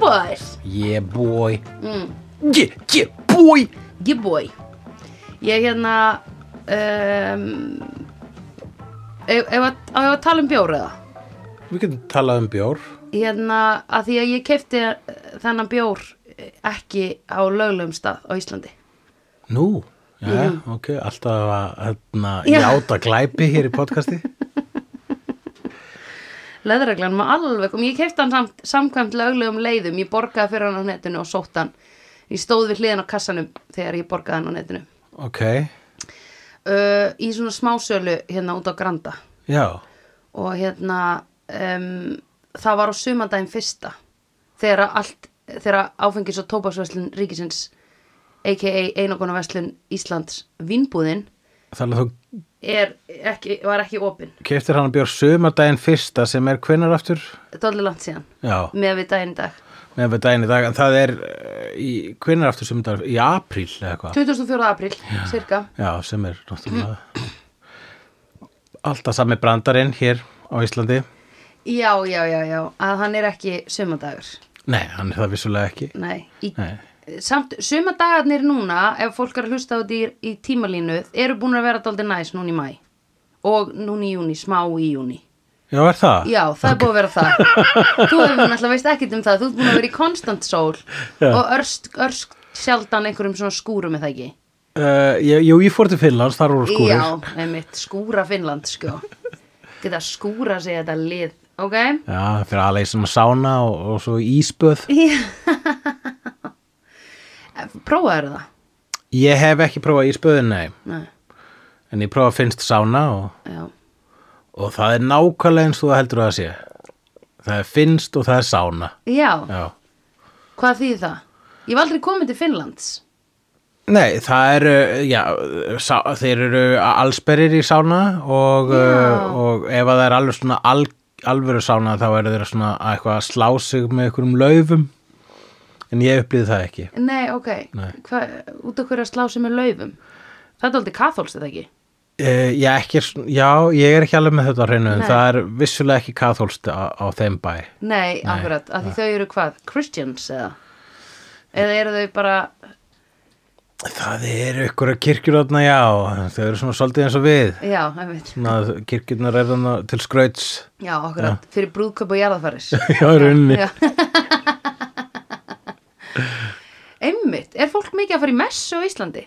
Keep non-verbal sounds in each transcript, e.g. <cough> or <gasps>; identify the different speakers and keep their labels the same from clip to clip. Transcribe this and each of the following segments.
Speaker 1: boys
Speaker 2: Yeah boy
Speaker 1: Mm.
Speaker 2: Yeah, yeah boy
Speaker 1: Ég boy Ég hérna um, Ef ef að á ég að tala um bjór eða
Speaker 2: Við getum talað um bjór
Speaker 1: Hérna að því að ég kefti þennan bjór eh, ekki á löglegum stað á Íslandi
Speaker 2: Nú, já, ok, alltaf að hérna,
Speaker 1: Mm. Já.
Speaker 2: játa glæpi hér í podcasti
Speaker 1: Leðreglan var alveg kom, ég kefti hann samt, samkvæmt löglegum leiðum, ég borgaði fyrir hann á netinu og sótt hann. Ég stóð við hliðin á kassanum þegar ég borgaði hann á netinu.
Speaker 2: Ok,
Speaker 1: Uh, í svona smásölu hérna út á Granda
Speaker 2: já,
Speaker 1: og hérna um, það var á sumandaginn fyrsta þegar allt, þegar áfengis og tópásverslun ríkisins a.k.a. einogunarverslun Íslands vinnbúðin
Speaker 2: þannig að þú
Speaker 1: er ekki, var ekki opin.
Speaker 2: keftir hann að bjór sömardaginn fyrsta sem er hvenar aftur?
Speaker 1: Þetta er allir langt síðan
Speaker 2: Já,
Speaker 1: með við daginn í dag.
Speaker 2: meðan við daginn í dag, en það er eh, í, hvenar aftur sömardaginn? Í apríl eða eitthvað?
Speaker 1: 24. apríl, cirka.
Speaker 2: Já, sem er náttúrulega alltaf sami brandarinn hér á Íslandi
Speaker 1: Já, já, já, já, að hann er ekki sumadagur,
Speaker 2: Nei, hann er það vissulega ekki
Speaker 1: nei, í,
Speaker 2: Nei,
Speaker 1: samt sumadagarnir núna, ef fólk er að hlusta á því í tímalínu, eru búin að vera daldið næs núna í mæ og núna í júni, smá í júni.
Speaker 2: já, er það?
Speaker 1: Já, það er búin að vera það. þú hefur náttúrulega veist ekkit um það, þú ert búin að vera í konstant sól og örst, örst sjaldan einhverjum svona skúrum eða ekki.
Speaker 2: Eh, ég- jú, ég fór til Finnlands, þar voru skúrir
Speaker 1: Já, einmitt, skúra Finnland, sko. Geta skúra sig þetta lið, ok?
Speaker 2: Já, fyrir að leysa um sána og, og svo íspöð.
Speaker 1: Prófaðu það?
Speaker 2: Ég hef ekki prófað íspöðin, nei.
Speaker 1: Nei,
Speaker 2: En ég prófað finnst sána og,
Speaker 1: já.
Speaker 2: og það er nákvæmlega eins og það heldur að það sé. Það er finnst og það er sána.
Speaker 1: Já,
Speaker 2: Já.
Speaker 1: hvað þýð það? Ég var aldrei komin til Finnlands.
Speaker 2: Nei, það eru, já, sá, þeir eru allsperir í sána og, uh, og ef að það er alveg svona al, alvöru sána þá eru þeir svona að eitthvað að slá sig með einhverjum laufum. En ég upplýði það ekki.
Speaker 1: Nei, ok.
Speaker 2: Nei.
Speaker 1: Hva, út af hverju að slá sem er laufum? Það er aldrei kathólst, eða ekki?
Speaker 2: Uh, ég ekki, er sv- já, ég er ekki alveg með þetta á hreinu, en
Speaker 1: Nei.
Speaker 2: það er vissulega ekki kathólst á, á þeim bæ.
Speaker 1: Nei, akkurat, af því þau eru hvað? Christians, eða? Eða eru þau bara...
Speaker 2: Það eru ykkur kirkjur þarna, já, þau eru svona svolítið eins og við.
Speaker 1: Já, einmitt.
Speaker 2: Svona, kirkjurnar er þarna til skrauts,
Speaker 1: Já, akkurat. Fyrir brúðköp og jarðafaris.
Speaker 2: <laughs> já, runni.
Speaker 1: Já. <laughs> einmitt. Er fólk mikið að fara í messu á Íslandi?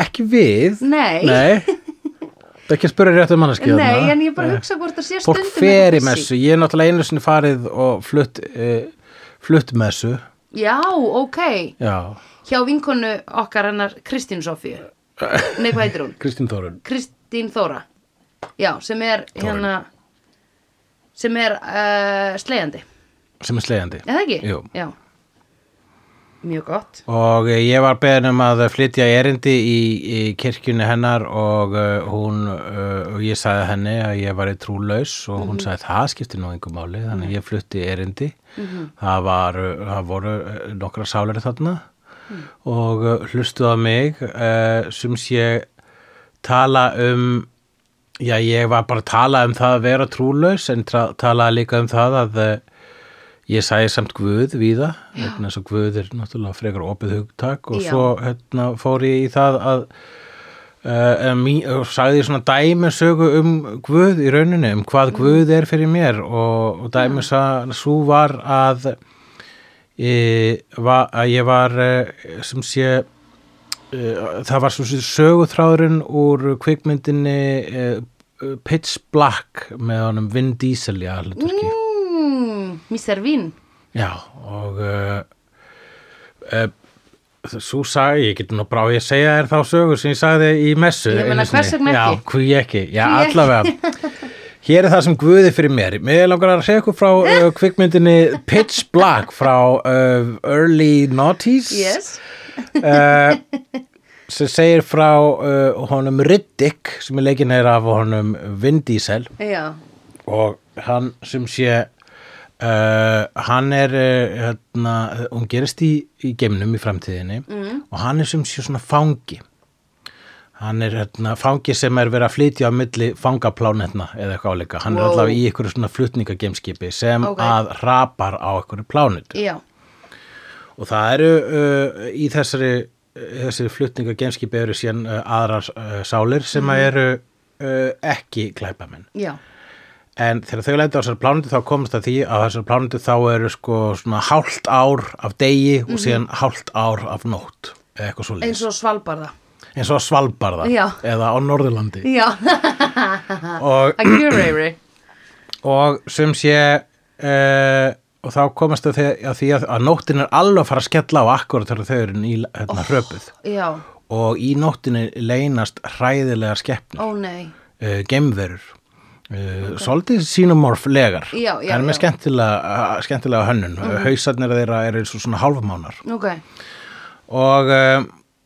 Speaker 2: Ekki við.
Speaker 1: Nei.
Speaker 2: Nei. Það er ekki að spura rétt um manneskið
Speaker 1: Nei, en ég bara hugsa hvort það sé
Speaker 2: Fólk
Speaker 1: stundum
Speaker 2: fer í
Speaker 1: eitthvað
Speaker 2: messu, ég er náttúrulega einu sinni farið og flutt, uh, flutt messu,
Speaker 1: Já, ok.
Speaker 2: já,
Speaker 1: hjá vinkonu okkar hennar Kristín
Speaker 2: <laughs>
Speaker 1: Sofíu Nei, hvað heitir hún?
Speaker 2: Kristín Þórun.
Speaker 1: Kristín Þóra Já, sem er hérna sem er uh, slegjandi
Speaker 2: sem er slegjandi.
Speaker 1: Er það ekki?
Speaker 2: Jú.
Speaker 1: Já Mjög gott
Speaker 2: Og eh, ég var beðin um að flytja erindi í, í kirkjunni hennar og uh, hún, uh, og ég sagði henni að ég var í trúlaus og hún sagði það skipti nú einhver máli, þannig að ég flutti erindi. það, var, uh, það voru uh, nokkra sálir þarna og uh, hlustuð á mig uh, sem sé tala um, já ég var bara að tala um það að vera trúlaus en tra- talaði líka um það að uh, Ég sagði samt Guð víða, vegna þess að Guð er náttúrulega frekar opið hugtak og
Speaker 1: Já.
Speaker 2: svo hérna, fór ég í það að uh, um, og sagði ég svona dæmi sögu um Guð í rauninni, um hvað Guð er fyrir mér og, og dæmi mm. svo var að, e, va, að ég var e, sem sé Uh, það var svona söguþráðurinn úr kvikmyndinni uh, Pitch Black með honum Vin Diesel í aðluturki
Speaker 1: mm, Mr. Vín
Speaker 2: Já, og uh, uh, svo sagði, ég get nú brá ég að segja þér þá sögu sem ég sagði í messu.
Speaker 1: Ég meina,
Speaker 2: einu sinni.
Speaker 1: hvers vegna ekki?
Speaker 2: Já, hví ekki,
Speaker 1: Hví
Speaker 2: já,
Speaker 1: ekki?
Speaker 2: allavega.
Speaker 1: <laughs>
Speaker 2: Hér er það sem guði fyrir mér. Mér langar að segja ykkur frá uh,
Speaker 1: Eh!
Speaker 2: kvikmyndinni Pitch Black frá uh, Early Noughties
Speaker 1: Yes
Speaker 2: uh, sem segir frá uh, honum Riddick sem er leikinn er af honum Vin Diesel
Speaker 1: Já
Speaker 2: og hann sem sé uh, hann er uh, hérna, hún
Speaker 1: Mm.
Speaker 2: gerist í, í geimnum í framtíðinni og hann er sem sé svona fangi Hann er hérna, fangi sem er verið að flytja á milli fangaplánetna eða eitthvað áleika. Hann er
Speaker 1: Wow.
Speaker 2: allavega í einhverju svona flutningagemskipi sem
Speaker 1: Ok.
Speaker 2: að rapar á einhverju plánetu.
Speaker 1: já,
Speaker 2: Og það eru uh, í þessari, þessari flutningagemskipi eru síðan uh, aðrar uh, sálir sem að
Speaker 1: Mm.
Speaker 2: eru uh, ekki glæpamenn.
Speaker 1: já,
Speaker 2: En þegar þau lendi á þessari plánutu þá komst það því að á þessari plánutu þá eru sko svona hálft ár af degi og síðan hálft ár af nótt eða eitthvað svo
Speaker 1: eins
Speaker 2: leys.
Speaker 1: og svalbarða
Speaker 2: Eins og Svalbarða
Speaker 1: Já.
Speaker 2: eða á Norðurlandi.
Speaker 1: Já,
Speaker 2: Og,
Speaker 1: <coughs> að curary
Speaker 2: og sem sé, uh, og þá komast þau því- að því að, að nóttin er alveg að fara að skella á akkurat þegar þau eru í hérna, hröpuð.
Speaker 1: Já,
Speaker 2: Og í nóttinni leynast hræðilegar skeppnir,
Speaker 1: ó nei
Speaker 2: uh, gemverur. Uh, Svolítið sínumorf legar
Speaker 1: Já, já,
Speaker 2: Það er
Speaker 1: já.
Speaker 2: með
Speaker 1: Mhm.
Speaker 2: skemmtilega, uh, skemmtilega hönnun mm Hausarnir þeirra eru eins og svona hálfmánar
Speaker 1: Ok,
Speaker 2: og, uh,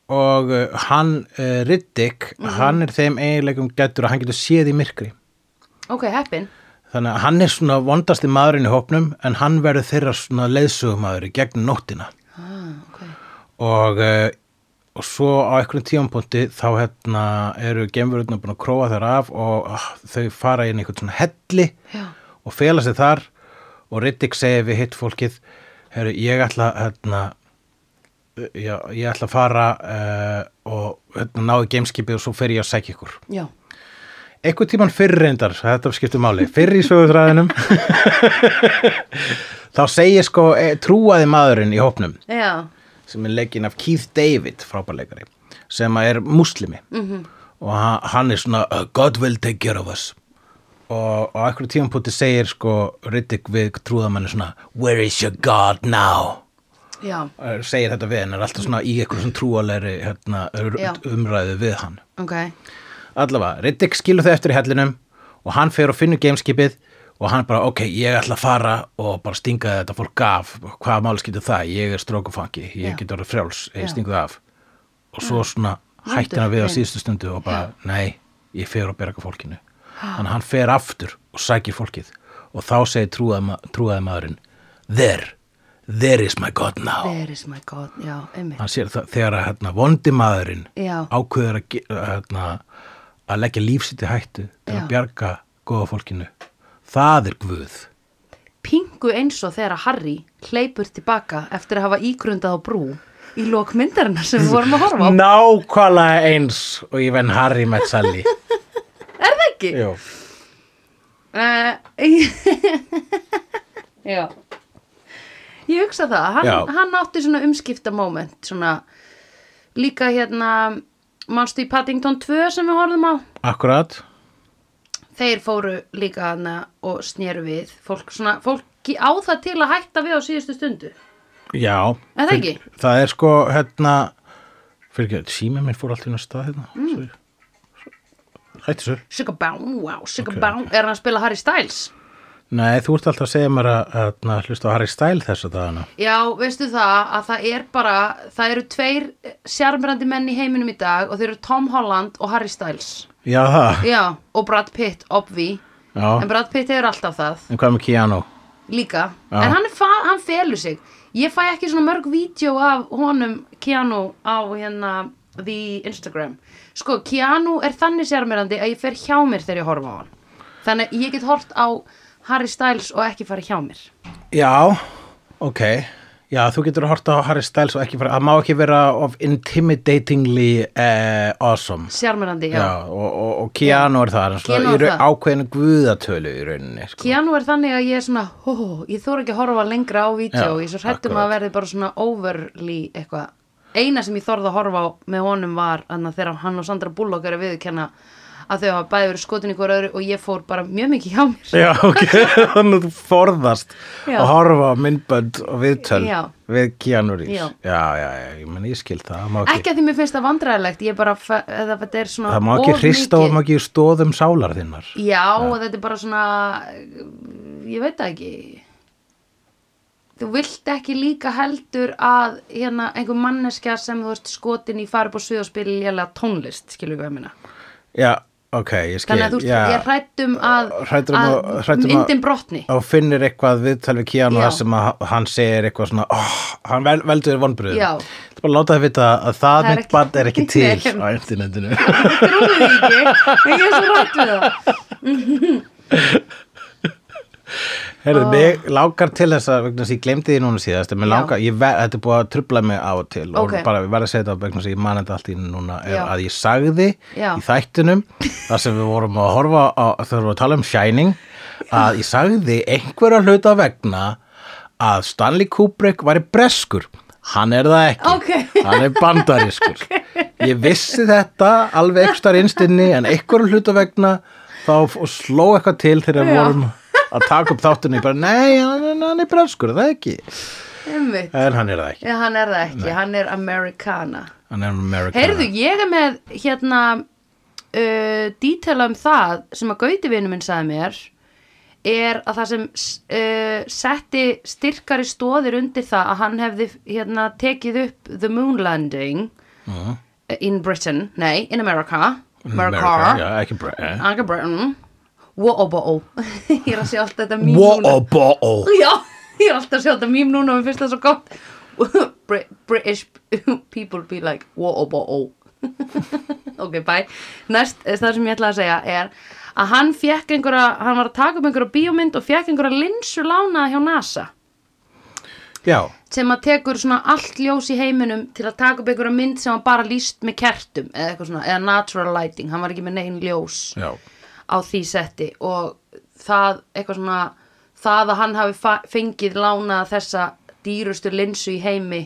Speaker 2: og uh, hann uh, Riddick,
Speaker 1: Mhm.
Speaker 2: hann er þeim eiginleikum gættur að hann getur séð í myrkri
Speaker 1: ok, heppin
Speaker 2: Þannig að hann er svona vondasti maðurinn í hópnum en hann verður þeirra svona leiðsögumaður í gegn nóttina
Speaker 1: ah, okay.
Speaker 2: og, eh, og svo á einhverjum tíampunkti þá hérna eru gemverðurna búin að króa þær af og ah, þau fara inn í einhvern svona helli
Speaker 1: Já.
Speaker 2: og fela sig þar og Riddick segir við hitt fólkið heru, ég ætla hérna eh, já, ég ætla að fara uh, og hérna, náðu gameskipið og svo fer ég að sækja ykkur
Speaker 1: Já,
Speaker 2: einhvern tíman fyrr reyndar, þetta skiptir máli, fyrr í sögutræðinum <laughs> þá segir sko eh, trúaði maðurinn í hópnum
Speaker 1: já,
Speaker 2: sem er leikinn af Keith David frábærleikari sem að er muslimi -hmm. og ha- hann er svona "Uh, God will take care of us og og á einhverju tímanpúti segir sko Riddick við trúðamenni svona Where is your God now?
Speaker 1: já,
Speaker 2: Eh, segir þetta við hann er alltaf svona í einhverju svona trúalegri hérna, ur-
Speaker 1: Já.
Speaker 2: umræðu við hann
Speaker 1: ok
Speaker 2: allavega, Riddick skilur þau eftir í hellinum og hann fer og finnur gameskipið og hann bara, ok, ég ætla að fara og bara stinga þetta fólk af hvaða máli skilur það, ég er strókufangi ég
Speaker 1: Já.
Speaker 2: get orðið frjáls,
Speaker 1: Já.
Speaker 2: ég stingu það af og svo svona hætti hann við á
Speaker 1: Nei.
Speaker 2: síðustu stundu og bara, nei, ég fer og berga fólkinu þannig að hann fer aftur og sækir fólkið og þá segir trúaði, ma trúaði maðurinn there, there is my god now
Speaker 1: There is my god, já, einmitt
Speaker 2: hann sér það þegar að hérna, vondi maðurinn
Speaker 1: Já.
Speaker 2: ákveður að, ge- að, hérna, að leggja lífsitt í hættu til
Speaker 1: Já.
Speaker 2: að bjarga góða fólkinu það er guð
Speaker 1: Pingu eins og þegar Harry hleypur tilbaka eftir að hafa ígrundað á brú í lok myndarinnar sem við vorum að horfa á
Speaker 2: nákvæmlega eins og ég venn Harry með Sally
Speaker 1: Er það ekki?
Speaker 2: Jú.
Speaker 1: Uh, <laughs> já Ég hugsa það, hann,
Speaker 2: Já.
Speaker 1: hann átti svona umskipta moment svona líka hérna manstu í Paddington 2 sem við horfðum á
Speaker 2: akkurat
Speaker 1: þeir fóru líka hana og sneru við fólk, svona, fólk á það til að hætta við á síðustu stundu
Speaker 2: já,
Speaker 1: Er það ekki?
Speaker 2: það er sko hérna fyrir ekki, símið minn fór allt í næsta stað hérna mm. hætti svo
Speaker 1: Sigabán, wow, Sigabán er hann að spila Harry Styles
Speaker 2: nei, þú ert alltaf að segja mér að, að, að hlusta á Harry Style þessa dagana
Speaker 1: já, veistu það að það er bara það eru tveir sjarmrandi menn í heiminum í dag og þeir eru Tom Holland og Harry Styles
Speaker 2: já, það,
Speaker 1: já, og Brad Pitt, obvi
Speaker 2: já,
Speaker 1: en Brad Pitt er alltaf það
Speaker 2: en hvað með Keanu?
Speaker 1: líka,
Speaker 2: Já.
Speaker 1: en hann, er fa hann felur sig ég fæ ekki svona mörg vídeo af honum Keanu á hérna the Instagram sko Keanu er þannig sérmyrandi að ég fer hjá mér þegar ég horfa á hann þannig að ég get hort á Harry Styles og ekki fara hjá mér
Speaker 2: Já, ok Já, þú getur að horta á Harry Styles og ekki fara, það má ekki vera of intimidatingly eh, awesome
Speaker 1: sérmyrandi, já.
Speaker 2: Já, og, og, og Keanu er það,
Speaker 1: Keanu
Speaker 2: það
Speaker 1: er
Speaker 2: eru
Speaker 1: það.
Speaker 2: ákveðinu guðatölu í rauninni sko.
Speaker 1: Keanu er þannig að ég er svona hó, ég þóra ekki að horfa lengra á vídeo
Speaker 2: Já,
Speaker 1: ég er svo hrættum að
Speaker 2: akkurat.
Speaker 1: verði bara svona overly eitthvað eina sem ég þorði að horfa á með honum var anna, þegar hann og Sandra Bullock eru að viðkenna að þau hafa bæði verið skotin í hver öðru og ég fór bara mjög mikið hjá mér
Speaker 2: Já, ok, <laughs> þannig að þú forðast
Speaker 1: Já.
Speaker 2: að horfa á myndbönd og viðtöl
Speaker 1: Já.
Speaker 2: við Keanu Reeves
Speaker 1: Já.
Speaker 2: já, já, já, ég menn ég skil það, það má ekki,
Speaker 1: ekki að því mér finnst það vandræðilegt ég bara, fe- eða þetta er svona
Speaker 2: það má ekki
Speaker 1: of
Speaker 2: hrista og
Speaker 1: mikið.
Speaker 2: það má ekki stóðum sálar þinnar
Speaker 1: já, og þetta er bara svona ég veit það ekki þú vilt ekki líka heldur að hérna einhver manneskja sem þú ert skotin í fara upp á svið og spila lélega tónlist, skilur við hvað ég minna
Speaker 2: Já, ok, ég skil
Speaker 1: þannig að þú ert,
Speaker 2: já.
Speaker 1: ég er hrættum að,
Speaker 2: Hræddur um
Speaker 1: að,
Speaker 2: að- hræddur um að-
Speaker 1: myndin brotni
Speaker 2: og finnir eitthvað viðtal við Keanu
Speaker 1: Já.
Speaker 2: þar sem að hann segir eitthvað svona oh, hann vel, veldur vonbröðum
Speaker 1: Já.
Speaker 2: Það er bara að láta það vita að það
Speaker 1: Það er
Speaker 2: mitt
Speaker 1: ekki-
Speaker 2: barn er ekki til
Speaker 1: <laughs> Nei.
Speaker 2: á internetinu.
Speaker 1: Trúið því ekki, en ég er svo rætt við það.
Speaker 2: Herðu, mig langar til þess að, vegna þess að ég glemdi því núna síðast, en
Speaker 1: Ah.
Speaker 2: mig
Speaker 1: Já.
Speaker 2: langar, ég ver, þetta er búið að trubla mig á og til
Speaker 1: Ókei.
Speaker 2: og bara við verðum að segja þetta vegna þess að ég man þetta allt í einu núna er
Speaker 1: Já.
Speaker 2: að ég sagði
Speaker 1: Já.
Speaker 2: í þættunum, þar sem við vorum að horfa á, þegar við vorum að tala um Shining, að ég sagði einhverja hluta vegna að Stanley Kubrick væri breskur. Hann er það ekki.
Speaker 1: Ókei.
Speaker 2: Hann er bandariskur. Ég vissi þetta alveg ekki starf innstinni, en einhverju hluta vegna þá f- sló eitthvað til þegar við
Speaker 1: Já.
Speaker 2: vorum að taka upp þáttunni bara nei, hann, hann er braskur, það er ekki
Speaker 1: Einmitt.
Speaker 2: en hann er það ekki,
Speaker 1: Já, hann er það ekki, hann er Americana.
Speaker 2: hann er Amerikan
Speaker 1: Heyrðu, ég er með hérna uh, dítela um það sem að gauti vinur minn sagði mér er að það sem uh, setti styrkari stóðir undir það að hann hefði hérna tekið upp The Moon Landing in Britain, nei, in America America,
Speaker 2: já, ekki bra eh?
Speaker 1: America Britain Wo-o-bo-o oh. <laughs> Ég er að sjá allt þetta mím núna
Speaker 2: Wo-o-bo-o
Speaker 1: Já, ég er alltaf að sjá þetta mím núna og mér finnst það svo gott <laughs> Bri- British people be like Wo-o-bo-o oh." <laughs> Ok, bye Næst, eh, það sem ég ætla að segja er að hann fekk einhverja, hann var að taka upp einhverja bíómynd og fekk einhverja linsu lánaða hjá NASA
Speaker 2: já,
Speaker 1: sem að tekur svona allt ljós í heiminum til að taka upp einhverja mynd sem hann bara líst með kertum eða eitthvað svona, eða natural lighting hann var ekki með negin ljós
Speaker 2: já,
Speaker 1: á því setti og það eitthvað svona það að hann hafi fa- fengið lána þessa dýrustu linsu í heimi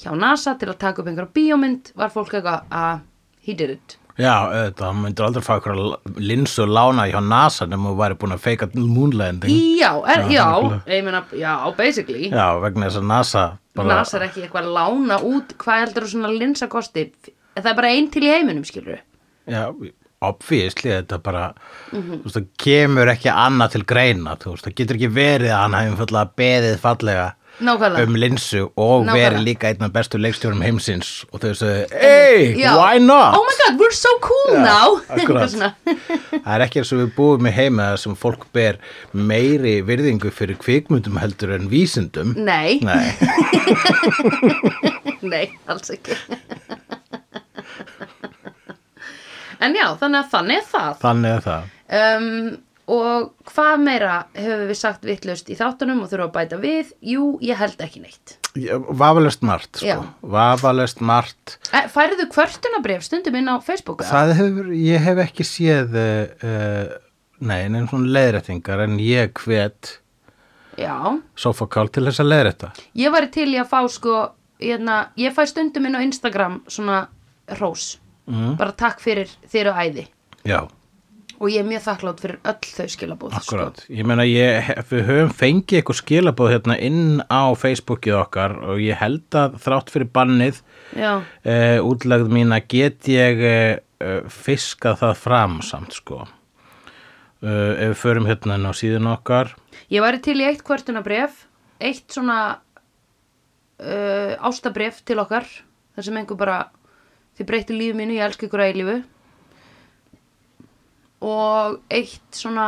Speaker 1: hjá NASA til að taka upp einhverja bíómynd var fólk eitthvað að he did it
Speaker 2: já þetta, hann myndir aldrei fá ykkur linsu lána hjá NASA nema þú væri búin að feika moonlanding
Speaker 1: já, er,
Speaker 2: Já,
Speaker 1: já,
Speaker 2: nefnilega.
Speaker 1: ég meina, já, basically
Speaker 2: já, vegna þess að NASA bara,
Speaker 1: NASA er ekki eitthvað að lána út hvað heldur þú svona linsa kosti það er bara ein til í heiminum, skilur
Speaker 2: já, obviously þetta bara þú veist, það kemur ekki annað til greina, þú veist, það getur ekki verið að hann hefum fallega beðið fallega
Speaker 1: Nákvæmlega.
Speaker 2: um linsu
Speaker 1: Nákvæmlega.
Speaker 2: og
Speaker 1: Um,
Speaker 2: verið líka einn af bestu leikstjórum heimsins og þau þessu, hey,
Speaker 1: Já.
Speaker 2: why not?
Speaker 1: oh my god, we're so cool
Speaker 2: Já,
Speaker 1: now <laughs>
Speaker 2: akkurat.
Speaker 1: Eitthvað svona.
Speaker 2: það er ekki eins og við búum í heima þar sem fólk ber meiri virðingu fyrir kvikmyndum heldur en vísindum
Speaker 1: nei,
Speaker 2: Nei,
Speaker 1: <laughs> Nei, alls ekki En já, þannig að þannig er það
Speaker 2: þannig er það
Speaker 1: um, Og hvað meira höfum við sagt vittlust í þáttunum og þurfum að bæta við? Jú, ég held ekki neitt
Speaker 2: Já, Vafalaust margt,
Speaker 1: Já.
Speaker 2: sko Vafalaust margt
Speaker 1: Eh, Færðu kvörtunabref stundum inn á Facebook? eða?
Speaker 2: Það hefur, ég hef ekki séð uh, nei, nefnum svona leiðrættingar en ég hvet
Speaker 1: Já,
Speaker 2: Sofakál til þess að leiðrætta
Speaker 1: ég væri til í að fá sko hérna, Ég fæ stundum inn á Instagram svona rós mm. Bara takk fyrir þér og æði
Speaker 2: Já,
Speaker 1: Og ég er mjög þakklátt fyrir öll þau sko. skilabóð
Speaker 2: akkurát Ég meina, ég, hef- við höfum fengið eitthvað skilabóð hérna inn á Facebookið okkar og ég held að þrátt fyrir bannið
Speaker 1: sko. Já,
Speaker 2: uh, útlegð mína get ég uh, fiskað það fram samt sko uh, ef við förum hérna inn á síðun okkar
Speaker 1: Ég væri til í eitt kvörtunabref, eitt svona uh, ástabref til okkar, þar sem einhver bara, þið breytir lífi mínu, ég elsku ykkur að eilífu. Og eitt svona,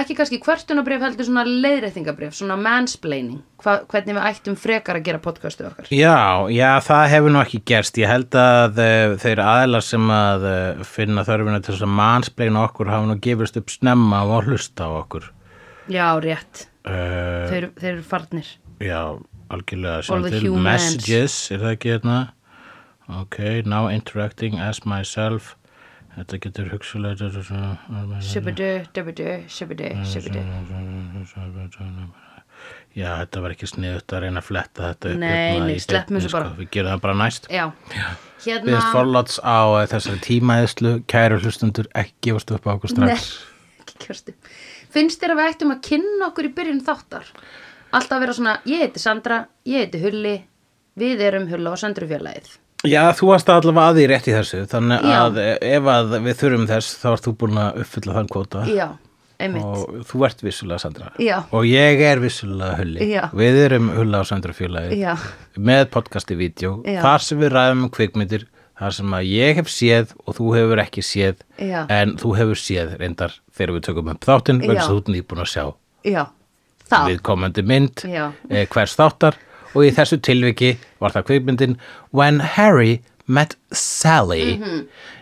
Speaker 1: ekki kannski kvörtunabref heldur svona leiðrættingabref, svona mansplaining, hva, hvernig við ættum frekar að gera podcastu okkar.
Speaker 2: Já, já, það hefur nú ekki gerst. Ég held að uh, þeir aðlar sem að uh, finna þörfina til þess að mannspleina okkur hafa nú gefist upp snemma á að hlusta á okkur.
Speaker 1: Já, rétt,
Speaker 2: Uh,
Speaker 1: þeir, þeir eru farnir.
Speaker 2: já, algjörlega
Speaker 1: All
Speaker 2: sem
Speaker 1: the
Speaker 2: til
Speaker 1: humans.
Speaker 2: messages, er það ekki hérna? Ok, now interacting as myself. Þetta getur hugsulega...
Speaker 1: Shibidu, dubidu, shibidu,
Speaker 2: Mm.
Speaker 1: shibidu.
Speaker 2: Já, þetta var ekki sniðut að reyna að fletta þetta upp.
Speaker 1: Nei,
Speaker 2: hérna
Speaker 1: nei,
Speaker 2: í
Speaker 1: sleppum
Speaker 2: beinni,
Speaker 1: þessu bara.
Speaker 2: Sko. Við gerum það bara næst.
Speaker 1: Já, hérna...
Speaker 2: Byggðist forláts á eh, þessari tímaðislu, kæru hlustundur, ekki gefast upp á okkur strax.
Speaker 1: Nei, ekki kjörstu. Finnst þér að við ættum að kynna okkur í byrjun þáttar? Alltaf vera svona, ég heiti Sandra, ég heiti Hulli, við erum Hulla og Sandrufjörlæðið.
Speaker 2: Já, þú varst allavega að því rétt í þessu, þannig
Speaker 1: Já.
Speaker 2: að eh, ef að við þurfum þess, þá ert þú búin að uppfylla þann kvóta.
Speaker 1: Já, einmitt.
Speaker 2: Og þú ert vissulega Sandra.
Speaker 1: Já.
Speaker 2: Og ég er vissulega Hulli.
Speaker 1: Já.
Speaker 2: Við erum Hulla á Sandra fjölaði.
Speaker 1: Já,
Speaker 2: Með podcasti vídeo,
Speaker 1: Já.
Speaker 2: þar sem við ræðum um kvikmyndir, þar sem að ég hef séð og þú hefur ekki séð,
Speaker 1: Já.
Speaker 2: en þú hefur séð reyndar þegar við tökum upp þáttinn, vegna
Speaker 1: Já.
Speaker 2: þess að þú ert nýbúin að sjá
Speaker 1: já, það.
Speaker 2: við komandi mynd
Speaker 1: Já.
Speaker 2: eh, hvers þáttar og í þessu tilviki var það kvikmyndin When Harry Met Sally
Speaker 1: Mhm.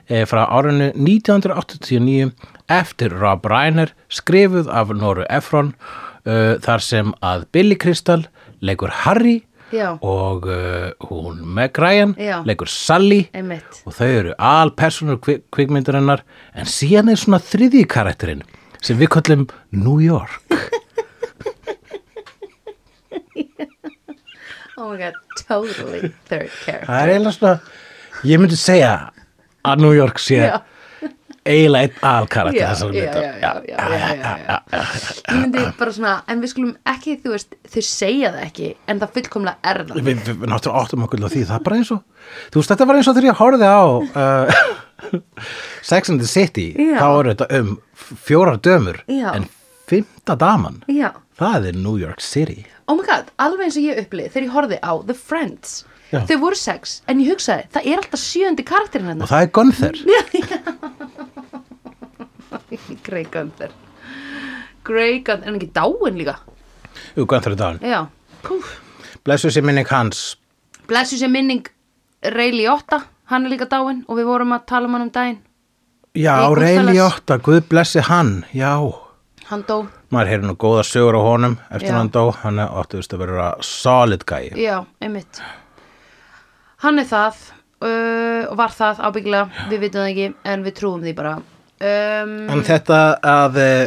Speaker 2: eh, frá árinu 1989 eftir Rob Reiner skrifuð af Noru Efron uh, þar sem að Billy Crystal leikur Harry
Speaker 1: Já.
Speaker 2: og uh, hún Meg Ryan
Speaker 1: Já.
Speaker 2: leikur Sally
Speaker 1: einmitt
Speaker 2: og þau eru alpersonur kvik kvikmyndarinnar en síðan er svona þriðji karakterinn sem við kallum New York
Speaker 1: Oh my god, totally third character
Speaker 2: það er eiginlega svona ég myndi segja að New York sé
Speaker 1: Já.
Speaker 2: eiginlega einn alkarakter
Speaker 1: Já, já,
Speaker 2: þessar myndar
Speaker 1: já, já, já, já, já, já. Ég myndi bara svona, en við skulum ekki, þú veist, þau segja það ekki, en það fullkomlega er það.
Speaker 2: Við, við, við náttúrulega áttum okkur á því, það er bara eins og þú veist, þetta var eins og þegar ég horfði á uh, <laughs> Sex and the City
Speaker 1: Já.
Speaker 2: þá er þetta um fjórar dömur
Speaker 1: Já.
Speaker 2: en fymta daman
Speaker 1: Já.
Speaker 2: það er New York City
Speaker 1: Oh my god, alveg eins og ég upplið þegar ég horfði á The Friends.
Speaker 2: Já.
Speaker 1: Þau voru sex, en ég hugsaði, það er alltaf sjöndi karakterinn hérna.
Speaker 2: og
Speaker 1: hennar.
Speaker 2: það er Gunther
Speaker 1: <laughs> Grey Gunther. Grey Gunther, en ekki dáin líka.
Speaker 2: Jú, Gunther er dáin.
Speaker 1: Já. Púf.
Speaker 2: Blessuð sé minning hans.
Speaker 1: Blessu sem minning Ray Liotta, hann er líka dáin og við vorum að tala um hann um daginn.
Speaker 2: Já,
Speaker 1: Í Goodfellas.
Speaker 2: Reyli 8, Guð blessi hann, já.
Speaker 1: Hann dó.
Speaker 2: Maður heyrði nú góða sögur á honum eftir
Speaker 1: Já.
Speaker 2: hann dó, hann er óttuðust að vera solid guy.
Speaker 1: Já, einmitt Hann er það uh, og var það ábyggilega, við vitum það ekki en við trúum því bara um,
Speaker 2: En þetta að uh,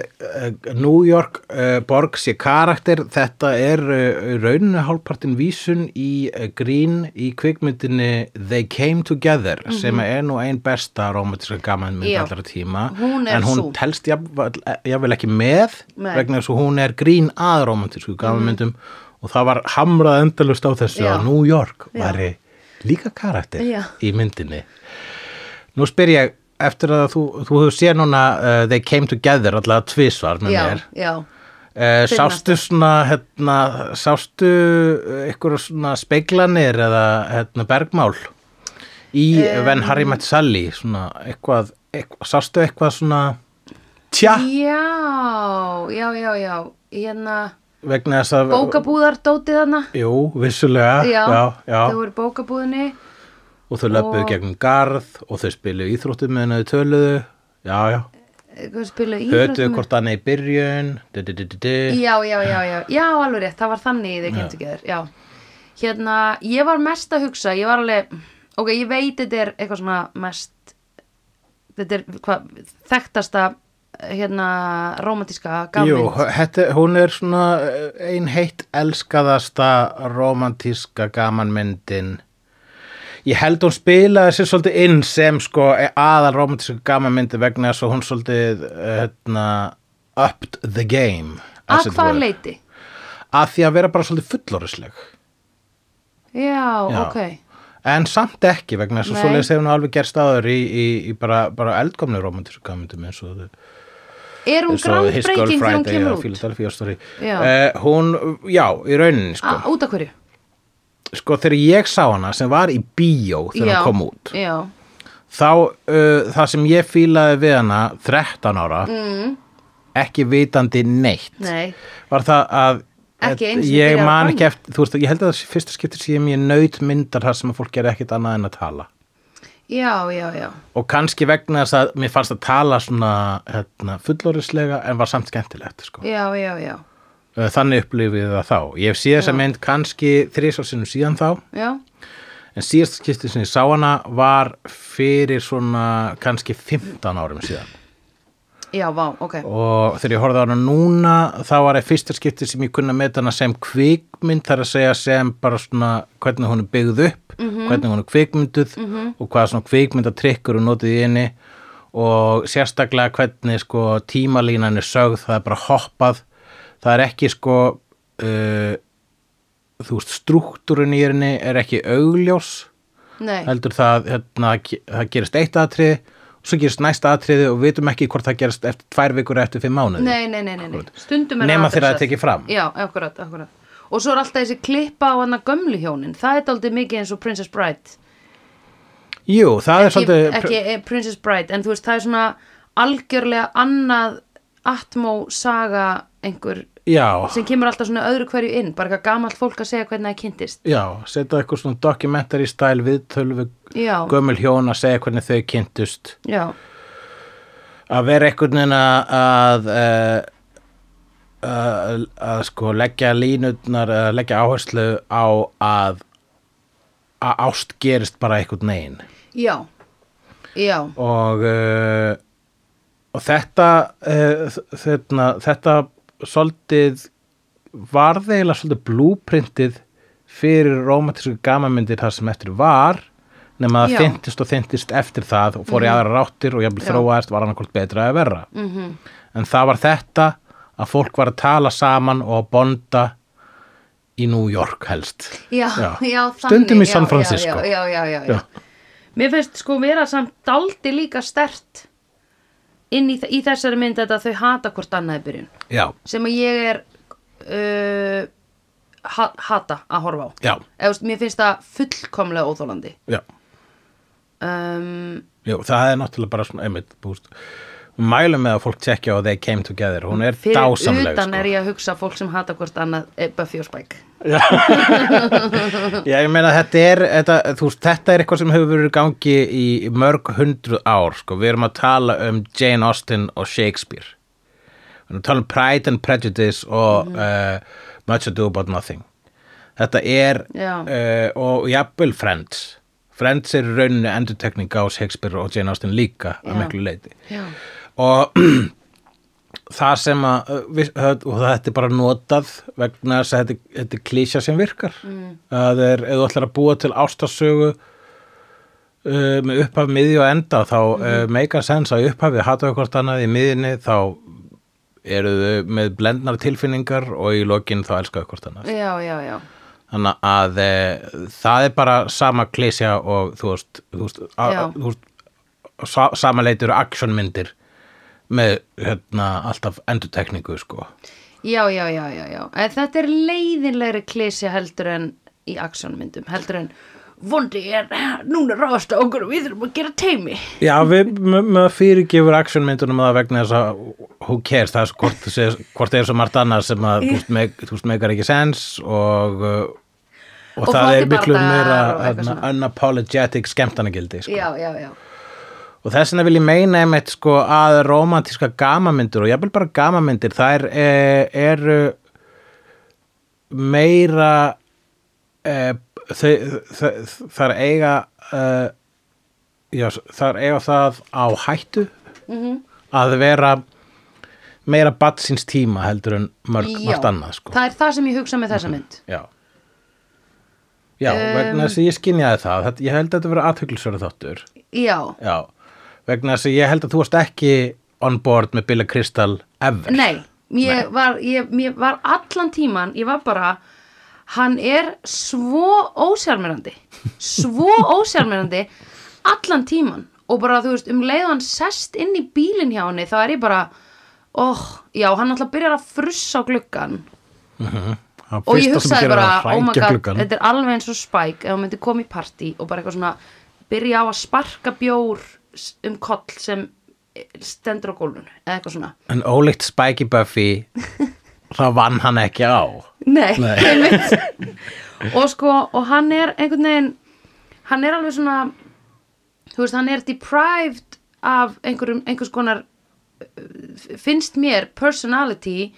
Speaker 2: New York uh, borg sé karakter, þetta er uh, rauninu hálfpartin vísun í uh, grín í kvikmyndinni They Came Together sem er nú ein besta romantiska gamanmynd
Speaker 1: Mhm. Já.
Speaker 2: allra tíma.
Speaker 1: Hún er
Speaker 2: en hún
Speaker 1: sú.
Speaker 2: telst jafnvel, eh, jafnvel ekki með
Speaker 1: Nei.
Speaker 2: vegna þess að hún er grín að romantísku gamanmyndum og það var hamrað endalust á þessu
Speaker 1: Já.
Speaker 2: að New York
Speaker 1: Já.
Speaker 2: væri líka karakter
Speaker 1: Já.
Speaker 2: í myndinni. Nú spyr ég eftir að þú, þú hefur séð núna uh, They Came Together allavega tvisvar með
Speaker 1: Já,
Speaker 2: mér.
Speaker 1: já
Speaker 2: Uh,
Speaker 1: Fyrr
Speaker 2: sástu svona, hérna, sástu uh, einhverja svona speiklanir eða hérna, bergmál í um, Venn Harry Met Sally svona eitthvað, eitthvað sástu eitthvað svona tja
Speaker 1: Já, já, já, já Hérna,
Speaker 2: vegna þess að
Speaker 1: bókabúðar dótið hana
Speaker 2: jú, vissulega
Speaker 1: Já,
Speaker 2: já, já.
Speaker 1: þau voru í bókabúðinni
Speaker 2: og þau löpuðu
Speaker 1: og-
Speaker 2: gegnum garð og þau spilu íþróttum meðan þau töluðu já, já,
Speaker 1: Hvað spiluðu
Speaker 2: hötuðu
Speaker 1: íþróttum
Speaker 2: hvort annað í byrjun du, du, du, du, du.
Speaker 1: Já, já, já, já, já, alveg rétt, það var þannig í þeir kemtu geður, já. Hérna, ég var mest að hugsa, ég var alveg, ok, ég veit þetta er eitthvað svona mest, þetta er hvað, þekktasta, hérna, romantíska
Speaker 2: Jú,
Speaker 1: gammynd.
Speaker 2: hætti, hún er svona eh, ein heitt elskaðasta romantíska gamanmyndin. Ég held hún spilaði sér svolítið inn sem sko eh, aðal romantíska gamanmyndi vegna þess að hún svolítið eh, hérna, upped the game. as
Speaker 1: Að
Speaker 2: it
Speaker 1: hvaða
Speaker 2: were.
Speaker 1: leiti?
Speaker 2: Að því að vera bara svolítið fullorðisleg.
Speaker 1: Já,
Speaker 2: Já.
Speaker 1: ok,
Speaker 2: En samt ekki vegna þess að
Speaker 1: Nei.
Speaker 2: svolítið hefur hún alveg gerst áður í, í, í bara, bara eldkomni romantíska gamanmyndum eins og þau.
Speaker 1: er hún
Speaker 2: svo His Girl
Speaker 1: grannbreyking þegar hún
Speaker 2: Friday
Speaker 1: kemur
Speaker 2: eða
Speaker 1: út?
Speaker 2: Philadelphia Story
Speaker 1: Já. Ah,
Speaker 2: uh, hún, já, í rauninni sko.
Speaker 1: Á, út af hverju?
Speaker 2: sko þegar ég sá hana sem var í bíó þegar
Speaker 1: Já,
Speaker 2: hún kom út
Speaker 1: Já,
Speaker 2: þá uh, það sem ég fílaði við hana 13 ára
Speaker 1: mm,
Speaker 2: ekki vitandi neitt
Speaker 1: nei,
Speaker 2: var það að
Speaker 1: Ekki einu sinni
Speaker 2: ég
Speaker 1: byrjað að
Speaker 2: man ekki
Speaker 1: banga.
Speaker 2: eftir, þú veist, ég held að það sé fyrsta skipti sem ég naut myndar þar sem að fólk gerði ekkit annað en að tala
Speaker 1: já, já, já,
Speaker 2: og kannski vegna þess að mér fannst að tala svona hérna, fullorðislega en var samt skemmtilegt sko.
Speaker 1: já, já, já,
Speaker 2: Uh, þannig upplifið það þá ég hef séð þessa mynd kannski þrísvarsinum síðan þá
Speaker 1: já,
Speaker 2: en síðast skipti sem ég sá hana var fyrir svona kannski 15 árum síðan
Speaker 1: já, vá, ok,
Speaker 2: og þegar ég horfði á hana núna þá var það fyrsta skipti sem ég kunna með hana sem kvikmynd þar að segja sem bara svona hvernig hún er byggð upp hvernig hún er kvikmynduð og hvað svona kvikmyndatrykkur hún notið í inni og sérstaklega hvernig sko tímalínan er sögð það er bara hoppað það er ekki sko uh, þú veist struktúrun í henni er ekki augljós
Speaker 1: nei,
Speaker 2: heldur það, hérna, það gerist eitt atriði og svo gerist næsta atriði og við vitum ekki hvort það gerist eftir tvær vikur eða eftir fimm mánuði
Speaker 1: Nei, nei, nei, nei, nei. stundum er
Speaker 2: nema þegar það
Speaker 1: aðdressað.
Speaker 2: tekið fram
Speaker 1: Já, akkurat, akkurat Og svo er alltaf þessi klippa á hana gömlu hjónin Það er daldið mikið eins og Princess Bride
Speaker 2: Jú, það er
Speaker 1: Ekki,
Speaker 2: svolítið
Speaker 1: ekki eh, Princess Bride En þú veist, það er svona algjörlega annað atmó saga einhver
Speaker 2: já,
Speaker 1: sem kemur alltaf svona öðru hverju inn bara eitthvað gamalt fólk að segja hvernig það kynntist
Speaker 2: já, setja eitthvað svona dokumentari stæl viðtölu við
Speaker 1: já,
Speaker 2: gömul hjón að segja hvernig þau kynntust
Speaker 1: já,
Speaker 2: að vera einhvern veginn að að, eh, að, að sko leggja línutnar að leggja áherslu á að að ást gerist bara einhvern veginn
Speaker 1: já já,
Speaker 2: og uh, og þetta uh, þetta, þetta svolítið varð eiginlega svolítið blúprintið fyrir romantísku gamanmyndir það sem eftir var nema
Speaker 1: Já. Mhm.
Speaker 2: það þyntist og þyntist eftir það og fór í aðra ráttir og jafnvel
Speaker 1: Já.
Speaker 2: þróaðist var annarkvöld betra eða verra
Speaker 1: mhm
Speaker 2: en það var þetta að fólk var að tala saman og að bonda í New York helst
Speaker 1: já,
Speaker 2: Já.
Speaker 1: já, þannig
Speaker 2: Stundum í
Speaker 1: já,
Speaker 2: San Francisco.
Speaker 1: já, já, já, já, já.
Speaker 2: Já.
Speaker 1: mér finnst sko vera samt daldi líka stert inn í, þ- í þessari mynd þetta að þau hata hvort annað í byrjun
Speaker 2: já,
Speaker 1: sem að ég er uh, ha hata að horfa á
Speaker 2: já,
Speaker 1: Eða, þú veist, mér finnst það fullkomlega óþólandi
Speaker 2: já
Speaker 1: um,
Speaker 2: Jú, það er náttúrulega bara svona einmitt búst. mælum með að fólk tekja á They Came Together, hún er
Speaker 1: fyrir
Speaker 2: dásamleg
Speaker 1: utan
Speaker 2: sko.
Speaker 1: er ég að hugsa fólk sem hata hvort annað eh, Buffy og Spike
Speaker 2: Já, ég meina þetta er, þetta, þú veist, þetta er eitthvað sem hefur verið í gangi í mörg hundruð ár, sko. Við erum að tala um Jane Austen og Shakespeare. Við erum að tala um Pride and Prejudice og
Speaker 1: Mhm.
Speaker 2: uh, Much Ado About Nothing. Þetta er,
Speaker 1: Já.
Speaker 2: uh, og jafnvel Friends. Friends er í rauninu endurtekning á Shakespeare og Jane Austen líka
Speaker 1: Já.
Speaker 2: að miklu leiti.
Speaker 1: já,
Speaker 2: Og <clears throat> það sem að, uh, við, það- og þetta er bara notað vegna þess að þetta, þetta er klísja sem virkar. Mm. Það er, ef þú ætlar að búa til ástasögu uh, með upphaf, miðju og enda, þá mm -hmm. uh, meika sens að í upphafi hata við hvort annað í miðjunni, þá eru þau með blendnar tilfinningar og í lokin þá elska við hvort annað.
Speaker 1: já, já, já
Speaker 2: Þannig að e, það er bara sama klísja og þú veist, þú veist, a,
Speaker 1: Já.
Speaker 2: þú veist sa, sama leitur actionmyndir með hérna alltaf endurtekningu sko.
Speaker 1: Já, já, já, já, já. En þetta er leiðinlegri klísja heldur en í aksjónmyndum, heldur en vondi er, núna ráðast á okkur og við þurfum að gera teimi.
Speaker 2: Já, við maður fyrirgefur actionmyndunum að vegna þess að who cares, það er svo hvort, sé, hvort er svo margt annað sem að þú veist, meg, þú veist megar ekki sens og uh, og,
Speaker 1: Og
Speaker 2: það er
Speaker 1: flottir
Speaker 2: miklu
Speaker 1: bardagar
Speaker 2: meira
Speaker 1: og eitthvað
Speaker 2: hérna,
Speaker 1: svona.
Speaker 2: unapologetic skemmtanagildi sko.
Speaker 1: Já, já, já.
Speaker 2: Og þess vegna vil ég meina einmitt sko að romantíska gamamyndir og jafnvel bara gamamyndir, þær eh, eru meira, eh, þau, þau, þær eiga, eh, já, þær eiga það á hættu
Speaker 1: Mhm.
Speaker 2: að vera meira batsins tíma heldur en mörg,
Speaker 1: já.
Speaker 2: margt annað sko. Mhm.
Speaker 1: Það er það sem ég hugsa með þessa mynd.
Speaker 2: Já Já, vegna þess að ég skynjaði það, þetta, ég held að þetta verið aðtöklusverð þáttur.
Speaker 1: Já.
Speaker 2: Já, vegna þess að ég held að þú varst ekki on board með Billa Crystal ever.
Speaker 1: Nei, ég var, ég, ég var allan tíman, ég var bara, hann er svo ósjarmirandi,
Speaker 2: <laughs>
Speaker 1: svo ósjarmirandi allan tíman og bara þú veist, um leið og hann sest inn í bílinn hjá henni þá er ég bara, óh, já, hann alltaf byrjar að frussa á gluggan
Speaker 2: Það
Speaker 1: og ég
Speaker 2: fyrsta sem
Speaker 1: hugsaði
Speaker 2: gerir er
Speaker 1: bara,
Speaker 2: að
Speaker 1: oh my
Speaker 2: hrækja
Speaker 1: god,
Speaker 2: gluggann.
Speaker 1: þetta er alveg eins og Spike ef hún myndi koma í partí og bara eitthvað svona byrja á að sparka bjór s- um koll sem stendur á gólfinu, eða eitthvað svona
Speaker 2: En ólíkt Spikey
Speaker 1: <laughs>
Speaker 2: Buffy, þá vann hann ekki á.
Speaker 1: Nei,
Speaker 2: Nei.
Speaker 1: <laughs> einmitt Og sko, og hann er einhvern veginn Hann er alveg svona Þú veist, hann er deprived Af einhverjum, einhvers konar uh, Finnst mér Personality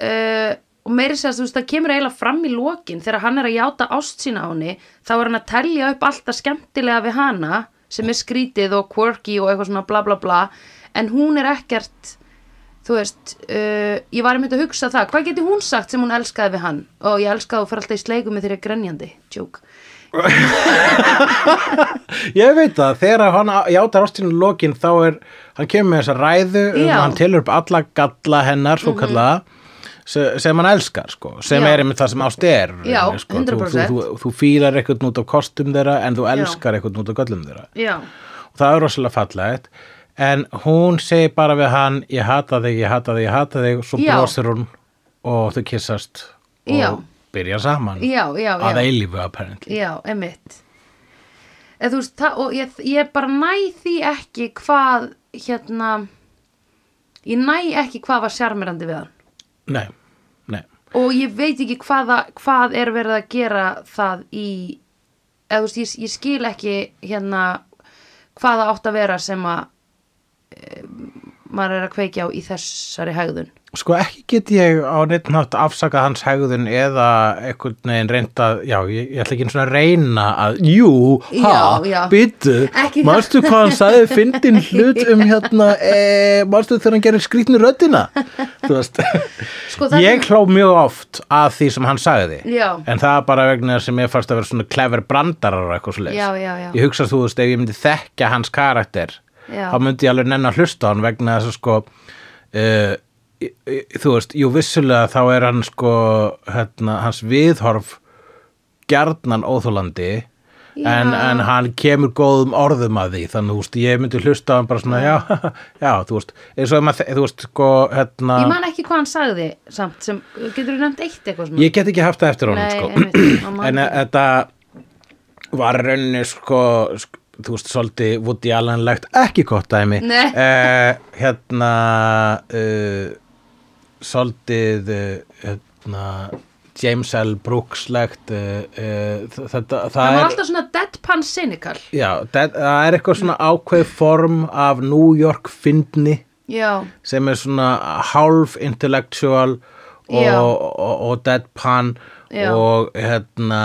Speaker 1: uh, Og meiri sér að þú veist, það kemur eiginlega fram í lokin Þegar hann er að játa ást sína á henni Þá er hann að telja upp alltaf skemmtilega Við hana, sem er skrítið Og quirky og eitthvað svona bla bla bla En hún er ekkert þú veist, uh, ég var einmitt að hugsa það, hvað geti hún sagt sem hún elskaði við hann og ég elskaði og fyrir alltaf í sleikum með þeirra grenjandi, tjók
Speaker 2: Ég veit það, þegar hann á- játar ástinu lokin, þá er, hann kemur með þessa ræðu, um,
Speaker 1: Já. Mhm.
Speaker 2: hann telur upp alla galla hennar, svo kallaða, se- sem hann elskar, sko, sem
Speaker 1: Já.
Speaker 2: er einmitt það sem ást er
Speaker 1: Já,
Speaker 2: rauninni, sko. Þú-
Speaker 1: 100%.
Speaker 2: þú, þú, þú fílar eitthvað út af kostum þeirra en þú elskar eitthvað út af göllum þeirra
Speaker 1: já,
Speaker 2: og það er rosalega fallegt en hún segir bara við hann ég hata þig, ég hata þig, ég hata þig svo
Speaker 1: Já.
Speaker 2: brosir hún og þau kyssast og
Speaker 1: Já.
Speaker 2: byrja saman
Speaker 1: já, já,
Speaker 2: að
Speaker 1: já,
Speaker 2: eilífu apparently
Speaker 1: já einmitt eða þú veist, það, og ég, ég bara næ því ekki hvað hérna ég næ ekki hvað var sjarmirandi við hann
Speaker 2: Nei,
Speaker 1: og ég veit ekki hvaða, hvað er verið að gera það í eða þú veist, ég, ég skil ekki hérna hvaða átt að vera sem að e, maður er að kveikja á í þessari hægðun
Speaker 2: Sko ekki get ég á neitt nátt afsakað hans hegðun eða einhvern veginn reynd að, já, ég, ég ætla ekki einu svona að reyna að, jú, ha,
Speaker 1: Já, já.
Speaker 2: byttu,
Speaker 1: Ekki-
Speaker 2: manstu hvað hann
Speaker 1: <laughs>
Speaker 2: sagði fyndin hlut um hérna, e, manstu þegar hann gerir skrýtni röddina, þú veist.
Speaker 1: Sko, það-
Speaker 2: ég hló mjög oft að því sem hann sagði,
Speaker 1: Já.
Speaker 2: en það er bara vegna sem ég fannst að vera svona clever brandarar og eitthvað svo leis.
Speaker 1: Já, já, já.
Speaker 2: Ég hugsa þú veist, ef ég myndi þekka hans karakter,
Speaker 1: Já.
Speaker 2: þá myndi ég alveg nenn að hlusta á hann vegna þess að sko uh, þú veist, jú vissulega þá er hann sko hérna, hans viðhorf gjarnan óþólandi en,
Speaker 1: Já.
Speaker 2: en hann kemur góðum orðum að því þannig þú veist, ég myndi hlusta á hann bara svona já, <laughs> já, þú veist eins og ef maður, þú veist, sko hérna,
Speaker 1: ég man ekki hvað hann sagði samt sem, getur þú nefnt eitt eitthvað svona
Speaker 2: ég get ekki haft það eftir honum
Speaker 1: Nei,
Speaker 2: sko.
Speaker 1: einmitt, maður man
Speaker 2: en
Speaker 1: ekki.
Speaker 2: þetta var raunni sko, sk- þú veist, svolítið Woody Allen-legt, ekki gott dæmi
Speaker 1: Nei.
Speaker 2: Eh, hérna uh, svolítið uh, hérna, James L. Brooks-legt uh, uh, þ- þetta,
Speaker 1: hann
Speaker 2: það
Speaker 1: var
Speaker 2: er
Speaker 1: alltaf svona deadpan cynical
Speaker 2: já, það, það er eitthvað svona ákveð form af New York-fyndni
Speaker 1: já,
Speaker 2: sem er svona hálf intellectual og,
Speaker 1: Já.
Speaker 2: og, og deadpan
Speaker 1: Já.
Speaker 2: og hérna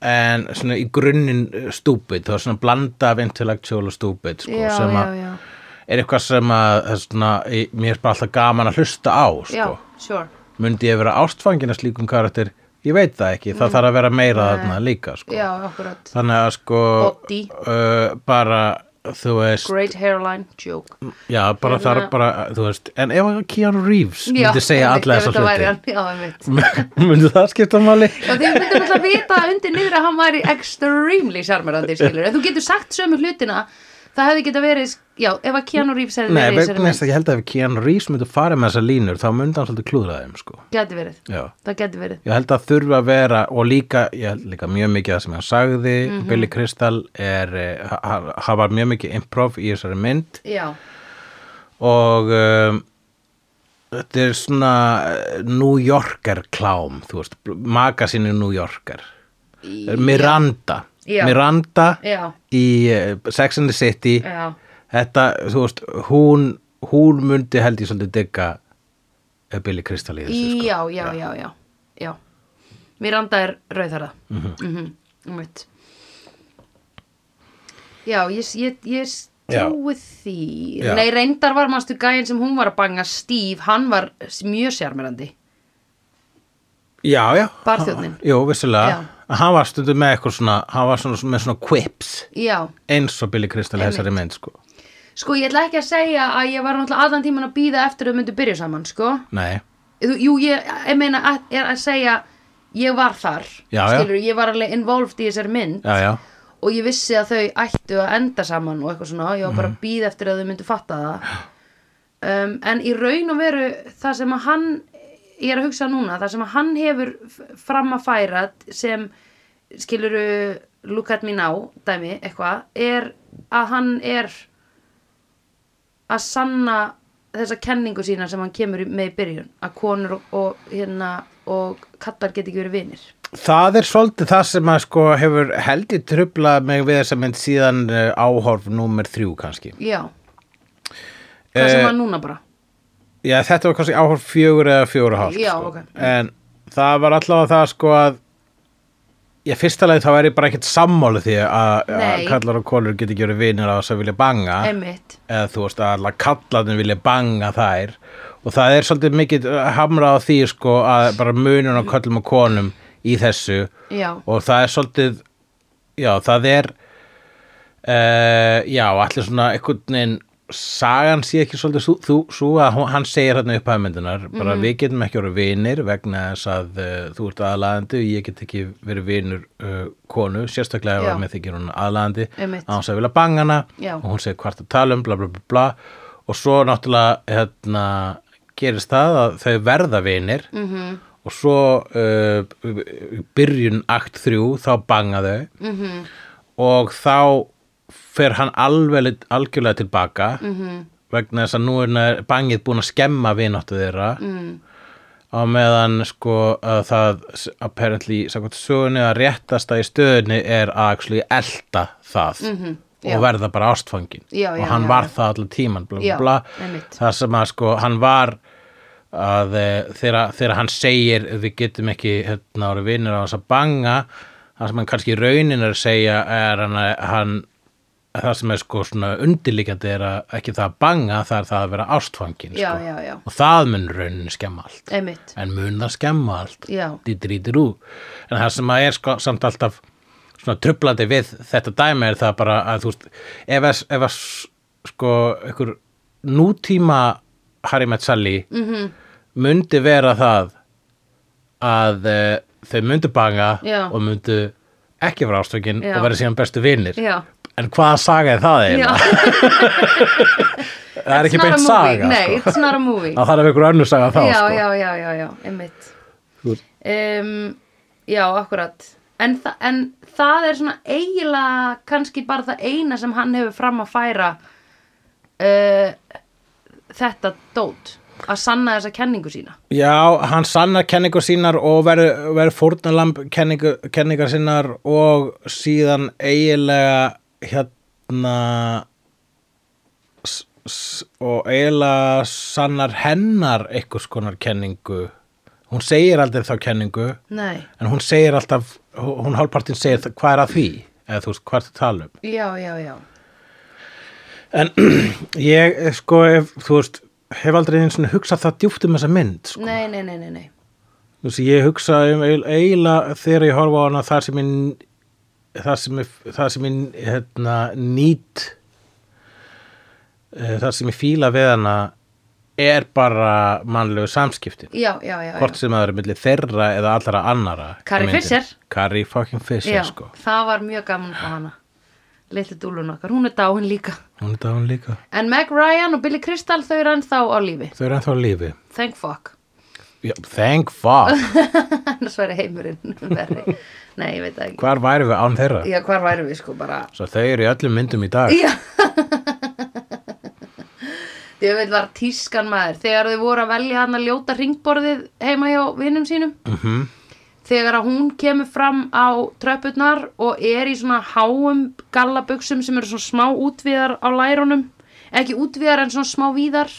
Speaker 2: en svona í grunninn stúpid, það er svona blanda af intellectual og stúpid sko,
Speaker 1: já,
Speaker 2: sem
Speaker 1: já,
Speaker 2: að
Speaker 1: já
Speaker 2: er eitthvað sem að er svona, í- mér er bara alltaf gaman að hlusta á
Speaker 1: já,
Speaker 2: sko.
Speaker 1: sure
Speaker 2: myndi ég vera ástfangin að slíkum karakter ég veit það ekki, það þarf að vera meira þarna líka sko.
Speaker 1: Mm. já, akkurat,
Speaker 2: þannig að sko
Speaker 1: Oddi.
Speaker 2: uh, bara þú veist
Speaker 1: great hairline, joke
Speaker 2: Já, bara
Speaker 1: Hérna-
Speaker 2: þar bara, þú veist, en ef að Keanu Reeves
Speaker 1: Já,
Speaker 2: myndi segja
Speaker 1: einmitt,
Speaker 2: alla
Speaker 1: ef þetta væri
Speaker 2: þessa
Speaker 1: hann, já, einmitt
Speaker 2: hluti <laughs> myndi það skipta máli?
Speaker 1: Já, því myndum alltaf að vita undir niður að hann væri extremely charmerandi, skilur. En þú getur sagt sömu hlutina, það hefði geta verið, já, ef að Keanu Reeves hefði
Speaker 2: Nei,
Speaker 1: verið í þessari
Speaker 2: vegna þess
Speaker 1: mynd,
Speaker 2: að ég held að ef Keanu Reeves myndi fara með þessa línur þá myndi hann svolítið klúðra þeim, sko
Speaker 1: geti verið.
Speaker 2: Já,
Speaker 1: Það geti verið.
Speaker 2: ég held að þurfa að vera og líka, ég held líka mjög mikið það sem hann sagði,
Speaker 1: Mhm.
Speaker 2: Billy Crystal er, eh, ha- ha- hafa mjög mikið improv í þessari mynd
Speaker 1: Já,
Speaker 2: og um, þetta er svona eh, New Yorker klám, þú veist, magasinu New Yorker
Speaker 1: Í-
Speaker 2: Miranda
Speaker 1: Já.
Speaker 2: Miranda
Speaker 1: Já.
Speaker 2: í eh, Sex and the City
Speaker 1: já,
Speaker 2: þetta, þú veist, hún hún mundi held ég svolítið digga eh, Billy Crystal í þessu sko.
Speaker 1: já, já, já, já, já. Miranda er rauðhara. Mhm. Mm Já, ég, ég, ég
Speaker 2: Já.
Speaker 1: trúi því.
Speaker 2: Já.
Speaker 1: Nei, reyndar var mannstu gæinn sem hún var að banga Steve, hann var mjög sjarmerandi.
Speaker 2: já, já,
Speaker 1: Barþjónninn.
Speaker 2: Ha- jú, vissulega,
Speaker 1: Já.
Speaker 2: hann var stundum með eitthvað svona, hann var svona, með svona quips
Speaker 1: Já,
Speaker 2: eins og Billy Crystal í þessari mynd, sko
Speaker 1: Sko, ég ætla ekki að segja að ég var náttúrulega allan tíman að býða eftir að þau myndu byrja saman, sko.
Speaker 2: nei,
Speaker 1: Þú- Jú, ég, ég meina að, er að segja, ég var þar,
Speaker 2: Já, já.
Speaker 1: skilur, ég var alveg involved í þessari mynd
Speaker 2: já, já
Speaker 1: og ég vissi að þau ættu að enda saman og eitthvað svona, ég var bara að býða eftir að þau myndu fatta það. Um, en í raun og veru það sem að hann, ég er að hugsa núna, það sem að hann hefur f- fram að færa sem, skiluru, look at me now, dæmi, eitthvað, er að hann er að sanna þessa kenningu sína sem hann kemur í- með í byrjun að konur og, og hérna og kallar get ekki verið vinir
Speaker 2: Það er svolítið það sem að sko hefur heldur trublað mig við þessa mynd síðan eh, áhorf númer þrjú kannski.
Speaker 1: já það sem
Speaker 2: Eh,
Speaker 1: var núna bara
Speaker 2: Já, þetta var kannski áhorf fjögur eða fjögur og hálft.
Speaker 1: Já,
Speaker 2: sko.
Speaker 1: ok.
Speaker 2: En það var allavega það sko að Já, fyrsta leið þá er ég bara ekkert sammála því að að
Speaker 1: Nei.
Speaker 2: kallar og konur geti gjöru vinir á þess að vilja banga
Speaker 1: einmitt,
Speaker 2: eða þú veist að alla kallarnir vilja banga þær og það er svolítið mikið eh, hamrað á því sko að bara munur á kallum og konum í þessu
Speaker 1: já,
Speaker 2: og það er svolítið já, það er uh, já, allir svona einhvern veginn sagan sé ekki svolítið sú, þú, svo að hún- hann segir hérna upp aðmyndunar bara
Speaker 1: Mhm.
Speaker 2: við getum ekki orðið vinir vegna þess að uh, þú ert aðlaðandi og ég get ekki verið vinur uh, konu sérstaklega ef
Speaker 1: Já.
Speaker 2: að mér þykir hún aðlaðandi
Speaker 1: Einmitt.
Speaker 2: að hún sagði vilja banga hana
Speaker 1: Já.
Speaker 2: og hún segir hvart að tala um bla bla bla bla og svo náttúrulega hérna, gerist það að þau verða vinir
Speaker 1: Mhm.
Speaker 2: -hmm. og svo uh, í byrjun akt 3 þá banga þau -hmm. og þá fer hann alveg algjörlega tilbaka mm -hmm. vegna þess að nú er hann- bangið búin að skemma vináttu þeirra mm. á meðan sko að það s- apparently, sagði sögunni að réttasta í stöðunni er að actually elta það
Speaker 1: Mhm, já.
Speaker 2: og verða bara ástfangin
Speaker 1: Já, já,
Speaker 2: og hann
Speaker 1: já,
Speaker 2: var
Speaker 1: já.
Speaker 2: það allan tíman bla, bla,
Speaker 1: Já,
Speaker 2: bla.
Speaker 1: einmitt.
Speaker 2: það sem að sko hann var að eh, þegar, þegar hann segir við getum ekki hérna ára vinnur á þess að banga það sem hann kannski í raunin er að segja er hann, að- hann það sem er sko svona undirlíkandi er að ekki það að banga það er það að vera ástfangin
Speaker 1: Já,
Speaker 2: sko.
Speaker 1: já, já.
Speaker 2: og það mun raunin skemma allt
Speaker 1: einmitt
Speaker 2: en mun það skemma allt
Speaker 1: Já.
Speaker 2: dítirú en það sem að er sko, samt alltaf svona trublandi við þetta dæmi er það bara að þú veist ef að, ef að s- sko einhver nútíma Harry Metzali mm
Speaker 1: Mhm.
Speaker 2: -hmm. myndi vera það að uh, þau myndu banga
Speaker 1: Já.
Speaker 2: og myndu ekki vera ástökin
Speaker 1: Já.
Speaker 2: og vera síðan bestu vinir
Speaker 1: Já.
Speaker 2: en hvaða saga er það
Speaker 1: Já.
Speaker 2: eiginlega? það er
Speaker 1: It's
Speaker 2: ekki
Speaker 1: not a
Speaker 2: beint
Speaker 1: movie.
Speaker 2: saga
Speaker 1: Nei,
Speaker 2: sko.
Speaker 1: it's not a
Speaker 2: <laughs>
Speaker 1: movie
Speaker 2: það þarf einhver önnur saga þá
Speaker 1: já,
Speaker 2: sko.
Speaker 1: já, já, já, já, einmitt
Speaker 2: Þú veist,
Speaker 1: um, Já, akkurat en, þa en það er svona eiginlega kannski bara það eina sem hann hefur fram að færa uh, þetta dót að sanna þessa kenningu sína
Speaker 2: Já, hann sannar kenningu sínar og verður verð fórnalamb kenningu, kenningar sínar og síðan eiginlega hérna s- s- og eiginlega sannar hennar einhvers konar kenningu hún segir aldrei þá kenningu
Speaker 1: Nei,
Speaker 2: en hún segir alltaf hún hálfpartin segir þ- hvað er að því eða þú veist hvað er það tala um
Speaker 1: já, já, já
Speaker 2: en ég eh, sko ef, þú veist hef aldrei einu svona hugsað það djúpt um þessa mynd sko.
Speaker 1: Nei, nei, nei, nei, nei
Speaker 2: Þú veist, ég hugsa um eil- eiginlega þegar ég horfa á hana það sem ég það sem ég, það sem ég hérna, nýt eh, það sem ég fíla við hana er bara mannlegu samskiptin
Speaker 1: Já, já, já, já.
Speaker 2: hvort sem það eru milli þeirra eða allra annara
Speaker 1: Carrie Fisher.
Speaker 2: Carrie fucking Fisher
Speaker 1: já
Speaker 2: sko
Speaker 1: Það var mjög gaman á hana Litlu dúlun okkar, hún er dáin líka
Speaker 2: hún er dáin líka
Speaker 1: En Meg Ryan og Billy Crystal þau eru ennþá á lífi
Speaker 2: þau eru ennþá á lífi
Speaker 1: Thank fuck <laughs>
Speaker 2: Já, thank fuck,
Speaker 1: Annars væri heimurinn <laughs> verri Nei, ég veit það ekki
Speaker 2: hvar væri við án þeirra
Speaker 1: Já, hvar værum við sko bara
Speaker 2: svo þau eru í öllum myndum í dag
Speaker 1: Já Ég veit var tískan maður Þegar þau voru að velja hann að ljóta ringborðið heima hjá vinum sínum
Speaker 2: Mhm.
Speaker 1: Þegar að hún kemur fram á tröpurnar og er í svona háum gallabuxum sem eru svona smá útvíðar á lærunum ekki útvíðar en svona smá víðar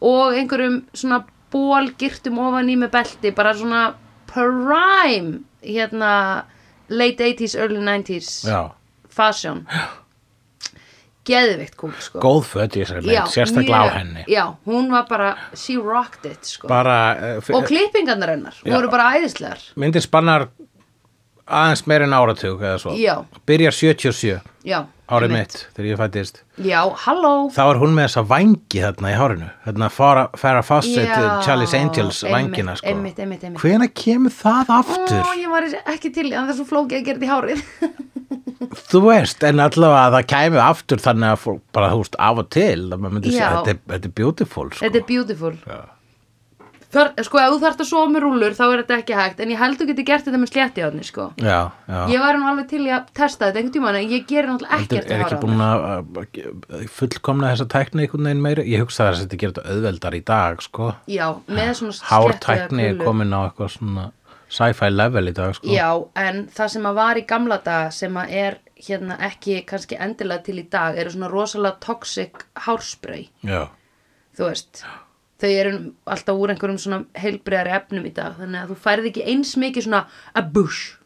Speaker 1: og einhverjum svona bólgirtum ofan í með belti bara svona prime hérna late 80s, early 90s
Speaker 2: Já.
Speaker 1: fashion geðvikt kúl sko
Speaker 2: góð fött í þessari mynd, sérstaklega
Speaker 1: mjög-
Speaker 2: á henni
Speaker 1: já, hún var bara, she rocked it sko.
Speaker 2: bara, eh,
Speaker 1: og klippingarnar hennar
Speaker 2: Já.
Speaker 1: voru bara æðislegar
Speaker 2: myndin spannar aðeins meir en áratug eða svo
Speaker 1: Já.
Speaker 2: byrjar 77
Speaker 1: já,
Speaker 2: árið
Speaker 1: einmitt.
Speaker 2: mitt þegar ég fættist
Speaker 1: já, halló
Speaker 2: þá er hún með þessa vangi þarna í hárinu þarna Farah Farah Fawcett
Speaker 1: Já,
Speaker 2: Charlie's Angels
Speaker 1: einmitt,
Speaker 2: vangina sko
Speaker 1: einmitt, einmitt, einmitt.
Speaker 2: hvenær kemur það aftur?
Speaker 1: Ó, ég var ekki til, í- en það er svo flókið að gera þetta í
Speaker 2: <laughs>
Speaker 1: hárið
Speaker 2: þú veist, en allavega að það kæmi aftur þannig að fólk bara þú veist af og til að maður myndi
Speaker 1: Já.
Speaker 2: segja, þetta, er- þetta er beautiful sko.
Speaker 1: Þetta er beautiful
Speaker 2: Já.
Speaker 1: Þar, Sko, ef þú þarft að sofa með rúllur þá er þetta ekki hægt, en ég held þú getur gert þetta með slétti átni, sko
Speaker 2: já, já
Speaker 1: Ég var nú alveg til í að testa þetta einhvern tímann, en ég gerir náttúrulega
Speaker 2: Heldur,
Speaker 1: ekkert
Speaker 2: er
Speaker 1: í
Speaker 2: ekki
Speaker 1: hárið á mér.
Speaker 2: búin að að fullkomna þessa tækni einhvern veginn meira? Ég hugsa þess að þetta gerir þetta auðveldar í dag, sko.
Speaker 1: Já, með svona sléttu eða
Speaker 2: hártækni er
Speaker 1: krullu.
Speaker 2: komin á eitthvað svona sci-fi level í dag sko.
Speaker 1: Já, en það sem að var í gamla daga sem að er hérna ekki kannski endilega til í dag eru svona rosalega toxic hárspray,
Speaker 2: Já.
Speaker 1: þú veist. Þau eru alltaf úr einhverjum svona heilbreyðari efnum í dag, þannig að þú færð ekki eins mikið svona a bush.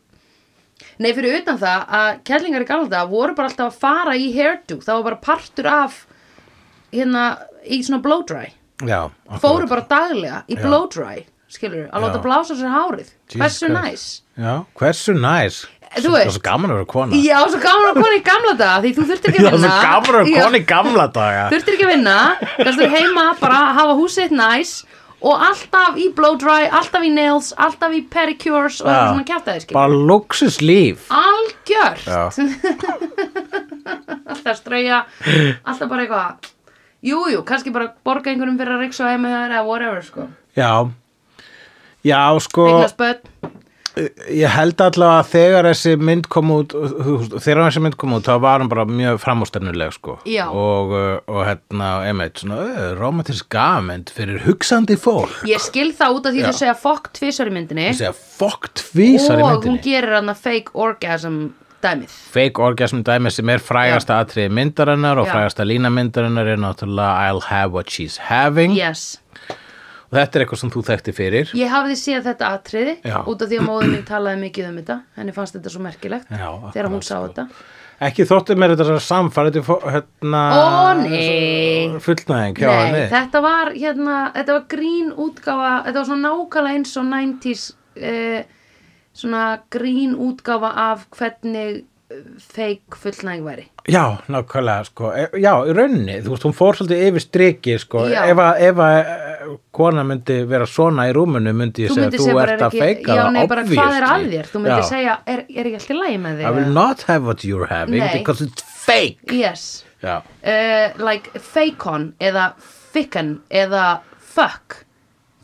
Speaker 1: Nei, fyrir utan það að kellingar í gamla daga voru bara alltaf að fara í hairdo, það var bara partur af hérna í svona blow dry.
Speaker 2: Já,
Speaker 1: Fóru bara daglega í blow dry, skilur, að láta
Speaker 2: Já.
Speaker 1: blása sér hárið.
Speaker 2: Jesus
Speaker 1: Hversu
Speaker 2: Christ.
Speaker 1: næs?
Speaker 2: Já, hversu næs.
Speaker 1: Þú
Speaker 2: Svo- Það
Speaker 1: veist.
Speaker 2: er svo gaman að vera kona.
Speaker 1: Já, svo gaman að kona í gamla daga því þú þurftir ekki að
Speaker 2: Það er
Speaker 1: vinna
Speaker 2: svo gaman að
Speaker 1: Já,
Speaker 2: vera kona í gamla daga.
Speaker 1: Þurftir ekki að vinna, kannski heima bara að hafa húsið þitt næs og alltaf í blow dry, alltaf í nails alltaf í pedicures og eitthvað
Speaker 2: Já.
Speaker 1: svona kjátaði skil
Speaker 2: Bara luxus líf.
Speaker 1: Algjört
Speaker 2: Já.
Speaker 1: Alltaf að strauja, alltaf bara eitthvað Jújú, jú, kannski bara borga einhverjum fyrir að riksa heima hjá þér eða whatever sko
Speaker 2: Já. Já, sko.
Speaker 1: Eignast börn,
Speaker 2: Ég held allavega að þegar þessi mynd kom út, þú veist, þegar þessi mynd kom út, þá var hann bara mjög framústennuleg, sko.
Speaker 1: Já.
Speaker 2: Og, uh, og hérna, emeit, svona, uh, romantisk gafmynd fyrir hugsandi fólk.
Speaker 1: Ég skil það út af því
Speaker 2: Já.
Speaker 1: þú segja fokk tvisar í myndinni
Speaker 2: Ég segja, fokk tvísar í
Speaker 1: og hún
Speaker 2: myndinni.
Speaker 1: gerir hann að fake orgasm dæmið.
Speaker 2: Fake orgasm dæmi sem er frægasta atriði myndarinnar og
Speaker 1: Já.
Speaker 2: frægasta lína myndarinnar er náttúrulega I'll have what she's having.
Speaker 1: Yes.
Speaker 2: Og þetta er eitthvað sem þú þekkti fyrir.
Speaker 1: Ég hafði séð þetta atriði
Speaker 2: Já.
Speaker 1: út af því að móðin mín talaði mikið um þetta henni fannst þetta svo merkilegt
Speaker 2: Já,
Speaker 1: þegar hún
Speaker 2: akkurat,
Speaker 1: sá
Speaker 2: sko.
Speaker 1: þetta
Speaker 2: Ekki þótti mér þetta samfærið hérna,
Speaker 1: Ó, nei.
Speaker 2: fullnæðing hjá
Speaker 1: Nei,
Speaker 2: henni.
Speaker 1: þetta var hérna, þetta var grín útgáfa þetta var svona nákvæmlega eins og 90s eh, svona grín útgáfa af hvernig eh, fake fullnæg væri
Speaker 2: Já, nákvæmlega, sko, E- já, í rauninni, þú veist, hún fór svolítið yfir striki, sko,
Speaker 1: Já.
Speaker 2: ef að, ef að eh, kona myndi vera svona í rúmunu, myndi ég
Speaker 1: þú
Speaker 2: segja,
Speaker 1: myndir
Speaker 2: þú
Speaker 1: segja bara
Speaker 2: ert
Speaker 1: er
Speaker 2: að
Speaker 1: ekki
Speaker 2: feika
Speaker 1: já,
Speaker 2: það,
Speaker 1: nei, bara, hvað er að
Speaker 2: obviously.
Speaker 1: þér, þú myndir
Speaker 2: Já.
Speaker 1: segja er, er ekki allt í lagi með
Speaker 2: I
Speaker 1: þig
Speaker 2: will
Speaker 1: eða?
Speaker 2: not have what you're having
Speaker 1: Nei.
Speaker 2: because it's fake.
Speaker 1: yes,
Speaker 2: Já,
Speaker 1: uh, like fake on eða ficken eða fuck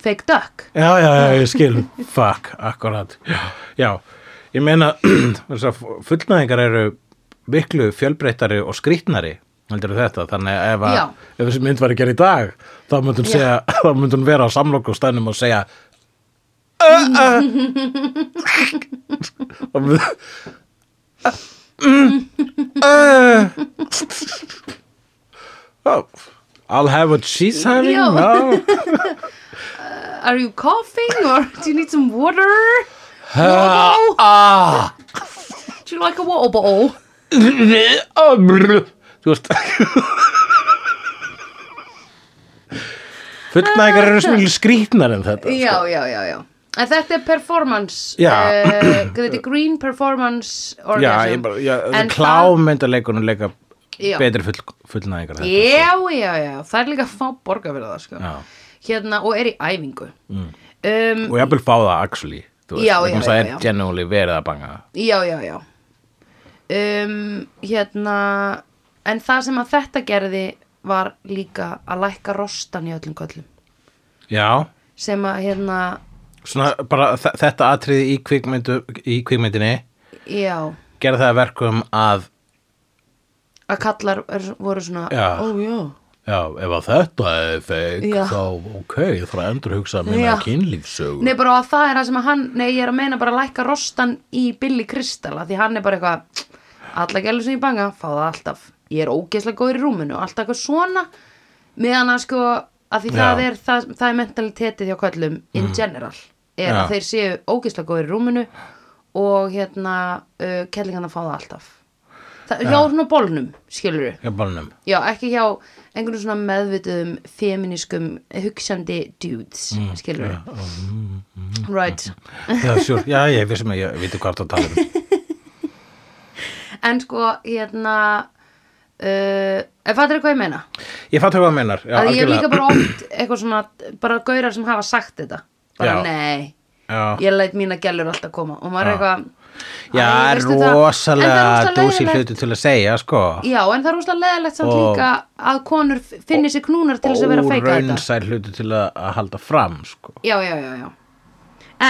Speaker 1: fake duck
Speaker 2: já, já, já ég skil, fuck, akkurat, já, já, ég meina, <clears throat> þess að fullnæðingar eru miklu fjölbreyttari og skrýtnari, heldur þetta, þannig að ef,
Speaker 1: Já.
Speaker 2: að, ef þessi mynd var að gera í dag, þá myndi hún,
Speaker 1: Já.
Speaker 2: segja, <laughs> þá myndi hún vera á samlokustænum og segja, <laughs> og við oh, I'll have what she's having Oh.
Speaker 1: Já. <laughs>
Speaker 2: now
Speaker 1: are you coughing or do you need some water
Speaker 2: Ah,
Speaker 1: Wobble?
Speaker 2: ah.
Speaker 1: do you like a wobble bowl
Speaker 2: Ah, brr. þú veist fullnægar eru smil skrýtnar en þetta sko.
Speaker 1: já, já, já, já En þetta er performance
Speaker 2: Já.
Speaker 1: eh, Þetta er green performance
Speaker 2: já,
Speaker 1: orgasm
Speaker 2: ég bara, já,
Speaker 1: En það-
Speaker 2: klámyndarleikunum leika
Speaker 1: Já.
Speaker 2: betri full, fullnægar
Speaker 1: Já, já, já, það er líka að fá borga fyrir það sko.
Speaker 2: Já. Mm.
Speaker 1: Hérna, og er í æfingu um,
Speaker 2: og ég vil fá það actually þú veist,
Speaker 1: Já,
Speaker 2: vegna
Speaker 1: já,
Speaker 2: þess að það
Speaker 1: já, já.
Speaker 2: er genuinely verið að banga það
Speaker 1: Já, já, já um, Hérna En það sem að þetta gerði var líka að lækka rostan í öllum köllum
Speaker 2: já,
Speaker 1: sem að hérna,
Speaker 2: Svona bara þe- þetta atriði í, kvikmyndu, í kvikmyndinni
Speaker 1: já
Speaker 2: gera það að verkum að
Speaker 1: að kallar er, voru svona
Speaker 2: Já.
Speaker 1: ó já,
Speaker 2: já, ef að þetta er feik
Speaker 1: Já.
Speaker 2: þá ok, ég þarf að endur hugsa minna
Speaker 1: Já.
Speaker 2: kynlífsögu
Speaker 1: nei bara að það er það sem að hann nei ég er að meina bara að lækka rostan í Billy Crystal að því hann er bara eitthvað alla gælur sem ég banga, fá það alltaf ég er ógeðslega góður í rúminu og alltaf eitthvað svona meðan að sko að því
Speaker 2: Já. Mhm.
Speaker 1: það er, það, það er mentalitetið hjá köllum in general, er
Speaker 2: Já.
Speaker 1: að þeir séu ógeðslega góður í rúminu og hérna uh, kellingarna fá það alltaf það, hjá svona bólnum skilur við
Speaker 2: Já, bálnum
Speaker 1: Já, ekki hjá einhvern svona meðvituðum feminískum hugsandi dudes,
Speaker 2: Mm,
Speaker 1: skilur við. Right.
Speaker 2: Já, sure. já, ég vissum að ég viti hvað það tala um
Speaker 1: En sko, hérna, uh, en fattur þið hvað ég meina?
Speaker 2: Ég fatt hvað það meinar
Speaker 1: að
Speaker 2: já,
Speaker 1: ég hef
Speaker 2: algjörlega.
Speaker 1: líka bara oft eitthvað svona, bara gaurar sem hafa sagt þetta. Bara
Speaker 2: Já.
Speaker 1: nei,
Speaker 2: Já,
Speaker 1: ég læt mína gælur alltaf koma og maður er eitthvað...
Speaker 2: já
Speaker 1: "Æ,
Speaker 2: er
Speaker 1: veistu það?" En það er
Speaker 2: rosalega
Speaker 1: rosalega
Speaker 2: dúsi
Speaker 1: leiðinlegt-
Speaker 2: hluti til að segja, sko
Speaker 1: Já, en það er rúslega leðilegt samt
Speaker 2: Og-
Speaker 1: líka að konur finni sér knúnar til þess að vera að feika þetta.
Speaker 2: Óraunsær hluti til að, að halda fram, sko
Speaker 1: já, já, já, já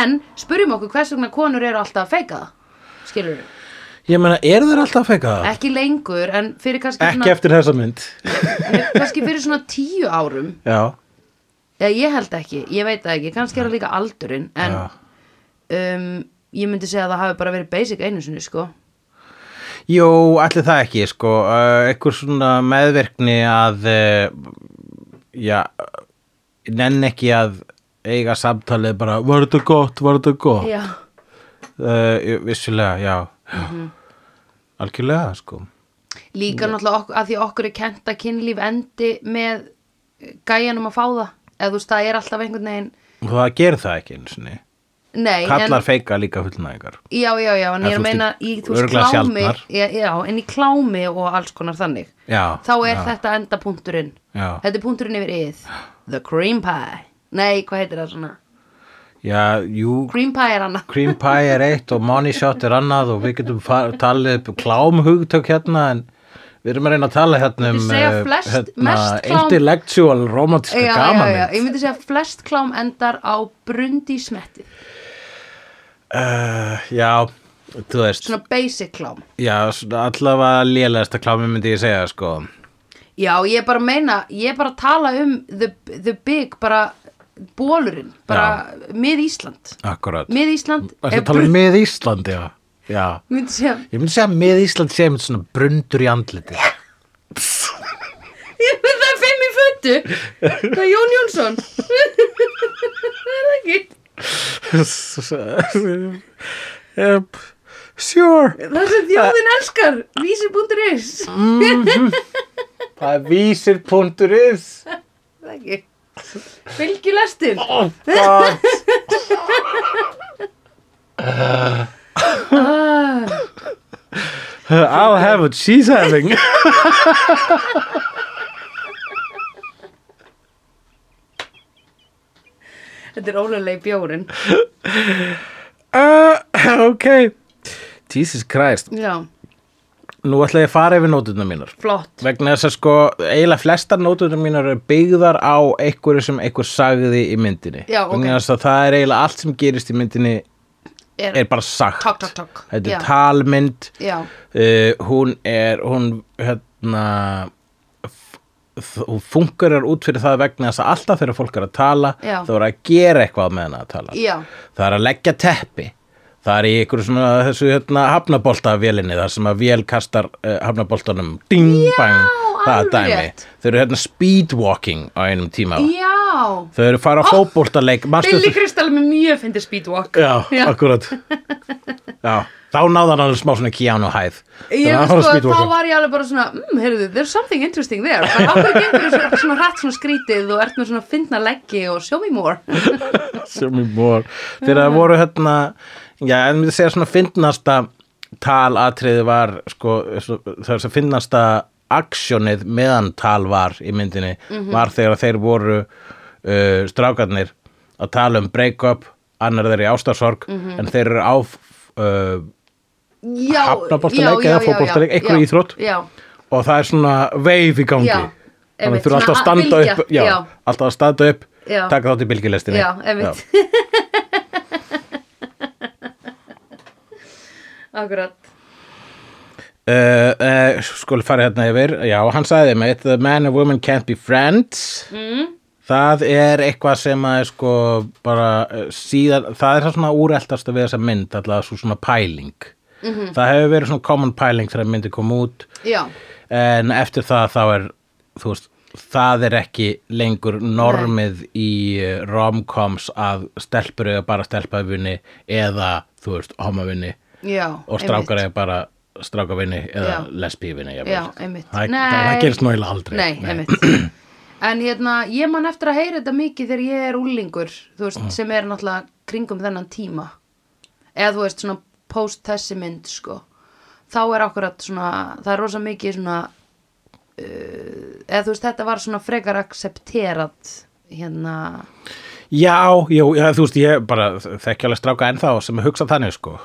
Speaker 1: en spurjum okkur hvers vegna konur eru alltaf að feika það skilur við,
Speaker 2: Ég meina, eru þeir alltaf að feika það?
Speaker 1: ekki lengur en fyrir kannski,
Speaker 2: Ekki eftir þessa mynd
Speaker 1: svona, <laughs> kannski fyrir svona tíu árum
Speaker 2: Já,
Speaker 1: eða ég held ekki, ég veit það ekki kannski er það líka aldurinn en
Speaker 2: já
Speaker 1: um, ég myndi segja að það hafi bara verið basic einu sinni sko
Speaker 2: Jú, allir það ekki, sko, uh, einhver svona meðverkni að, uh, já, nenn ekki að eiga samtalið bara, var þetta gott, var þetta gott,
Speaker 1: já,
Speaker 2: uh, vissulega, já,
Speaker 1: Mhm.
Speaker 2: algjörlega, sko,
Speaker 1: líka náttúrulega ok að því okkur er kent að kynlíf endi með gæjanum að fá það eða þú veist það er alltaf einhvern veginn
Speaker 2: og það gerir það ekki eins og niður,
Speaker 1: nei, en-
Speaker 2: kallar feika líka fullnæðingar,
Speaker 1: Já, já, já, en
Speaker 2: En
Speaker 1: ég er
Speaker 2: þú
Speaker 1: að
Speaker 2: veist,
Speaker 1: meina
Speaker 2: í-
Speaker 1: í, þú veist,
Speaker 2: örugglega
Speaker 1: klámi
Speaker 2: sjaldnar.
Speaker 1: já, já, en í klámi og alls konar þannig
Speaker 2: Já,
Speaker 1: Þá er
Speaker 2: já.
Speaker 1: þetta enda punkturinn
Speaker 2: Já.
Speaker 1: Þetta er punkturinn yfir yð The cream pie Nei, hvað heitir það svona?
Speaker 2: já, jú,
Speaker 1: Cream pie er hana
Speaker 2: cream pie er eitt og money shot er annað og við getum fa- talið upp klámhugtök hérna en við erum að reyna að tala hérna um
Speaker 1: Viltu segja
Speaker 2: eh,
Speaker 1: flest- mest klám-
Speaker 2: intellectual romantíska
Speaker 1: já, já, já,
Speaker 2: gaman
Speaker 1: ég myndi segja að flest klám endar á brundi smetti
Speaker 2: uh, já, þú veist
Speaker 1: Svona basic klám
Speaker 2: já, svona allavega lélegasta klámi myndi ég segja sko
Speaker 1: Já, ég er bara að meina, ég er bara að tala um the, the big, bara bólurinn, bara mið Ísland
Speaker 2: akkurat,
Speaker 1: mið Ísland
Speaker 2: það er að tala um með Ísland já, já
Speaker 1: <laughs> myndi sem,
Speaker 2: ég myndi segja að með Ísland sé einmitt svona brundur í andliti
Speaker 1: ég myndi það er fimm í föttu hvað er Jón Jónsson er það ekki
Speaker 2: <laughs> yep. sure
Speaker 1: það sem þjóðin elskar, vísi.is
Speaker 2: það er vísir.is
Speaker 1: það ekki fylgi lestin
Speaker 2: oh, God.
Speaker 1: ah,
Speaker 2: <laughs> I'll have what she's having <laughs>
Speaker 1: þetta er ólulegi bjórin
Speaker 2: uh, ok Jesus Christ
Speaker 1: já,
Speaker 2: nú ætla ég að fara yfir nótuna mínar
Speaker 1: flott
Speaker 2: vegna þess að sko eiginlega flestar nótuna mínar eru byggðar á einhverju sem einhver sagði í myndinni
Speaker 1: Já, ok.
Speaker 2: vegna þess að það er eiginlega allt sem gerist í myndinni
Speaker 1: er,
Speaker 2: er bara sagt
Speaker 1: Takk, takk, takk.
Speaker 2: þetta
Speaker 1: Já.
Speaker 2: er talmynd
Speaker 1: já,
Speaker 2: uh, hún er hún hérna f- þ- hún fungerar út fyrir það vegna þess að alltaf þegar fólk er að tala
Speaker 1: Já.
Speaker 2: þá er að gera eitthvað með hana að tala
Speaker 1: já,
Speaker 2: það er að leggja teppi það er í ykkur svona þessu hérna, hafnabolta vélinni þar sem að vél kastar uh, hafnaboltanum ding bang það er
Speaker 1: alveg
Speaker 2: dæmi
Speaker 1: rétt.
Speaker 2: þau eru hérna speedwalking á einum tíma
Speaker 1: já
Speaker 2: þau eru fara á fótboltaleik manstu
Speaker 1: Billy
Speaker 2: þú-
Speaker 1: Crystal er með mjög fyndið speedwalk
Speaker 2: Já,
Speaker 1: Já.
Speaker 2: akkurat Já, þá náðan hann smá svona Keanu hæð
Speaker 1: Ég,
Speaker 2: Þannig að hann var að
Speaker 1: sko,
Speaker 2: speedwalka.
Speaker 1: þá var ég alveg bara svona mm, heyrðu, there's something interesting there bara af hverju gengur þessu svona hrætt svona skrítið og ert með svona fyndna leggi og show me more
Speaker 2: sem í mór þegar það voru hérna já, en við segja svona fyndnasta talatriði var sko, svo- það er svo fyndnasta aksjónið meðan tal var í myndinni
Speaker 1: Mhm.
Speaker 2: var þegar þeir voru uh, strákarnir að tala um break-up annar þeir í ástarsorg
Speaker 1: Mhm.
Speaker 2: en þeir eru á uh,
Speaker 1: Já,
Speaker 2: Hafnaboltaleik
Speaker 1: já,
Speaker 2: eða
Speaker 1: já,
Speaker 2: fótboltaleik,
Speaker 1: já,
Speaker 2: einhver
Speaker 1: já,
Speaker 2: íþrótt.
Speaker 1: Já,
Speaker 2: og það er svona veif í gangi
Speaker 1: Já,
Speaker 2: þannig
Speaker 1: einmitt,
Speaker 2: þurfa alltaf
Speaker 1: svona
Speaker 2: að
Speaker 1: að
Speaker 2: standa
Speaker 1: bylgja,
Speaker 2: upp já,
Speaker 1: já.
Speaker 2: alltaf að standa upp,
Speaker 1: Já.
Speaker 2: taka þátt í bylgjulestinni
Speaker 1: já, einmitt Akkurat
Speaker 2: Uh, uh, skul fara hérna yfir já, hann sagði mig, the man and woman can't be friends
Speaker 1: mm,
Speaker 2: það er eitthvað sem að er sko bara uh, síðan, það er það svona úreltast að við þessa mynd, allavega svo svona pæling -hmm. það hefur verið svona common pæling þegar myndi kom út
Speaker 1: Já,
Speaker 2: en eftir það þá er þú veist, það er ekki lengur normið í uh, romcoms að stelpur eða bara stelpafinni eða þú veist, homafinni
Speaker 1: já
Speaker 2: og strákar er bara strákavinni eða
Speaker 1: Já.
Speaker 2: lesbívinni jafnvel.
Speaker 1: Já, einmitt.
Speaker 2: það,
Speaker 1: Nei.
Speaker 2: það, það gerist náðilega aldrei
Speaker 1: Nei,
Speaker 2: <clears throat>
Speaker 1: einmitt En hérna, ég man eftir að heyra þetta mikið þegar ég er úlingur, þú veist,
Speaker 2: Mm.
Speaker 1: sem er náttúrulega kringum þennan tíma. Eða þú veist, svona post þessi mynd, sko. Þá er akkurat svona, það er rosa mikið svona, uh, eða þú veist, þetta var svona frekar accepterat, hérna,
Speaker 2: já, já, já, þú veist ég bara þekki alveg stráka ennþá sem hugsa þannig sko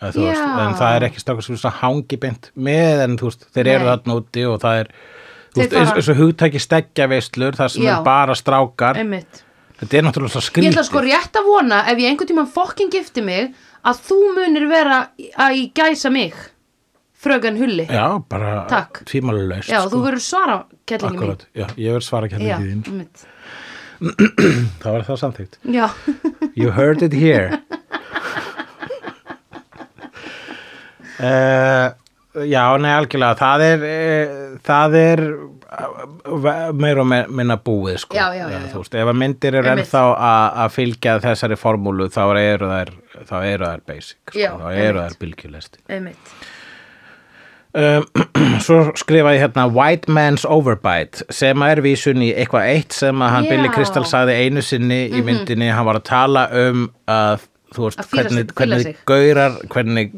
Speaker 2: Eða, þú veist,
Speaker 1: Já.
Speaker 2: en það er ekki stráka sem svo hangi beint með en þú veist, þeir eru
Speaker 1: Nei.
Speaker 2: þarna úti og það er þú
Speaker 1: Þeir
Speaker 2: veist, eins,
Speaker 1: fara-
Speaker 2: eins og hugtæki steggja veislur þar sem
Speaker 1: Já.
Speaker 2: er bara strákar
Speaker 1: einmitt.
Speaker 2: þetta er náttúrulega svo
Speaker 1: Ég
Speaker 2: skrítið
Speaker 1: ætla sko rétt að vona, ef ég einhvern tímann fokkin gifti mig, að þú munir vera í- að í gæsa mig, frögan hulli.
Speaker 2: já, bara
Speaker 1: Takk.
Speaker 2: tvímálalaust
Speaker 1: Já,
Speaker 2: Eh, sko.
Speaker 1: þú verður svara, kellingi mín.
Speaker 2: Akkurat, já, ég verð svara
Speaker 1: Já,
Speaker 2: kærlega þín
Speaker 1: einmitt.
Speaker 2: það var það samþýtt
Speaker 1: Já,
Speaker 2: You heard it <laughs> here uh, Já, nei, algjörlega það er, uh, það er uh, meira og me- minna búið sko.
Speaker 1: Já, já, já,
Speaker 2: Eh,
Speaker 1: já.
Speaker 2: Þú veist, ef að myndir eru
Speaker 1: Einmitt.
Speaker 2: ennþá a- að fylgja þessari formúlu þá eru þær, þá eru þær basic sko.
Speaker 1: Já,
Speaker 2: þá eru
Speaker 1: einmitt.
Speaker 2: þær bylgjulesti
Speaker 1: <laughs> einmitt.
Speaker 2: Um, <clears throat> svo skrifaði ég hérna White Man's Overbite sem er vísun í eitthvað eitt sem að hann
Speaker 1: Já. Mhm.
Speaker 2: Billy Crystal sagði einu sinni í myndinni, hann var að tala um að þú veist,
Speaker 1: Að fíla sig,
Speaker 2: hvernig,
Speaker 1: fíla sig.
Speaker 2: hvernig gaurar hvernig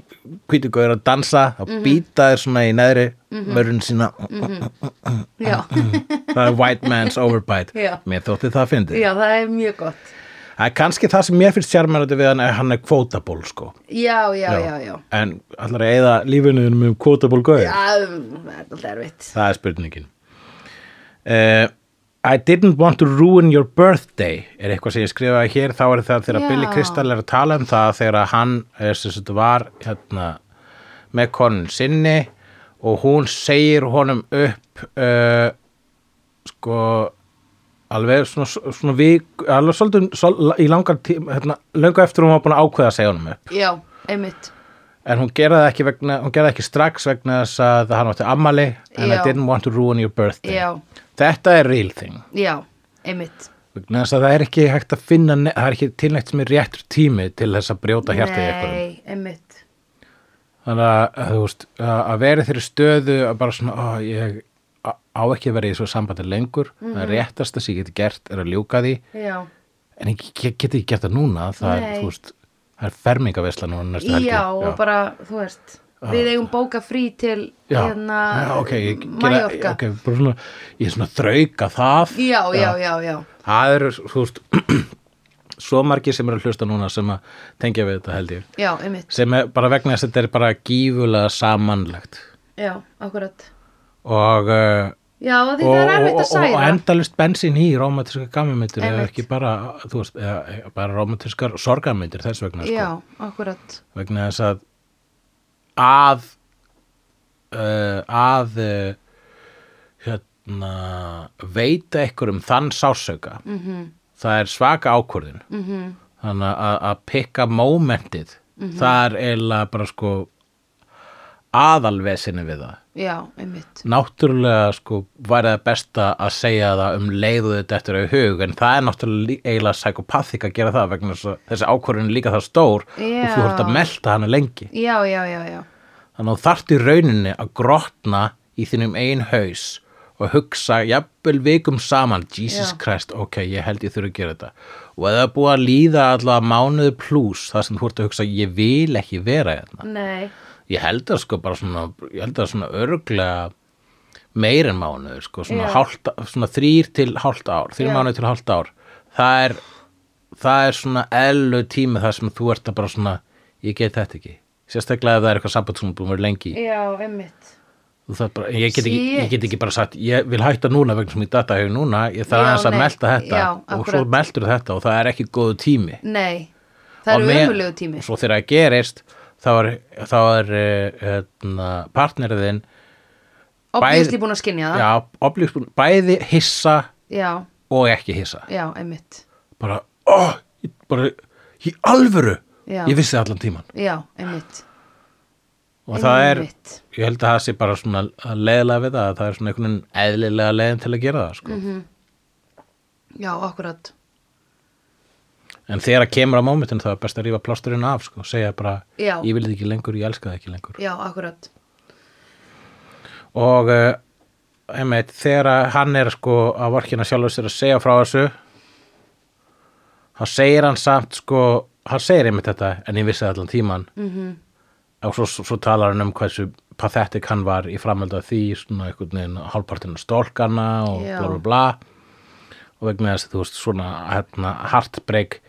Speaker 2: hvítu gaurar dansa að
Speaker 1: Mhm.
Speaker 2: býta þér svona í neðri vörun sína, <laughs>
Speaker 1: Já,
Speaker 2: það er White Man's Overbite
Speaker 1: Já.
Speaker 2: mér þótti það að fyndi
Speaker 1: já, það er mjög gott.
Speaker 2: það er kannski það sem mér finnst sjarmennandi við hann er hann er kvótaból sko
Speaker 1: Já, já, já, já.
Speaker 2: en allar að eyða lífinu um þínu með kvótaból gaur
Speaker 1: Já, um, það er alltaf erfitt.
Speaker 2: Það er spurningin. Uh, I didn't want to ruin your birthday er eitthvað sem ég skrifaði hér þá er það þegar
Speaker 1: Já.
Speaker 2: Billy Crystal er að tala um það þegar að hann er, sem sagt, var hérna, með konun sinni og hún segir honum upp uh, sko alveg svona, svona vik alveg svolítið svol, í langar tíma hérna, löngu eftir hún var búin að ákveða að segja honum upp
Speaker 1: já, einmitt
Speaker 2: en hún gerði það ekki, vegna, hún gerði það ekki strax vegna þess að hann átti ammali and I
Speaker 1: Já.
Speaker 2: didn't want to ruin your birthday
Speaker 1: Já.
Speaker 2: þetta er real thing
Speaker 1: já, einmitt
Speaker 2: vegna þess að það er ekki hægt að finna ne- það er ekki tilnægt sem er réttur tími til þess að brjóta hjartið í einhverjum
Speaker 1: nei, einmitt
Speaker 2: þannig að, að þú veist að að vera í þeirri stöðu að bara svona ó, ég á á ekki að vera í þessu sambandi lengur
Speaker 1: Mhm.
Speaker 2: það réttast þess að ég geti gert er að ljúka því
Speaker 1: já,
Speaker 2: en ég get get ekki gert það núna það er,
Speaker 1: Nei.
Speaker 2: þú veist, það er fermingaveisla núna næstu helgi Ah.
Speaker 1: já og bara, þú veist við eigum bóka frí til
Speaker 2: Já,
Speaker 1: hérna
Speaker 2: já, ok, ég gera,
Speaker 1: Mallorca.
Speaker 2: ok, bara svona, ég er svona að þrauka það.
Speaker 1: já, já, já, já
Speaker 2: Það eru, þú veist, <clears throat> svo margir sem eru að hlusta núna sem að tengja við þetta held ég.
Speaker 1: já, einmitt,
Speaker 2: Sem er bara vegna þess að þetta er bara gífulega samanlegt.
Speaker 1: já, akkurat
Speaker 2: Og, uh,
Speaker 1: já, af því
Speaker 2: og,
Speaker 1: það er
Speaker 2: og,
Speaker 1: erfitt að
Speaker 2: og, og
Speaker 1: særa
Speaker 2: endalust bensín í romantíska gammimyndir eða
Speaker 1: Einmitt.
Speaker 2: ekki bara, þú veist, eða, bara romantískar sorgamyndir þess vegna. sko.
Speaker 1: já, akkurat
Speaker 2: vegna þess að að uh, að uh, hérna veita einhverjum þann sásauka
Speaker 1: Mm.
Speaker 2: -hmm.
Speaker 1: Mhm,
Speaker 2: það er svaka ákvörðin -hmm. þannig að, að pikka momentið það er eiginlega bara sko aðalvesinni við það
Speaker 1: já, einmitt,
Speaker 2: náttúrulega sko væri það besta að segja það um leiðu þetta eftir að hug en það er náttúrulega lí- eiginlega psykopathik að gera það vegna þess að þessi ákvörðin er líka það stór og þú
Speaker 1: Já.
Speaker 2: ert að melta hana lengi
Speaker 1: já, já, já, já
Speaker 2: þannig að þú þarft í rauninni að grotna í þínum ein haus og hugsa jafnvel vikum saman Jesus
Speaker 1: Já.
Speaker 2: Christ, ok, ég held ég þurfi að gera þetta og ef það er búið að líða allavega mánuðu pluss þar sem þú ert að hugsa ég vil ekki vera hérna
Speaker 1: nei,
Speaker 2: ég held það sko bara svona ég held það svona örglega meir en mánuður sko svona,
Speaker 1: Já.
Speaker 2: hálft, svona þrýr til hálft ár þrýr
Speaker 1: Já.
Speaker 2: mánuður til hálft ár það er, það er svona ellu tími þar sem þú ert að bara svona ég get þetta ekki sérstaklega ef það er eitthvað samband sem er búin að vera lengi í.
Speaker 1: já, einmitt
Speaker 2: Þú þarft bara, ég, get ekki,
Speaker 1: Shit.
Speaker 2: ég get ekki bara sagt ég vil hætta núna vegna sem ég data hefur núna ég þarf
Speaker 1: Já,
Speaker 2: aðeins að
Speaker 1: nei.
Speaker 2: melta þetta
Speaker 1: Já,
Speaker 2: og svo
Speaker 1: akkurat.
Speaker 2: meltur þetta og það er ekki góðu tími
Speaker 1: nei, það
Speaker 2: Og
Speaker 1: eru
Speaker 2: með-
Speaker 1: ömulegu tími
Speaker 2: svo þegar það gerist þá er, þá er eh, hérna, partnerðin
Speaker 1: obvíðsli búin að skynja það
Speaker 2: já, oblíksbúin, bæði hissa
Speaker 1: já,
Speaker 2: og ekki hissa
Speaker 1: já, einmitt
Speaker 2: bara, ó, ég, bara í alvöru,
Speaker 1: Já.
Speaker 2: ég vissi það allan tíman
Speaker 1: já, einmitt
Speaker 2: og það er,
Speaker 1: Einmitt.
Speaker 2: ég held að það sé bara svona að leiðlega við það, að það er svona einhvern veginn eðlilega leiðin til að gera það
Speaker 1: Mhm.
Speaker 2: sko.
Speaker 1: já, akkurat
Speaker 2: en þegar það kemur á mómentin þá er best að rífa plásturinn af sko, segja bara,
Speaker 1: Já.
Speaker 2: ég vil þetta ekki lengur, ég elska það ekki lengur
Speaker 1: já, akkurat
Speaker 2: og uh, einmitt, þegar að hann er sko að vorkina sjálfur sér að segja frá þessu þá segir hann samt sko, hann segir einmitt þetta en ég vissi það allan tíman -hmm.
Speaker 1: Mhm.
Speaker 2: og svo, svo, svo talar hann um hversu pathetik hann var í framhald af því svona einhvern veginn hálfpartinu stólkana og
Speaker 1: Já.
Speaker 2: bla bla bla og vegna þess að þú veist svona hérna, heartbreak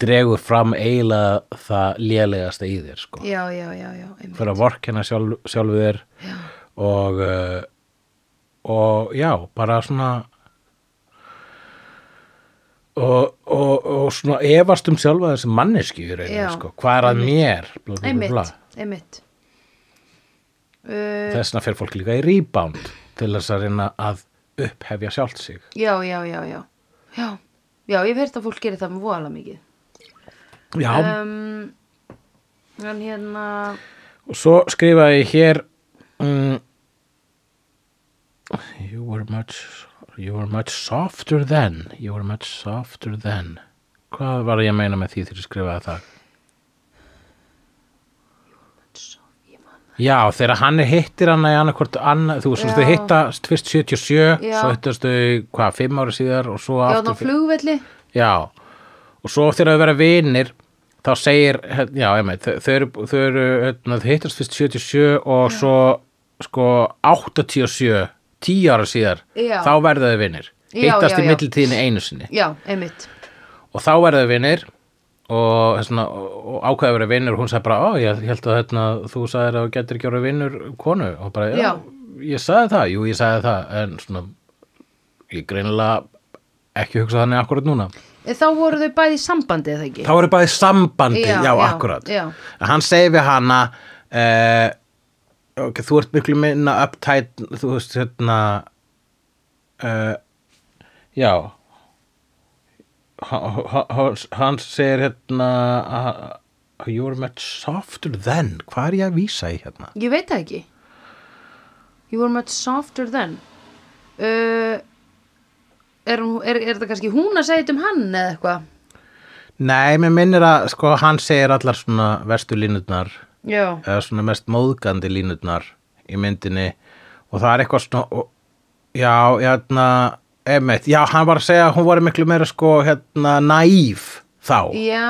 Speaker 2: dregur fram eiginlega það lélegasta í þér sko
Speaker 1: já, já, já, já, einmitt
Speaker 2: fyrir að vorkenna sjálf, sjálfu þér
Speaker 1: Já.
Speaker 2: og uh, og já, bara svona og, og, og svona efast um sjálfa þessi manneski
Speaker 1: Já.
Speaker 2: reyna, sko. hvað er að mér bla, bla, bla, bla.
Speaker 1: einmitt, einmitt uh,
Speaker 2: þessna fer fólk líka í rebound til þess að reyna að upphefja sjálft sig
Speaker 1: já, já, já, já já, já, ég hef heyrt að fólk gerir það með voðalega mikið
Speaker 2: já,
Speaker 1: um, en hérna
Speaker 2: og svo skrifaði ég hér um, you were much you were much softer then you were much softer then hvað var ég að meina með því þegar ég skrifaði það já þegar hann hittir hann í annarkvort annað, þú veist
Speaker 1: Já.
Speaker 2: þau hittast fyrst 77
Speaker 1: Já.
Speaker 2: svo hittast þau hvað, fimm ára síðar og svo
Speaker 1: já,
Speaker 2: aftur
Speaker 1: ná flugvelli
Speaker 2: Já, og svo þegar þau vera vinir þá segir, hér- já, emi, þau, þau eru, þau eru hérna, þau hittast fyrst 77 og svo sko 87, 10 ára síðar,
Speaker 1: Já.
Speaker 2: þá verða þau vinir.
Speaker 1: Já,
Speaker 2: hittast
Speaker 1: já,
Speaker 2: í
Speaker 1: já.
Speaker 2: millitíðinni einu sinni
Speaker 1: já, einmitt
Speaker 2: og þá verða þau vinir og, svona, og ákveða að vera vinir og hún sagði bara, ó, ég held að hérna, þú sagðir að þú getur ekki að vera vinur konu og bara,
Speaker 1: Já.
Speaker 2: ég sagði það, jú, ég sagði það en svona ég greinilega ekki hugsa þannig akkurat núna
Speaker 1: Þá voru þau bæði í sambandi eða ekki?
Speaker 2: þá eru bæði sambandi,
Speaker 1: Já,
Speaker 2: já,
Speaker 1: já,
Speaker 2: akkurat
Speaker 1: já.
Speaker 2: hann segir við hana uh, ok, þú ert miklu minna uptight, þú veist hérna uh, já Ha- ha- ha- hann segir hérna uh, you're much softer than hvað er ég að vísa í hérna
Speaker 1: Ég veit það ekki You were much softer then uh, er, hún- er, er það kannski hún að segja þetta um hann eða eitthvað?
Speaker 2: nei, mér minnir að sko, hann segir allar svona verstu línutnar
Speaker 1: Já,
Speaker 2: eða svona mest móðgandi línutnar í myndinni og það er eitthvað svona og, já, hérna emitt, já, hann var að segja að hún var miklu meira sko, hérna, naíf þá,
Speaker 1: já,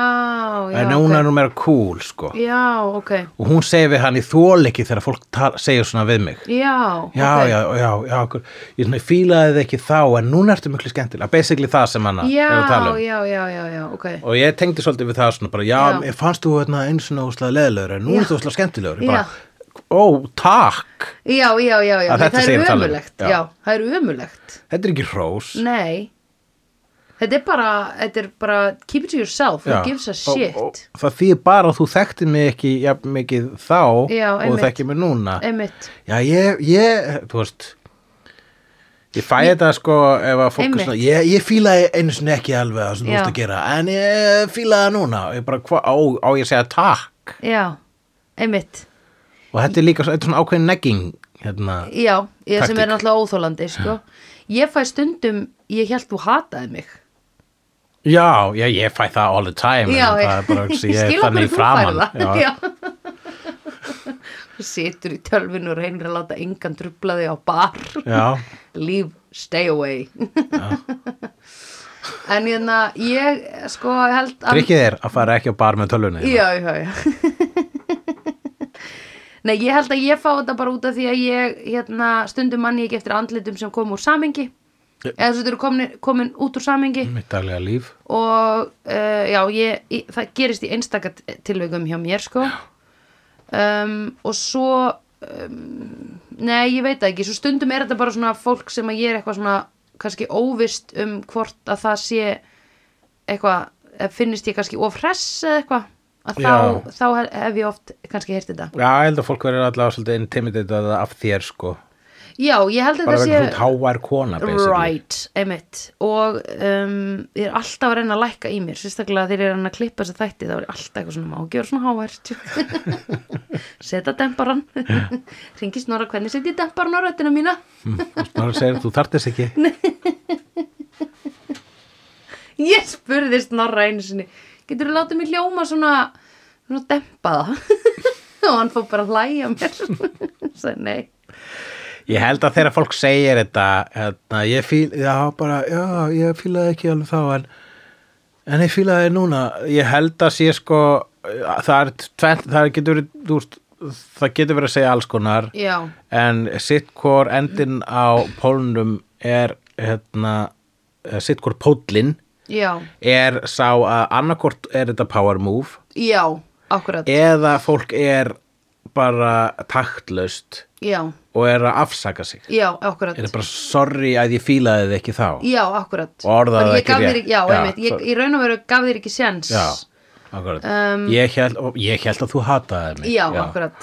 Speaker 1: já
Speaker 2: en núna er hún meira cool, sko,
Speaker 1: Já, ok
Speaker 2: og hún segir við hann í þól ekki þegar fólk tala, segir svona við mig
Speaker 1: Já,
Speaker 2: já,
Speaker 1: ok
Speaker 2: já, já, já, okkur, ég svona fílaði þið ekki þá, en núna ertu miklu skemmtilega basically það sem hana
Speaker 1: Já,
Speaker 2: er að tala um
Speaker 1: já, já, já, já, ok
Speaker 2: og ég tengdi svolítið við það svona bara, já,
Speaker 1: Já.
Speaker 2: já. fannst þú hérna eins og úslega leðilegur en nú
Speaker 1: Já.
Speaker 2: er þú úslega skemmtilegur ég bara, ó, takk
Speaker 1: Já, já, já, já,
Speaker 2: Að þetta
Speaker 1: það
Speaker 2: segir
Speaker 1: er
Speaker 2: við tala um.
Speaker 1: ömulegt
Speaker 2: Já.
Speaker 1: Já, það er ömulegt
Speaker 2: þetta er ekki hrós
Speaker 1: Nei Þetta er bara, þetta er bara keep it to yourself,
Speaker 2: Já.
Speaker 1: who gives a shit
Speaker 2: og, og, það þýðir bara að þú þekktir mig ekki ja, mikið þá
Speaker 1: Já,
Speaker 2: og
Speaker 1: einmitt.
Speaker 2: þekkir mig núna
Speaker 1: Einmitt
Speaker 2: já, ég, ég, þú veist ég fæ þetta sko ef að fólk er
Speaker 1: Einmitt.
Speaker 2: svona, ég, ég fílaði einu sinni ekki alveg það sem þú
Speaker 1: Já.
Speaker 2: ert að gera en ég fílaði það núna og ég bara, hva, á, á ég að segja takk
Speaker 1: Já, einmitt
Speaker 2: og þetta er líka svo- þetta er svona ákveðin negging hérna,
Speaker 1: Já, ég sem er
Speaker 2: Taktík.
Speaker 1: náttúrulega óþólandi sko. Ég fæ stundum, ég held þú hataði mig
Speaker 2: Já, já, ég fæ það all the time
Speaker 1: Já,
Speaker 2: en
Speaker 1: ég-
Speaker 2: það er bara
Speaker 1: <laughs>
Speaker 2: að
Speaker 1: ég skil
Speaker 2: ég er
Speaker 1: af hverju
Speaker 2: þannig í
Speaker 1: þú
Speaker 2: framan
Speaker 1: færð það.
Speaker 2: já.
Speaker 1: <laughs> Já. Þú Situr í tölvinu og reynir að láta engan trubla þig á bar <laughs>
Speaker 2: Já.
Speaker 1: Leave, stay away En hérna, ég sko held að
Speaker 2: Tryggið er að fara ekki á bar með tölvunni þína.
Speaker 1: já, já, já. Nei, ég held að ég fá þetta bara út af því að ég hérna, stundum manni ekki eftir andlitum sem kom úr samingi eða þessu eru komin, komin út úr samingi
Speaker 2: hérna. Mitt daglega líf
Speaker 1: og uh, já, ég, ég, það gerist í einstaka t- tilvikum hjá mér sko um, og svo um, nei, ég veit það ekki svo stundum er þetta bara svona fólk sem að ég er eitthvað svona kannski óvist um hvort að það sé eitthvað, eða finnist ég kannski of hress eða eitthvað að þá, þá hef- hef ég oft kannski heyrt þetta
Speaker 2: Já, ég held að fólk verður allavega svolítið intimidated af þér sko
Speaker 1: já, ég held að þetta
Speaker 2: Bara verður
Speaker 1: sé
Speaker 2: þú távar kona basically.
Speaker 1: Right, einmitt og um, ég er alltaf að reyna að lækka í mér sérstaklega þegar ég er að reyna að klippa þess að þætti þá er ég alltaf eitthvað svona má ekki vera svona hávært <laughs> seta demparan <laughs> ringi snorra hvernig setja ég demparan á röddina mína
Speaker 2: Og Snorri segir, þú þarft þess ekki
Speaker 1: ég spurði snorra einu sinni getur þú látið mig hljóma svona svona dempaða <laughs> og hann fór bara að hlæja að mér <laughs> sagði nei
Speaker 2: Ég held að þegar fólk segir þetta hérna, ég fíl, já, bara, já, ég fílaði ekki alveg þá en, en ég fílaði núna ég held að sé sko það, er tvennt, það getur verið þú veist, það getur verið að segja alls konar
Speaker 1: já,
Speaker 2: en sitt hvor endin á pólnum er hérna, eh, sitt hvor pólinn
Speaker 1: já,
Speaker 2: er sá að annarkort er þetta power move
Speaker 1: já, akkurat
Speaker 2: eða fólk er bara taktlaust
Speaker 1: já,
Speaker 2: og er að afsaka sig
Speaker 1: já, akkurat
Speaker 2: er það bara sorry að ég fílaði þið ekki þá
Speaker 1: Já, akkurat.
Speaker 2: Og orðaði
Speaker 1: Bara
Speaker 2: það
Speaker 1: ég
Speaker 2: ekki
Speaker 1: gaf
Speaker 2: rétt.
Speaker 1: þér ekki- Já,
Speaker 2: Já,
Speaker 1: einmitt. Ég,
Speaker 2: svo-
Speaker 1: ég raun og veru gaf þér ekki séns.
Speaker 2: já akkurat
Speaker 1: Um,
Speaker 2: ég, held, og ég held að þú hataði mig
Speaker 1: Já, akkurat.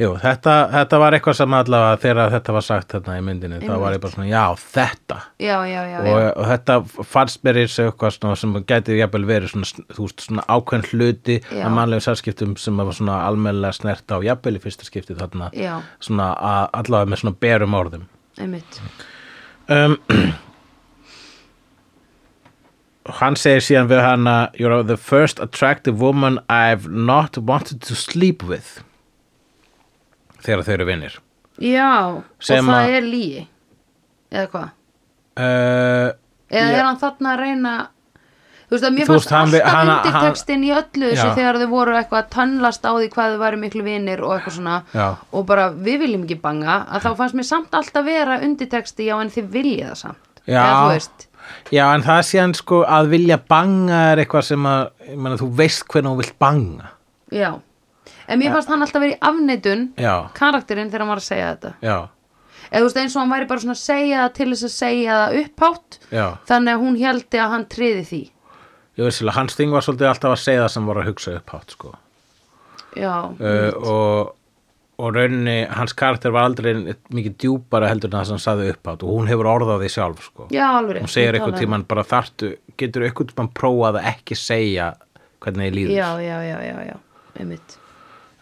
Speaker 2: Jú, þetta, þetta var eitthvað sem allavega þegar þetta var sagt þarna í myndinni þá var ég bara svona, já, þetta
Speaker 1: Já, já, já,
Speaker 2: og,
Speaker 1: já.
Speaker 2: og þetta fannst mér eins og eitthvað svona, sem gæti jafnvel verið svona, þú veist, svona ákveðn hluti
Speaker 1: Já.
Speaker 2: að mannlegum sælskiptum sem að var svona almennilega snert á jafnvel í fyrsta skipti þarna
Speaker 1: Já.
Speaker 2: svona að, allavega með svona berum orðum
Speaker 1: Einmitt.
Speaker 2: um, <clears throat> hann segir síðan við hana you're the first attractive woman I've not wanted to sleep with þegar þau eru vinnir
Speaker 1: Já,
Speaker 2: Sem
Speaker 1: og
Speaker 2: að-
Speaker 1: það er líi. Eða hvað?
Speaker 2: uh,
Speaker 1: Eða
Speaker 2: Já.
Speaker 1: er hann þarna að reyna... Þú veist að mér
Speaker 2: Þú veist,
Speaker 1: fannst
Speaker 2: hann-
Speaker 1: alltaf
Speaker 2: hann- hann-
Speaker 1: undirtextin í öllu þessu
Speaker 2: Já.
Speaker 1: þegar þau voru eitthvað að tönnlast á því hvað þau væri miklu vinir og eitthvað svona
Speaker 2: Já.
Speaker 1: og bara við viljum ekki banga að þá fannst mér samt alltaf vera undirtexti já en þið vilja það samt
Speaker 2: Já.
Speaker 1: eða þú veist
Speaker 2: Já, en það er síðan sko að vilja banga er eitthvað sem að, ég meina, þú veist hvernig þú vilt banga.
Speaker 1: já en mér fannst hann alltaf verið í afneitun
Speaker 2: Já,
Speaker 1: karakterinn þegar hann var að segja þetta
Speaker 2: já,
Speaker 1: eða þú veist eins og hann væri bara svona að segja það til þess að segja það upphátt
Speaker 2: já,
Speaker 1: þannig að hún heldi að hann triði því
Speaker 2: ég veist hans þing var svolítið alltaf að segja það sem var að hugsa upp hátt sko.
Speaker 1: já,
Speaker 2: uh, og, og rauninni hans karakter var aldrei mikið djúpara heldur en það sem hann sagði upp hátt og hún hefur orðað því sjálf sko.
Speaker 1: já alveg rétt,
Speaker 2: hún segir
Speaker 1: ég
Speaker 2: eitthvað
Speaker 1: talaði um-
Speaker 2: tíman bara þartu, getur eitthvað tíman prófað að ekki segja hvernig þið líður
Speaker 1: já, já, já, já, já, einmitt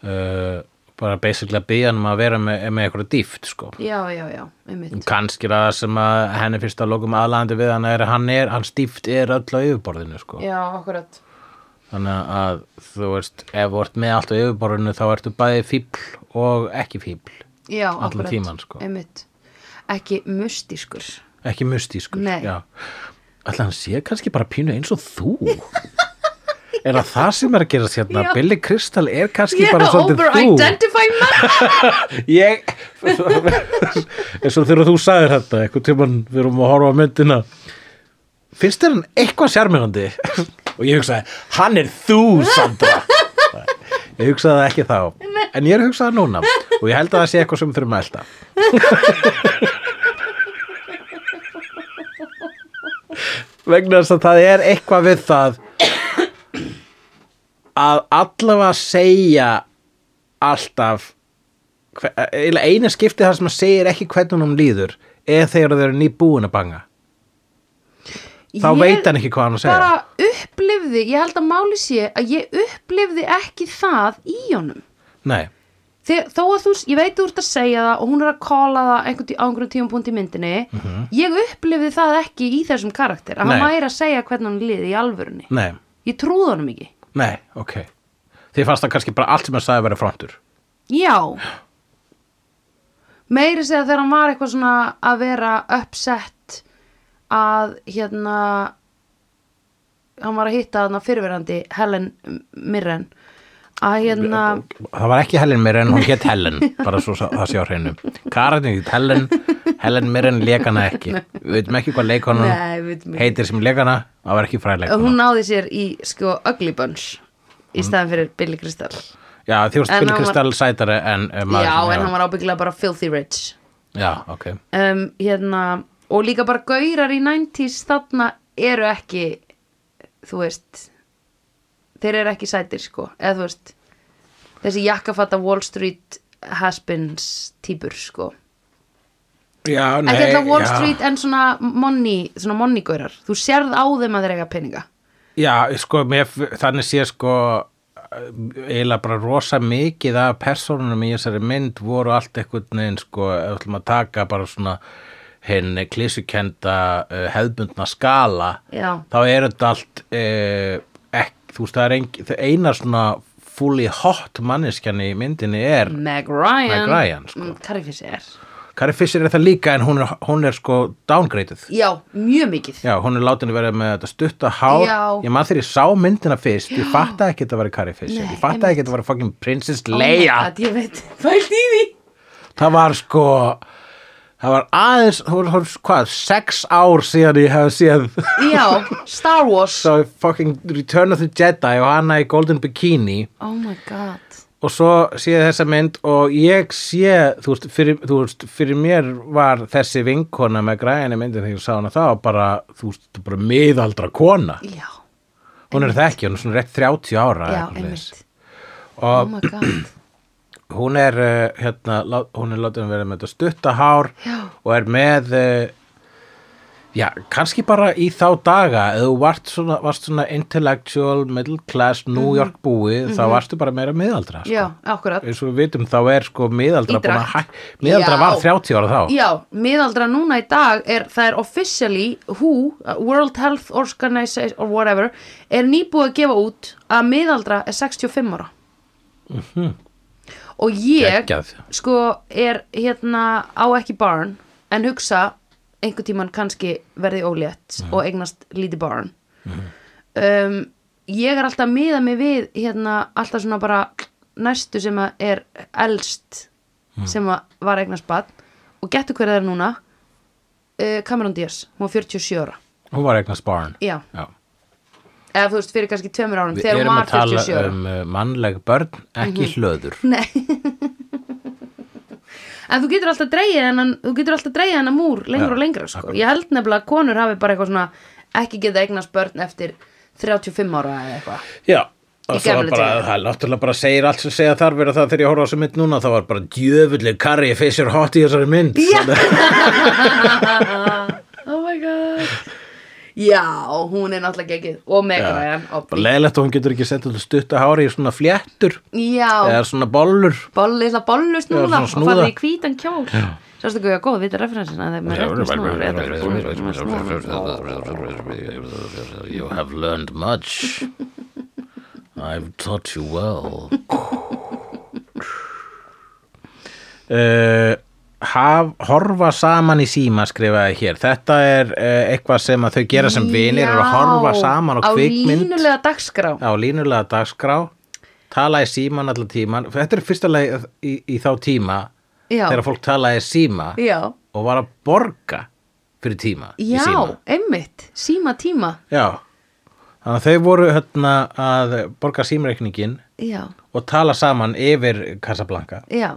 Speaker 2: uh, bara basically að byggja hann um að vera með, með eitthvað dýft sko.
Speaker 1: já, já, já, einmitt
Speaker 2: kannski er það sem að henni fyrst að lokum aðlandi við hann er að hann er, hans dýft er öll á yfirborðinu sko.
Speaker 1: já, akkurat
Speaker 2: þannig að þú veist ef þú ert með allt á yfirborðinu þá ertu bæði fíbl og ekki fíbl
Speaker 1: já,
Speaker 2: Allan
Speaker 1: akkurat,
Speaker 2: tímann, sko.
Speaker 1: einmitt ekki mystískur
Speaker 2: ekki mystískur
Speaker 1: Nei.
Speaker 2: alltaf hann sé kannski bara pínu eins og þú er það það sem er að gera sérna
Speaker 1: Já.
Speaker 2: Billy Crystal er kannski
Speaker 1: yeah,
Speaker 2: bara svolítið þú
Speaker 1: over-identify man
Speaker 2: ég eins og þegar þú sagðir þetta eitthvað tímann við erum að horfa á myndina finnst þér hann eitthvað sjarmirandi og ég hugsaði hann er þú Sandra ég hugsaði það ekki þá en ég er að hugsa það núna og ég held að það sé eitthvað sem við þurfum að elda vegna þess að það er eitthvað við það að allavega segja alltaf hver- eh, eiginlega eina skipti það sem að segir ekki hvernig hún líður eða þegar þau eru nýbúin að banga <laughs> þá
Speaker 1: Ég-
Speaker 2: veit hann ekki hvað hann á að segja
Speaker 1: bara upplifði, ég held að máli sé að ég upplifði ekki það í honum
Speaker 2: nei,
Speaker 1: Þeg, þó að þú, ég veit þú ert að segja það og hún er að kóla það einhvern, tí- á einhverjum tíum punkt í myndinni ég upplifði það ekki í þessum karakter að hann
Speaker 2: Nei.
Speaker 1: væri að segja hvernig hann liði í alvörunni
Speaker 2: nei,
Speaker 1: ég trúði honum ekki
Speaker 2: nei, ok þið fannst það kannski bara allt sem hann sagði að vera frontur
Speaker 1: já meiri segja þegar hann var eitthvað svona að vera uppsett að hérna hann var að hitta þarna fyrirverandi Helen Mirren að hérna
Speaker 2: það var ekki Helen Mirren, hún hétt
Speaker 1: <laughs>
Speaker 2: Helen bara svo sa- það sé á hreinu Karin hétt Helen, Helen Mirren leikana ekki við veitum ekki hvað leikana
Speaker 1: Nei, við veitum ekki.
Speaker 2: heitir sem leikana, það var ekki fræleikana
Speaker 1: hún náði sér í sko Ugly Bunch í staðan fyrir Billy Crystal
Speaker 2: já, því varst
Speaker 1: En
Speaker 2: Billy
Speaker 1: hann var-
Speaker 2: Crystal sætari en eh, maður
Speaker 1: já,
Speaker 2: sem-
Speaker 1: en hann var ábyggilega bara filthy rich
Speaker 2: já, ok,
Speaker 1: um, hérna, og líka bara gaurar í 90s þarna eru ekki þú veist þeir eru ekki sætir sko eða þú veist, þessi jakkafatta Wall Street has-beens típur sko
Speaker 2: já, nei
Speaker 1: ekki alltaf Wall
Speaker 2: já.
Speaker 1: Street en svona money, svona money gaurar þú sérð á þeim að þeir eiga peninga
Speaker 2: Já, sko, mér, þannig sé sko eiginlega bara rosa mikið af persónunum í þessari mynd voru allt eitthvað neginn sko, ef við ætlum að taka bara svona hinn klísukenda uh, hefðbundna skala
Speaker 1: Já.
Speaker 2: þá er þetta allt uh, ek, þú veist, það er ein, eina svona fully hot manneskjan í myndinni er
Speaker 1: Meg Ryan,
Speaker 2: Meg Ryan, sko.
Speaker 1: Mm, Carrie Fisher
Speaker 2: Kari Fisher er það líka en hún er, hún er sko downgraded
Speaker 1: já, mjög mikið
Speaker 2: Já, hún er látin að vera með þetta stutta hár
Speaker 1: Já.
Speaker 2: Ég maður þegar ég sá myndina fyrst Ég fattaði ekki að þetta var Carrie Fisher
Speaker 1: Nei,
Speaker 2: Ég fattaði ekki að þetta var fucking Princess Leia
Speaker 1: oh my God, ég veit, fælt í því
Speaker 2: Það var sko Það var aðeins, þú voru þú- hvað, sex ár síðan ég hef séð <laughs>
Speaker 1: já, Star Wars
Speaker 2: Svo fucking Return of the Jedi og hana í Golden Bikini
Speaker 1: oh my god
Speaker 2: og svo sé ég þessa mynd og ég sé, þú veist, fyrir, þú veist, fyrir mér var þessi vinkona með græðinni myndin þegar ég sá hana þá bara, þú veist, bara miðaldra kona
Speaker 1: já
Speaker 2: hún er það ekki, hún er svona rétt 30 ára
Speaker 1: Já,
Speaker 2: eitthvað svoleiðis.
Speaker 1: einmitt Oh my god
Speaker 2: hún er uh, hérna, lá- hún er látið að vera með þetta stutta hár
Speaker 1: Já.
Speaker 2: og er með uh, já, kannski bara í þá daga, ef þú varst svona, varst svona intellectual, middle class New York búið, þá varstu bara meira miðaldra, sko.
Speaker 1: Mhm. Já, akkurat
Speaker 2: eins og við vitum þá er sko miðaldra
Speaker 1: Í
Speaker 2: búin að
Speaker 1: drakt.
Speaker 2: hæ- miðaldra
Speaker 1: Já.
Speaker 2: var 30 ára þá
Speaker 1: Já, miðaldra núna í dag er, það er officially WHO, uh, World Health Organization or whatever, er nýbúið að gefa út að miðaldra er 65 ára. Og ég,
Speaker 2: Geggjað.
Speaker 1: sko, er hérna á ekki barn, en hugsa einhvern tíman kannski verði ólétt
Speaker 2: Mhm.
Speaker 1: og eignast lítið barn. um, ég er alltaf að miða mig við hérna alltaf svona bara næstu sem að er elst
Speaker 2: Mhm.
Speaker 1: sem að var eignast bad og getur hverja það er núna uh, Cameron Diaz, hún var 47 ára
Speaker 2: hún var eignast barn
Speaker 1: já,
Speaker 2: Já.
Speaker 1: eða þú veist fyrir kannski tveimur árum
Speaker 2: við
Speaker 1: þegar hún
Speaker 2: erum
Speaker 1: var
Speaker 2: að tala eh,
Speaker 1: 47 ára Mhm.
Speaker 2: um uh, mannleg börn ekki hlöður
Speaker 1: Nei en þú getur alltaf dreigið hennan þú getur alltaf dreigið hennan múr lengur
Speaker 2: Já,
Speaker 1: og lengra sko. ég held nefnilega að konur hafi bara eitthvað svona ekki geta eignast börn eftir 35 ára eða eitthvað
Speaker 2: Já, og
Speaker 1: Í
Speaker 2: svo var
Speaker 1: gamla
Speaker 2: bara,
Speaker 1: tímanum.
Speaker 2: það er náttúrulega bara segir allt sem segja þar verið það þegar ég horfa á þessu mynd núna þá var bara djöfulli karri feysir hot í þessari mynd
Speaker 1: Já.
Speaker 2: Þannig
Speaker 1: <laughs>
Speaker 2: að-
Speaker 1: <laughs> oh my god já, hún er náttúrulega geggið og
Speaker 2: Já.
Speaker 1: megraðan
Speaker 2: bara leðilegt að hún getur ekki sett alltaf stutta hári í svona fléttur
Speaker 1: já,
Speaker 2: eða svona bollur
Speaker 1: bollu, litla bollu snúða
Speaker 2: svona
Speaker 1: og
Speaker 2: snúða.
Speaker 1: farið í hvítan kjól sástu ekki að góð vita referensina þegar maður er ekki snúða
Speaker 2: You have learned much I've taught you <laughs> well uh, haf, Horfa saman í síma skrifaði hér Þetta er uh, eitthvað sem að þau gera sem vinir er að horfa saman á
Speaker 1: á
Speaker 2: kvikmynd
Speaker 1: línulega dagskrá
Speaker 2: á línulega dagskrá tala í síman allan tíman Þetta er fyrsta leið í, í þá tíma
Speaker 1: Já.
Speaker 2: þegar fólk talaði í síma
Speaker 1: já,
Speaker 2: og var að borga fyrir tíma í
Speaker 1: já,
Speaker 2: síma.
Speaker 1: einmitt síma tíma
Speaker 2: Já. Þannig að þau voru hérna að borga símreikningin
Speaker 1: já,
Speaker 2: og tala saman yfir Casablanca.
Speaker 1: já,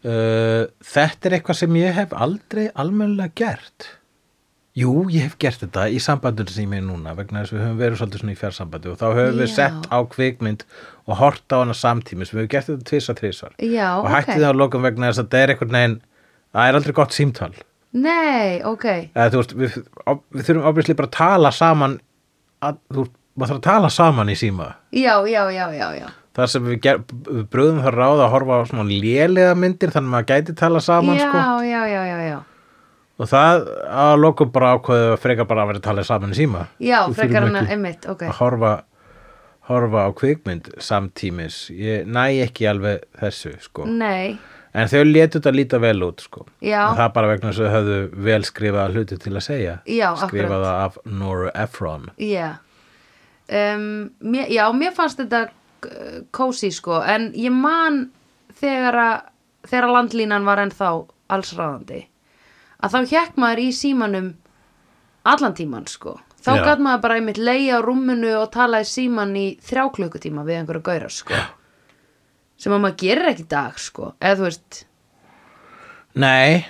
Speaker 2: Uh, þetta er eitthvað sem ég hef aldrei almennilega gert. Jú, ég hef gert þetta í sambandinu sem ég er núna vegna þess að við höfum verið svolítið svona í fjarsambandi og þá höfum við
Speaker 1: Já.
Speaker 2: sett á kvikmynd og hort á hana samtímis. Við höfum gert þetta tvisa, þrisvar.
Speaker 1: Já,
Speaker 2: og
Speaker 1: ok.
Speaker 2: hætti það á lokum vegna þess að þetta er eitthvað neginn, það er aldrei gott símtal.
Speaker 1: nei, ok
Speaker 2: eða þú veist, við, ob- við þurfum ábyrðislega bara að tala saman að, þú, maður þarf að tala saman í síma
Speaker 1: já, já, já, já, já
Speaker 2: þar sem við, ger, við bröðum það ráð að horfa á svona lélega myndir þannig að maður gæti tala saman
Speaker 1: já,
Speaker 2: sko.
Speaker 1: já, já, já, já
Speaker 2: og það að lokum bara ákveðu að frekar bara að vera að tala saman í síma
Speaker 1: Já,
Speaker 2: Við
Speaker 1: frekar
Speaker 2: þurfum
Speaker 1: en að
Speaker 2: ekki Ah.
Speaker 1: einmitt, ok
Speaker 2: að horfa horfa á kvikmynd samtímis ég næ ekki alveg þessu sko.
Speaker 1: Nei,
Speaker 2: en þau létu þetta líta vel út sko.
Speaker 1: Mm. Já.
Speaker 2: En það er bara vegna þess að þau höfðu vel skrifað hluti til að segja
Speaker 1: Já, akkurat.
Speaker 2: skrifað það af Nora Ephron
Speaker 1: já um, mér, Já, mér fannst þetta uh, kósi sko, en ég man þegar að þegar að landlínan var ennþá allsráðandi að þá hjekk maður í símanum allan tíman sko þá
Speaker 2: Já.
Speaker 1: gat maður bara einmitt leiða á rúminu og talaði síman í þrjá klukkutíma við einhverju gaurar sko sem að maður gerir ekki í dag sko eða þú veist,
Speaker 2: Nei,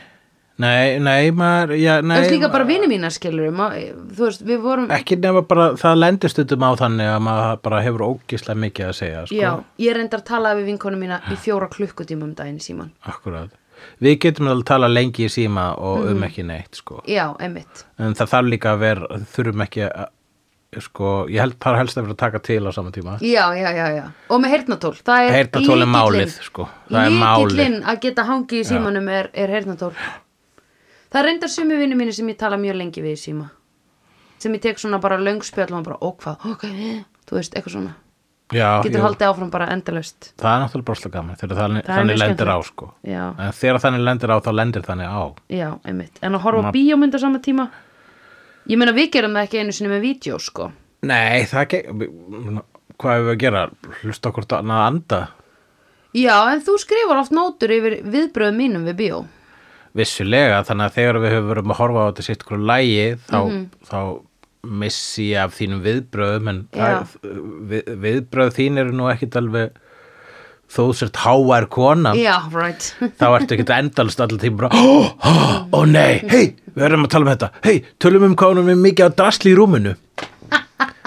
Speaker 2: nei, nei, maður, já,
Speaker 1: þú
Speaker 2: nei,
Speaker 1: veist líka bara vini mína skilur þú veist, við vorum
Speaker 2: ekki nema bara, það lendist stundum á þannig að maður bara hefur ógislega mikið að segja, sko,
Speaker 1: Já, ég reyndar að tala við vinkonu mína í fjóra klukkutíma um daginn í síman.
Speaker 2: akkurat. Við getum alveg að tala lengi í síma og
Speaker 1: Mhm.
Speaker 2: um ekki neitt, sko,
Speaker 1: Já, einmitt.
Speaker 2: en það þarf líka að vera, þurfum ekki að, sko, ég held þar helst að vera að taka til á sama tíma.
Speaker 1: Já, já, já, já. Og með heyrnatól. Það er
Speaker 2: Heyrnartól er
Speaker 1: lykillinn-
Speaker 2: málið, sko. Það er málið.
Speaker 1: Lykillinn að geta hangið í símanum er, er heyrnatól. Það er reyndar sumi vinni mínu sem ég tala mjög lengi við í síma. Sem ég tek svona bara löngspjall og hann bara, ó hvað, ok, eh, þú veist, eitthvað svona.
Speaker 2: Já,
Speaker 1: Getur
Speaker 2: jú.
Speaker 1: haldið áfram bara endalaust.
Speaker 2: það er náttúrulega broslega gaman þegar
Speaker 1: Það er
Speaker 2: þannig,
Speaker 1: mjög
Speaker 2: þannig lendir á,
Speaker 1: skemmtilegt.
Speaker 2: sko.
Speaker 1: Já,
Speaker 2: En þegar þannig lendir á, þá lendir þannig á.
Speaker 1: já, einmitt. En að horfa á bíómynd á sama tíma, ég meina við gerum það ekki einu sinni með vídeo, sko.
Speaker 2: Nei, það ekki, hvað hefur við að gera? Hlusta okkur annað anda?
Speaker 1: Já, en þú skrifar oft nótur yfir viðbröðum mínum við bíó.
Speaker 2: Vissulega, þannig að þegar við höfum verið að horfa á þetta sitt ykkur lægi, þá,
Speaker 1: Mhm.
Speaker 2: þá missi ég af þínum viðbröðum, en
Speaker 1: Já.
Speaker 2: það- við, viðbröð þín eru nú ekkit alveg, þó þú sért háar kona,
Speaker 1: Já, right.
Speaker 2: þá ertu ekkit endalst allir tíma bara, ó, ó, ó
Speaker 1: Mhm.
Speaker 2: nei, hei, við erum að tala um þetta, hei, tölum um hvað hún er mikið á drasli
Speaker 1: <laughs>
Speaker 2: í rúminu,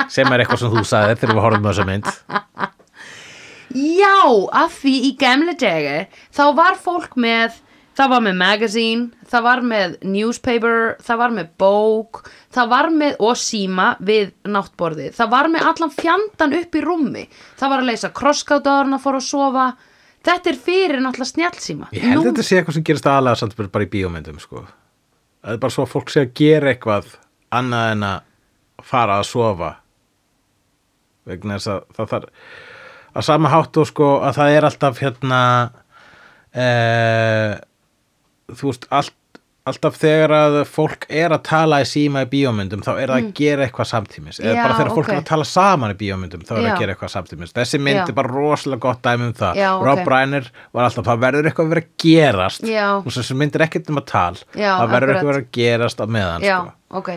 Speaker 2: sem er eitthvað sem þú sagði þegar við horfum á þessa mynd.
Speaker 1: Já, af því í gamle degi þá var fólk með, það var með magazine, það var með newspaper, það var með bók, það var með, og síma við náttborði, það var með allan fjandan upp í rúmi, það var að leysa krosskátaðurinn að fóra að sofa, þetta er fyrir náttúrulega snjálsíma.
Speaker 2: Ég held þetta sé eitthvað sem gerist aðalega samt bara- bara í bíómyndum sko. Það er bara svo að fólk sé að gera eitthvað annað en að fara að sofa vegna þess að það þarf að sama háttu sko að það er alltaf hérna e, þú veist allt, alltaf þegar að fólk er að tala í síma í bíómyndum þá er það að gera eitthvað samtímis eða
Speaker 1: Mm. Já,
Speaker 2: bara þegar fólk
Speaker 1: ok.
Speaker 2: er að tala saman í bíómyndum þá er það
Speaker 1: Já.
Speaker 2: að gera eitthvað samtímis þessi mynd
Speaker 1: Já.
Speaker 2: er bara rosalega gott dæmi um það
Speaker 1: Já,
Speaker 2: Rob
Speaker 1: ok.
Speaker 2: Reiner var alltaf það verður eitthvað að vera að gerast
Speaker 1: Já.
Speaker 2: og þessi myndir ekkert um að tal
Speaker 1: Já,
Speaker 2: það verður eitthvað
Speaker 1: akkurat.
Speaker 2: að vera að gerast á meðan
Speaker 1: Já,
Speaker 2: sko.
Speaker 1: ok.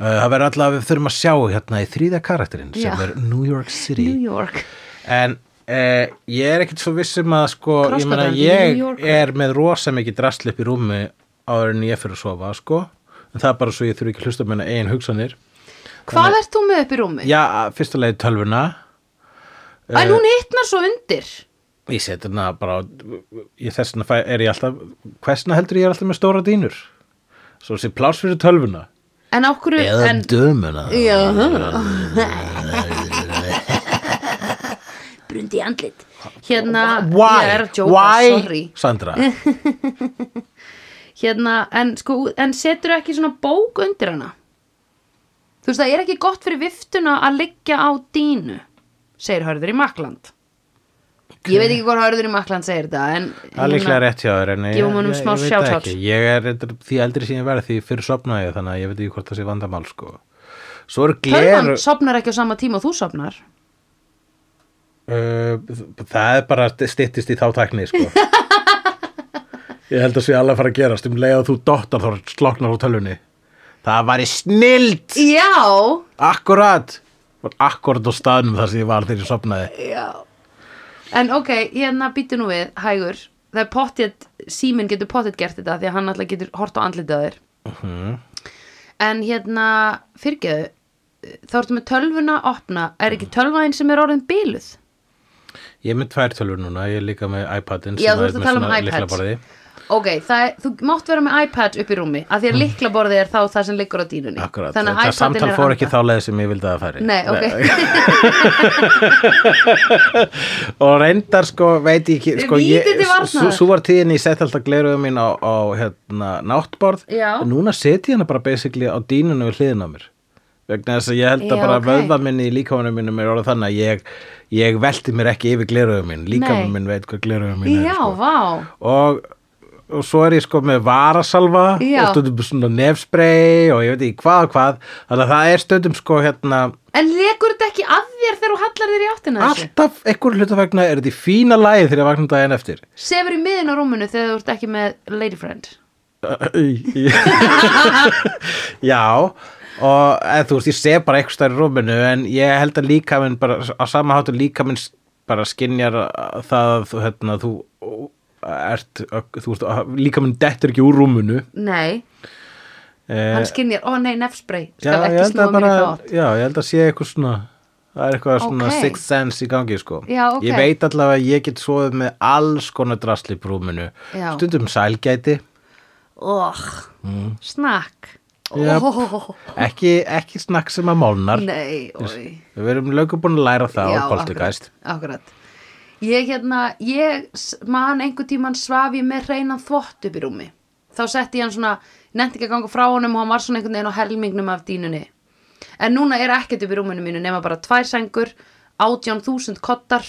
Speaker 2: Uh, það verður alltaf að við þurfum að sjá hérna í þrýða karakterinn sem
Speaker 1: Já.
Speaker 2: er New York City
Speaker 1: New York.
Speaker 2: en Eh, ég er ekkert svo viss um að sko, ég meina
Speaker 1: Krossgatan í
Speaker 2: ég
Speaker 1: New York.
Speaker 2: er með rosa mikið drasl upp í rúmi áður en ég fyrir að sofa sko, en það er bara svo ég þurfi ekki að hlusta meina eigin hugsanir
Speaker 1: Hvað ert þú með upp í rúmi?
Speaker 2: Já, fyrsta leið tölvuna
Speaker 1: En hún
Speaker 2: Eh.
Speaker 1: hittnar svo undir
Speaker 2: ég seti hana bara ég þess vegna fæ- er ég alltaf hversna heldur ég er alltaf með stóra dýnur svo sé pláss fyrir tölvuna
Speaker 1: En á hverju en,
Speaker 2: dömuna
Speaker 1: Já <laughs> Brundi í andlit Hérna,
Speaker 2: Why?
Speaker 1: ég er að jóka,
Speaker 2: Why?
Speaker 1: sorry <laughs>
Speaker 2: Sandra
Speaker 1: Hérna, en sko, en setur ekki svona bók undir hana Þú veist, það er ekki gott fyrir viftuna að liggja á dínu segir Hörður í Makland Ég veit ekki hvað Hörður í Makland segir þetta en hérna,
Speaker 2: Það er líklega rétt hjá þér en ég,
Speaker 1: Gefum honum
Speaker 2: ég,
Speaker 1: smá
Speaker 2: ég veit
Speaker 1: shout-out.
Speaker 2: ekki Ég er reyndar- því eldri sem ég verð því fyrir sopnaði ég þannig að ég veit ekki hvort það sé vandamál sko Svo er gler
Speaker 1: Tölvan sopnar ekki á sama tíma og þú sopnar
Speaker 2: uh, Það er bara styttist í þá tækni
Speaker 1: <laughs>
Speaker 2: sko Ég held að sé alveg að fara að gerast um leið að þú dottar þá sloknar á tölvunni Það væri snild
Speaker 1: Já,
Speaker 2: Akkurat Var akkurat á staðnum þar sem ég var þegar ég sopnaði
Speaker 1: Já. En ok, hérna býttu nú við, hægur. Það er pottet, síminn getur pottet gert þetta því að hann alltaf getur hort á andlitið á þér.
Speaker 2: Mhm.
Speaker 1: En hérna, fyrirgeðu, þá ertu með tölvuna opna, er ekki tölvaðin sem er orðin bíluð?
Speaker 2: Ég er með tvær tölvur núna, ég er líka með iPadin
Speaker 1: Já,
Speaker 2: sem
Speaker 1: þú
Speaker 2: er
Speaker 1: ert að
Speaker 2: með
Speaker 1: tala um
Speaker 2: svona
Speaker 1: iPads.
Speaker 2: lyklaborðið.
Speaker 1: Ok, það er, þú mátt vera með iPad upp í rúmi, að því að líklaborðið er þá það sem liggur á dýnunni.
Speaker 2: Akkurat,
Speaker 1: Þannig að
Speaker 2: þetta
Speaker 1: iPadinn
Speaker 2: samtal
Speaker 1: er
Speaker 2: fór
Speaker 1: að
Speaker 2: ekki þá
Speaker 1: anda.
Speaker 2: leið sem ég vildi að það færi
Speaker 1: Nei, ok.
Speaker 2: Og reyndar sko, veit ég ekki sko, ég,
Speaker 1: Víti til varnaðar.
Speaker 2: svo, svo var tíðin ég sett alltaf gleruðu mín á, á hérna, náttborð
Speaker 1: Já.
Speaker 2: En Núna set ég hana bara basically á dýnunum við hliðin á mér Vegna þess að ég
Speaker 1: Já,
Speaker 2: held að bara
Speaker 1: ok.
Speaker 2: okay. vöðva minni í líkamanum minnum er orðið þannig að ég, ég velti mér ekki yfir gleruðu mín Líkamanum
Speaker 1: Nei.
Speaker 2: minn veit hvað gleruðu mín
Speaker 1: Já,
Speaker 2: er sko
Speaker 1: vá.
Speaker 2: og, og svo er ég sko með varasalva
Speaker 1: Já.
Speaker 2: og stundum svona nefsprey og ég veit ekki hvað og hvað þannig að það er stundum sko hérna
Speaker 1: En legur þetta ekki að þér þegar þú hallar þér í áttina að þessu?
Speaker 2: alltaf einhver hluta vegna er þetta í fína lagi þegar ég vakna daginn eftir
Speaker 1: Sefur í miðin á rúminu þegar þú ert ekki með lady friend.
Speaker 2: <laughs> já og eð, þú veist ég sef bara eitthvað stær í rúminu en ég held að líka minn bara á sama hátu líka minn bara skinjar að það að þú hérna þú ert, þú veist, líka minn dettur ekki úr rúminu
Speaker 1: Nei.
Speaker 2: eh,
Speaker 1: hann skynjar, ó nei, nefsbrey
Speaker 2: Já,
Speaker 1: skal
Speaker 2: ég
Speaker 1: ekki
Speaker 2: held
Speaker 1: snúa
Speaker 2: að
Speaker 1: mér í
Speaker 2: bara,
Speaker 1: þátt
Speaker 2: já, ég held að sé eitthvað svona það er eitthvað svona
Speaker 1: Ókei.
Speaker 2: sixth sense í gangi sko.
Speaker 1: Já, ókei.
Speaker 2: ég veit allavega að ég get svoðið með alls konar drasli brúminu
Speaker 1: Já.
Speaker 2: stundum sælgæti
Speaker 1: oh, snakk
Speaker 2: Mm. Jep.
Speaker 1: oh,
Speaker 2: ekki, ekki snakk sem að málnar
Speaker 1: nei oi.
Speaker 2: við erum lögum búin að læra það á
Speaker 1: akkurat,
Speaker 2: Poltergeist
Speaker 1: akkurat ég hérna, ég s- man einhver tíman svaf ég með reynan þvott upp í rúmi þá setti ég hann svona nefnt ekki að ganga frá honum og hann var svona einhvern veginn á helmingnum af dýnunni en núna er ekkert upp í rúminu mínu nema bara tvær sengur, 18.000 kottar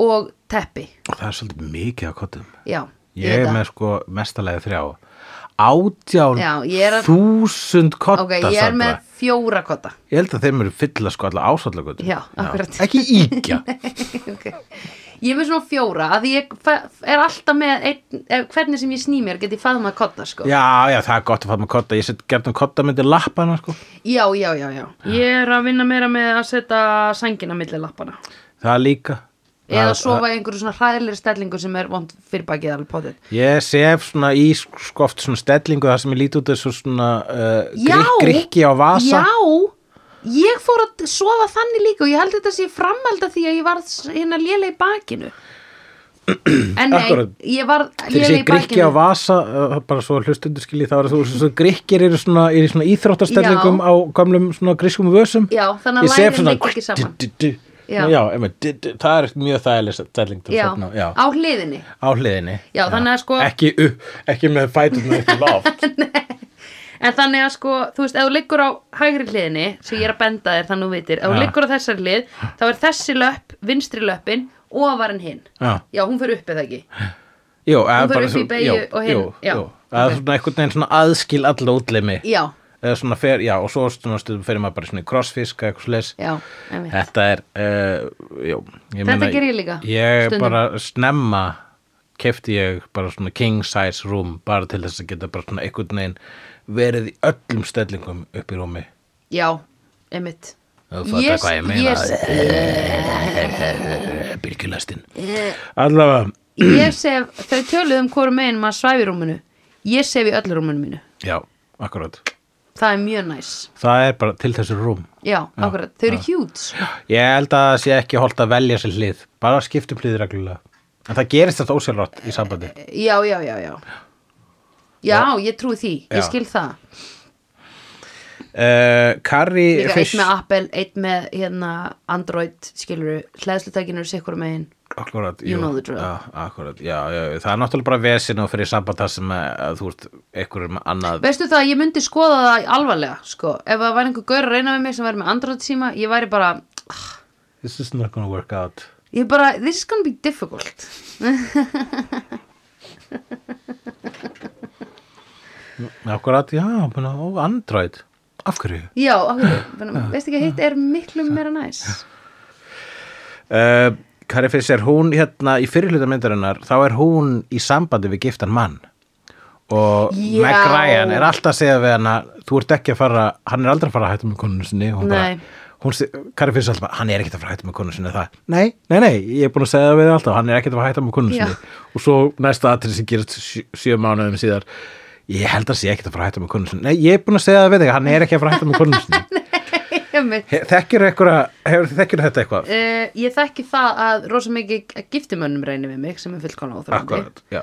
Speaker 1: og teppi
Speaker 2: það er svolítið mikið á kottum
Speaker 1: já,
Speaker 2: ég
Speaker 1: veit
Speaker 2: er
Speaker 1: það.
Speaker 2: með sko mestalegi þrjá átján
Speaker 1: Já, ég er að-
Speaker 2: þúsund kottar
Speaker 1: ok, ég er
Speaker 2: Sandra.
Speaker 1: með fjóra kotta
Speaker 2: ég held að þeim eru fylla sko alla ásallagötum
Speaker 1: Já, akkurat.
Speaker 2: ekki
Speaker 1: <laughs>
Speaker 2: íkja
Speaker 1: Ok. Ég er með svona fjóra að því ég fa- er alltaf með ein, hvernig sem ég sný mér get ég faðmað kotta sko. já.
Speaker 2: Já, já, það er gott að fara með kotta Ég set gert um kotta myndi lappana sko.
Speaker 1: já, já, já, Ég er að vinna meira með að setja sængina milli lappana
Speaker 2: Það er líka
Speaker 1: eða
Speaker 2: Það-
Speaker 1: sofa í einhverju svona hræðilegri stellingu sem er vond fyrir bakið alveg potið
Speaker 2: Ég sef svona í sko oft svona stellingu þar sem ég líti út þessu svona uh,
Speaker 1: Já,
Speaker 2: grik, grikki á vasa
Speaker 1: Já, ég fór að sofa þannig líka og ég held þetta sé framhald að því að ég var hérna lélega í bakinu En nei,
Speaker 2: Akkurat.
Speaker 1: ég var
Speaker 2: Þegar
Speaker 1: lélega í
Speaker 2: ég grikki á
Speaker 1: bakinu
Speaker 2: vasa uh, bara svo hlustundu skilji þá er þú svo grikkir eru svona, eru í svona íþróttastellingum
Speaker 1: Já.
Speaker 2: á gamlum svona grískum vösum
Speaker 1: Já, þannig að
Speaker 2: Ég sef
Speaker 1: lærin liggja ekki saman.
Speaker 2: du- du- du.
Speaker 1: Já.
Speaker 2: Já, einmitt, du- du. það er mjög þægileg stelling til að
Speaker 1: Já,
Speaker 2: sofna á. Já.
Speaker 1: á hliðinni
Speaker 2: á hliðinni
Speaker 1: Já, þannig að sko-
Speaker 2: ekki, upp, ekki með fæturna upp í loft
Speaker 1: En þannig að sko, þú veist, ef þú liggur á hægri hliðinni, sem ég er að benda þér þannig að þú vitir, ef þú
Speaker 2: Ja.
Speaker 1: liggur á þessari hlið, þá er þessi löpp, vinstri löppin, ofar en hinn.
Speaker 2: Já.
Speaker 1: Já, hún fyrir upp eða ekki.
Speaker 2: Jú, eða
Speaker 1: fer
Speaker 2: bara
Speaker 1: upp
Speaker 2: svo-
Speaker 1: í beygju
Speaker 2: jú,
Speaker 1: og hinn-
Speaker 2: jú,
Speaker 1: já,
Speaker 2: jú.
Speaker 1: ok.
Speaker 2: Það er svona einhvern veginn svona aðskil alla útlimi
Speaker 1: Já,
Speaker 2: eða svona fer, já, og svo stundum stundum fer maður bara svona í crossfiska eitthvað slags
Speaker 1: já, einmitt.
Speaker 2: Þetta er, uh, jú ég
Speaker 1: Þetta geri ég líka,
Speaker 2: Ég
Speaker 1: stundum.
Speaker 2: bara snemma kefti ég bara svona king size room bara til þess að geta bara svona einhvern veginn verið í öllum stellingum upp í rúmi
Speaker 1: Já, einmitt.
Speaker 2: Þú fattar
Speaker 1: Ég-
Speaker 2: hvað ég meina Byrkjulæstin Eh,
Speaker 1: Eh.
Speaker 2: Allavega,
Speaker 1: Ég sef, þau töluðu um hvorum megin maður svæfi í rúminu Ég sef í öllu rúminu mínu
Speaker 2: já, akkurát
Speaker 1: Það er mjög næs
Speaker 2: Það er bara til þessu rúm
Speaker 1: Já, akkurat, þau eru hjúts
Speaker 2: Ég held að það sé ekki holdt að velja sér hlið Bara skiptum hlið reglulega En það gerist þetta ósjálfrátt í sambandi
Speaker 1: Já, já, já, já Já, ég trúi því, ég
Speaker 2: Já.
Speaker 1: skil það
Speaker 2: uh, Kari
Speaker 1: Líka
Speaker 2: Fish
Speaker 1: eitt með Apple, eitt með hérna, Android, skiluru Hleðslutækinu er sikkur megin
Speaker 2: Akkurat,
Speaker 1: You know the drill.
Speaker 2: já, akkurat, já, já, það er náttúrulega bara vesin og fyrir samband það sem að, að þú ert einhverjum með annað
Speaker 1: Veistu það, ég myndi skoða það alvarlega sko. Ef það væri einhver gaur að reyna við mig sem væri með Android síma Ég væri bara,
Speaker 2: This is not gonna work out
Speaker 1: ég bara This is gonna be difficult
Speaker 2: Akkurat, já, búna, og Android Af hverju?
Speaker 1: Já, okkur,
Speaker 2: Ah.
Speaker 1: veist ekki að hitt er miklu meira næs <laughs>
Speaker 2: Uh, Kari Fiss er hún hérna í fyrirluta myndarinnar, þá er hún í sambandi við giftan mann og
Speaker 1: Já.
Speaker 2: Meg Ryan er alltaf að segja við hana, þú ert ekki að fara hann er aldrei að fara að hætta með konunum sinni hún bara,
Speaker 1: Nei.
Speaker 2: hún, se- Kari Fiss er alltaf bara, hann er ekkert að fara að hætta með konunum sinni það, nei, nei, nei, ég er búin að segja það við þig alltaf, hann er ekkert að fara að hætta með konunum
Speaker 1: Já.
Speaker 2: sinni og svo næsta atrið sem gerast sjö, sjö mánuðum síðar ég held að sé ekkert að fara að hætta með konunum sinni nei, ég er búin að segja það við þig, hann er ekki að fara að hætta með konunum sinni
Speaker 1: <laughs> Einmitt.
Speaker 2: He- þekkirðu einhverja- hefur- þekkirðu þetta eitthvað?
Speaker 1: Uh, ég þekki það að rosa mikið að giftimönnum reynir við mig sem er fullkona óþröndi uh,
Speaker 2: Akkurat, já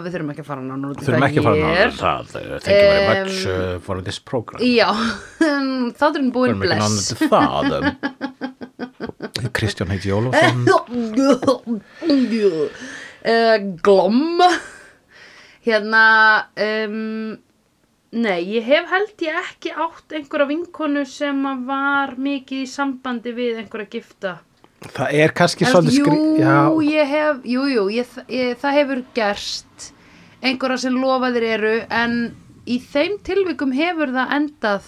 Speaker 1: Við þurfum ekki að fara nánar út í
Speaker 2: þurfum
Speaker 1: það
Speaker 2: ekki að fara
Speaker 1: hér.
Speaker 2: náður það, thank you very much
Speaker 1: Em,
Speaker 2: uh, for this program
Speaker 1: Já, <laughs> þátturinn búinn
Speaker 2: þurfum ekki
Speaker 1: bless
Speaker 2: náður það um. <laughs> Kristján heiti Jólfsson
Speaker 1: uh, <laughs> Glomm Hérna um, Nei, ég hef held ég ekki átt einhverja vinkonu sem að var mikið í sambandi við einhverja gifta
Speaker 2: það er kannski
Speaker 1: Ef-
Speaker 2: svolítið skri
Speaker 1: Jú,
Speaker 2: já,
Speaker 1: ég hef, jú, jú, ég, ég, það hefur gerst einhverja sem lofaðir eru en í þeim tilvikum hefur það endað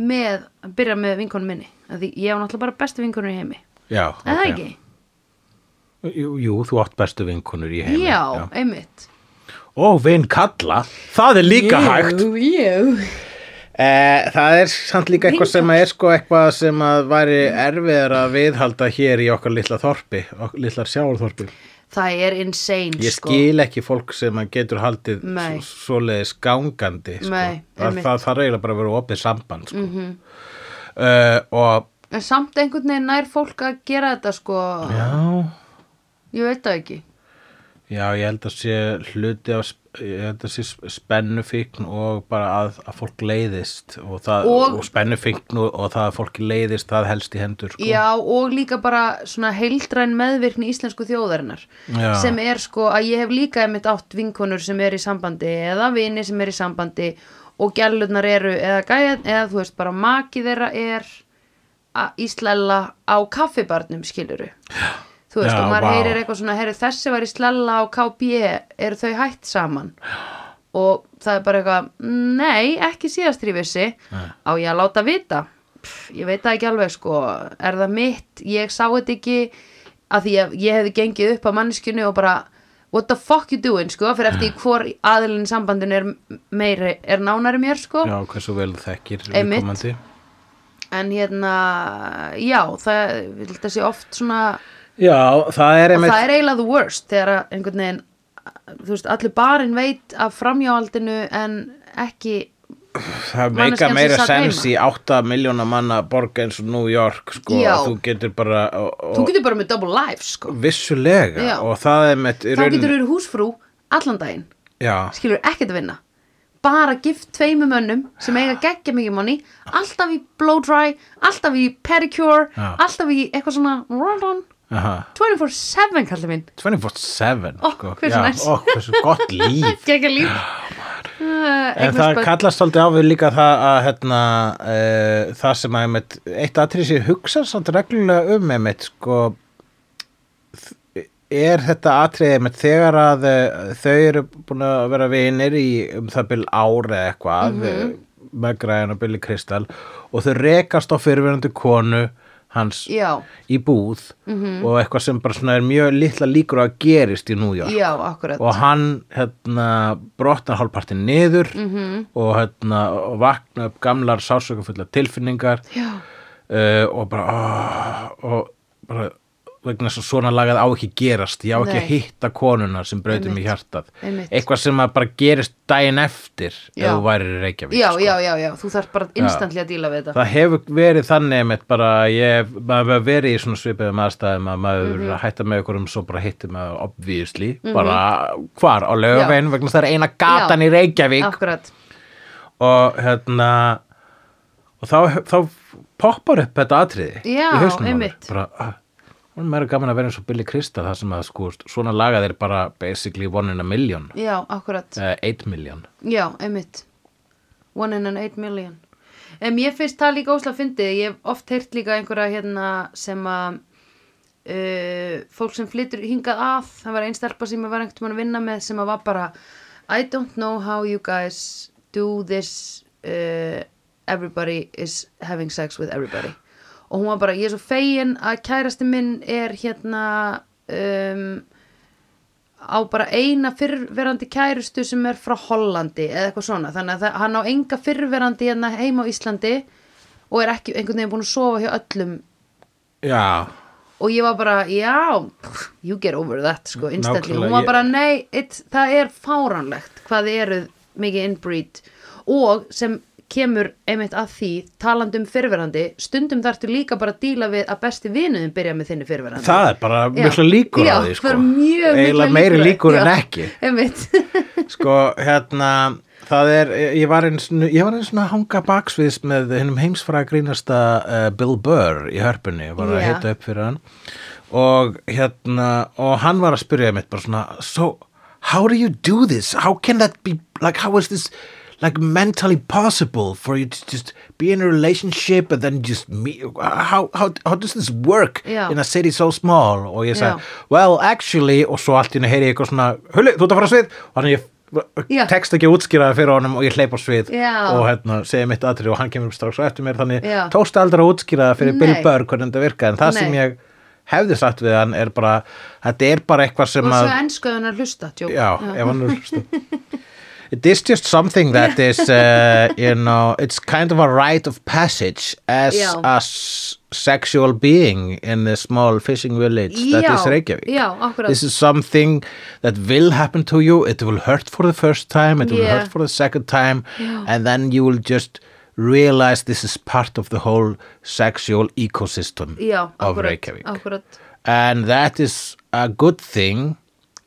Speaker 1: með að byrja með vinkonu minni af því ég á náttúrulega bara bestu vinkonu í heimi
Speaker 2: já,
Speaker 1: en það
Speaker 2: ok.
Speaker 1: ekki,
Speaker 2: jú, jú, þú átt bestu vinkunur í heimi
Speaker 1: já, einmitt
Speaker 2: og vin kalla, það er líka hægt
Speaker 1: jú.
Speaker 2: Eh, það er samt líka eitthvað sem er sko eitthvað sem að væri erfiðar að viðhalda hér í okkar litla þorpi, ok- litlar sjáurþorpi.
Speaker 1: það er insane
Speaker 2: Ég
Speaker 1: sko.
Speaker 2: skil ekki fólk sem að getur haldið
Speaker 1: Nei.
Speaker 2: s- svoleiðis gangandi sko.
Speaker 1: Nei,
Speaker 2: það,
Speaker 1: einmitt. Mhm.
Speaker 2: það þarf eiginlega bara að vera opið samband sko. uh, og
Speaker 1: en samt einhvern veginn nær fólk að gera þetta sko,
Speaker 2: já, Sko.
Speaker 1: ég veit það ekki
Speaker 2: já, ég held að sé hluti af sp- ég held að sé spennufíkn og bara að, að fólk leiðist og, það,
Speaker 1: Og-
Speaker 2: og, spennufíkn og, og það að fólk leiðist það helst í hendur sko.
Speaker 1: Já, og líka bara svona heildræn meðvirkni íslensku þjóðarinnar
Speaker 2: Já.
Speaker 1: sem er sko að ég hef líka einmitt átt vinkonur sem er í sambandi eða vini sem er í sambandi og gælunar eru eða gæðan eða þú veist bara maki þeirra er að íslella á kaffibarnum skiluru þú veist
Speaker 2: Já,
Speaker 1: og maður
Speaker 2: vá.
Speaker 1: heyrir eitthvað svona heyri, þessi var í slella á KB eru þau hætt saman og það er bara eitthvað nei, ekki síðast í vissi á ég að láta vita Pff, ég veit það ekki alveg sko er það mitt, ég sá þetta ekki að því að ég hefði gengið upp á manneskjunni og bara what the fuck you doing sko fyrir
Speaker 2: <laughs>
Speaker 1: eftir í hvor aðilin í sambandinu er, meiri, er nánari mér sko
Speaker 2: já hversu vel þú þekkir
Speaker 1: Einmitt.
Speaker 2: viðkomandi.
Speaker 1: en hérna, já það ég held að sé oft svona
Speaker 2: já, það er
Speaker 1: og
Speaker 2: einmitt
Speaker 1: það er eiginlega the worst þegar að einhvern veginn þú veist, allir barinn veit af framjáhaldinu en ekki
Speaker 2: það meika
Speaker 1: Manneskjan sem
Speaker 2: meira
Speaker 1: sat
Speaker 2: sens í
Speaker 1: heima.
Speaker 2: 8 miljóna manna borg eins og New York sko,
Speaker 1: Já.
Speaker 2: að þú getur bara og,
Speaker 1: þú getur bara með double life sko
Speaker 2: og vissulega
Speaker 1: Já.
Speaker 2: og það er með
Speaker 1: þá getur þú húsfrú allan daginn
Speaker 2: já,
Speaker 1: skilur ekkert að vinna bara gift tveimu mönnum sem eiga geggja mikið manni alltaf í blow dry, alltaf í pedicure
Speaker 2: Já.
Speaker 1: alltaf í eitthvað svona run on
Speaker 2: aha
Speaker 1: 24-7 kallar minn
Speaker 2: 24-7
Speaker 1: Ó,
Speaker 2: sko.
Speaker 1: Oh, hversu
Speaker 2: Já,
Speaker 1: næs.
Speaker 2: ó, hversu
Speaker 1: <laughs>
Speaker 2: gott líf
Speaker 1: geggja líf Uh,
Speaker 2: en það kallast aldrei á við líka það að hérna, uh, það sem að einmitt, eitt atrið sér hugsa svolítið reglulega um einmitt, sko, þ- er þetta atrið einmitt, þegar að eh, þau eru búin að vera vinir í um það byrð ára eða eitthvað mm -hmm. með græðan og Billy Kristall og þau rekast á fyrirverandi konu hans
Speaker 1: Já.
Speaker 2: í búð -hmm. og eitthvað sem bara svona er mjög litla líkur á að gerist í New York
Speaker 1: já, akkurat
Speaker 2: og hann hérna, brotnar hálfpartin
Speaker 1: Mhm.
Speaker 2: niður -hmm. og, hérna, og vakna upp gamlar sásökafullar tilfinningar
Speaker 1: já,
Speaker 2: uh, og bara oh, og bara vegna þess að svona lagað á ekki gerast ég á ekki
Speaker 1: Nei.
Speaker 2: að hitta konuna sem brautum í
Speaker 1: Einmitt.
Speaker 2: hjartað
Speaker 1: Einmitt.
Speaker 2: eitthvað sem að bara gerist daginn eftir ef
Speaker 1: Já.
Speaker 2: þú værir í Reykjavík
Speaker 1: já,
Speaker 2: sko.
Speaker 1: já, já, já, þú þarf bara instantly að díla við þetta
Speaker 2: það hefur verið þannig einmitt bara ég, maður hefur verið í svona svipaðum aðstæðum að
Speaker 1: Mhm.
Speaker 2: maður hefur mm hætta með ykkur um svo bara hittum að obvíðsli bara hvar á lögavegin vegna það er eina gatan
Speaker 1: Já.
Speaker 2: í Reykjavík
Speaker 1: akkurat,
Speaker 2: og hérna og þá, þá poppar upp þetta atriði
Speaker 1: Já,
Speaker 2: í hausnum á mér.
Speaker 1: einmitt.
Speaker 2: bara, ah, hún er meira gaman að vera eins og Billy Krista það sem að sko svona lagað er bara basically one in a million
Speaker 1: já, akkurat
Speaker 2: eh, eight million
Speaker 1: Já, einmitt One in an eight million um, Ég finnst það líka óslega fyndið Ég hef oft heyrt líka einhverja hérna sem að uh, fólk sem flytur hingað að það var einn stelpa sem ég var einhvern veginn að vinna með sem að var bara I don't know how you guys do this uh, everybody is having sex with everybody og hún var bara, ég er svo fegin að kærasti minn er hérna um, á bara eina fyrrverandi kærustu sem er frá Hollandi eða eitthvað svona, þannig að það, hann á enga fyrrverandi hérna heima á Íslandi og er ekki einhvern veginn búin að sofa hjá öllum
Speaker 2: já,
Speaker 1: og ég var bara, já pff, you get over that, sko, instantly
Speaker 2: Nákvæmlega,
Speaker 1: hún var
Speaker 2: ég-
Speaker 1: bara, nei, it, það er fáránlegt hvað þið eruð mikið inbreed og sem kemur einmitt að því, talandi um fyrrverandi stundum þarftu líka bara að díla við að besti vinuðin byrja með þinni fyrrverandi
Speaker 2: það er bara
Speaker 1: Já.
Speaker 2: mikla líkur
Speaker 1: já,
Speaker 2: á því sko.
Speaker 1: það er mjög mikla
Speaker 2: eiginlega meiri líkur en ekki <laughs>
Speaker 1: einmitt
Speaker 2: sko, hérna það er, ég var eins ég var eins og að hanga baksviðs með hennum heimsfræða grínasta uh, Bill Burr í hörpunni, ég var að
Speaker 1: Já.
Speaker 2: hita upp fyrir hann og hérna og hann var að spyrja mitt bara svona so, how do you do this? how can that be, like how is this like mentally possible for you to just be in a relationship and then just meet, how, how, how does this work
Speaker 1: Já.
Speaker 2: in a city so small og ég
Speaker 1: Já.
Speaker 2: sagði, well actually og svo allt í henni heyri ég eitthvað svona Hulli, þú ert að fara á svið og hann ég
Speaker 1: Já.
Speaker 2: tekst ekki að útskýra það fyrir honum og ég hleyp á svið
Speaker 1: Já.
Speaker 2: og hérna, segi mitt atrið og hann kemur upp strax á eftir mér þannig
Speaker 1: Já.
Speaker 2: tókst aldrei að útskýra það fyrir Bill
Speaker 1: Nei.
Speaker 2: Burr hvernig þetta virkaði en það sem
Speaker 1: Nei.
Speaker 2: ég hefði sagt við hann er bara þetta er bara eitthvað
Speaker 1: og
Speaker 2: sem
Speaker 1: svo
Speaker 2: að
Speaker 1: ennskuðu hann að hlusta tjó.
Speaker 2: já, ef hann er It is just something that is, uh, you know, it's kind of a rite of passage as
Speaker 1: Já.
Speaker 2: a s- sexual being in the small fishing village that is Reykjavík.
Speaker 1: já, akkurat
Speaker 2: This is something that will happen to you. It will hurt for the first time. It will
Speaker 1: Yeah.
Speaker 2: hurt for the second time. And then you will just realize this is part of the whole sexual ecosystem
Speaker 1: já,
Speaker 2: of
Speaker 1: akkurat,
Speaker 2: Reykjavik.
Speaker 1: akkurat.
Speaker 2: And that is a good thing.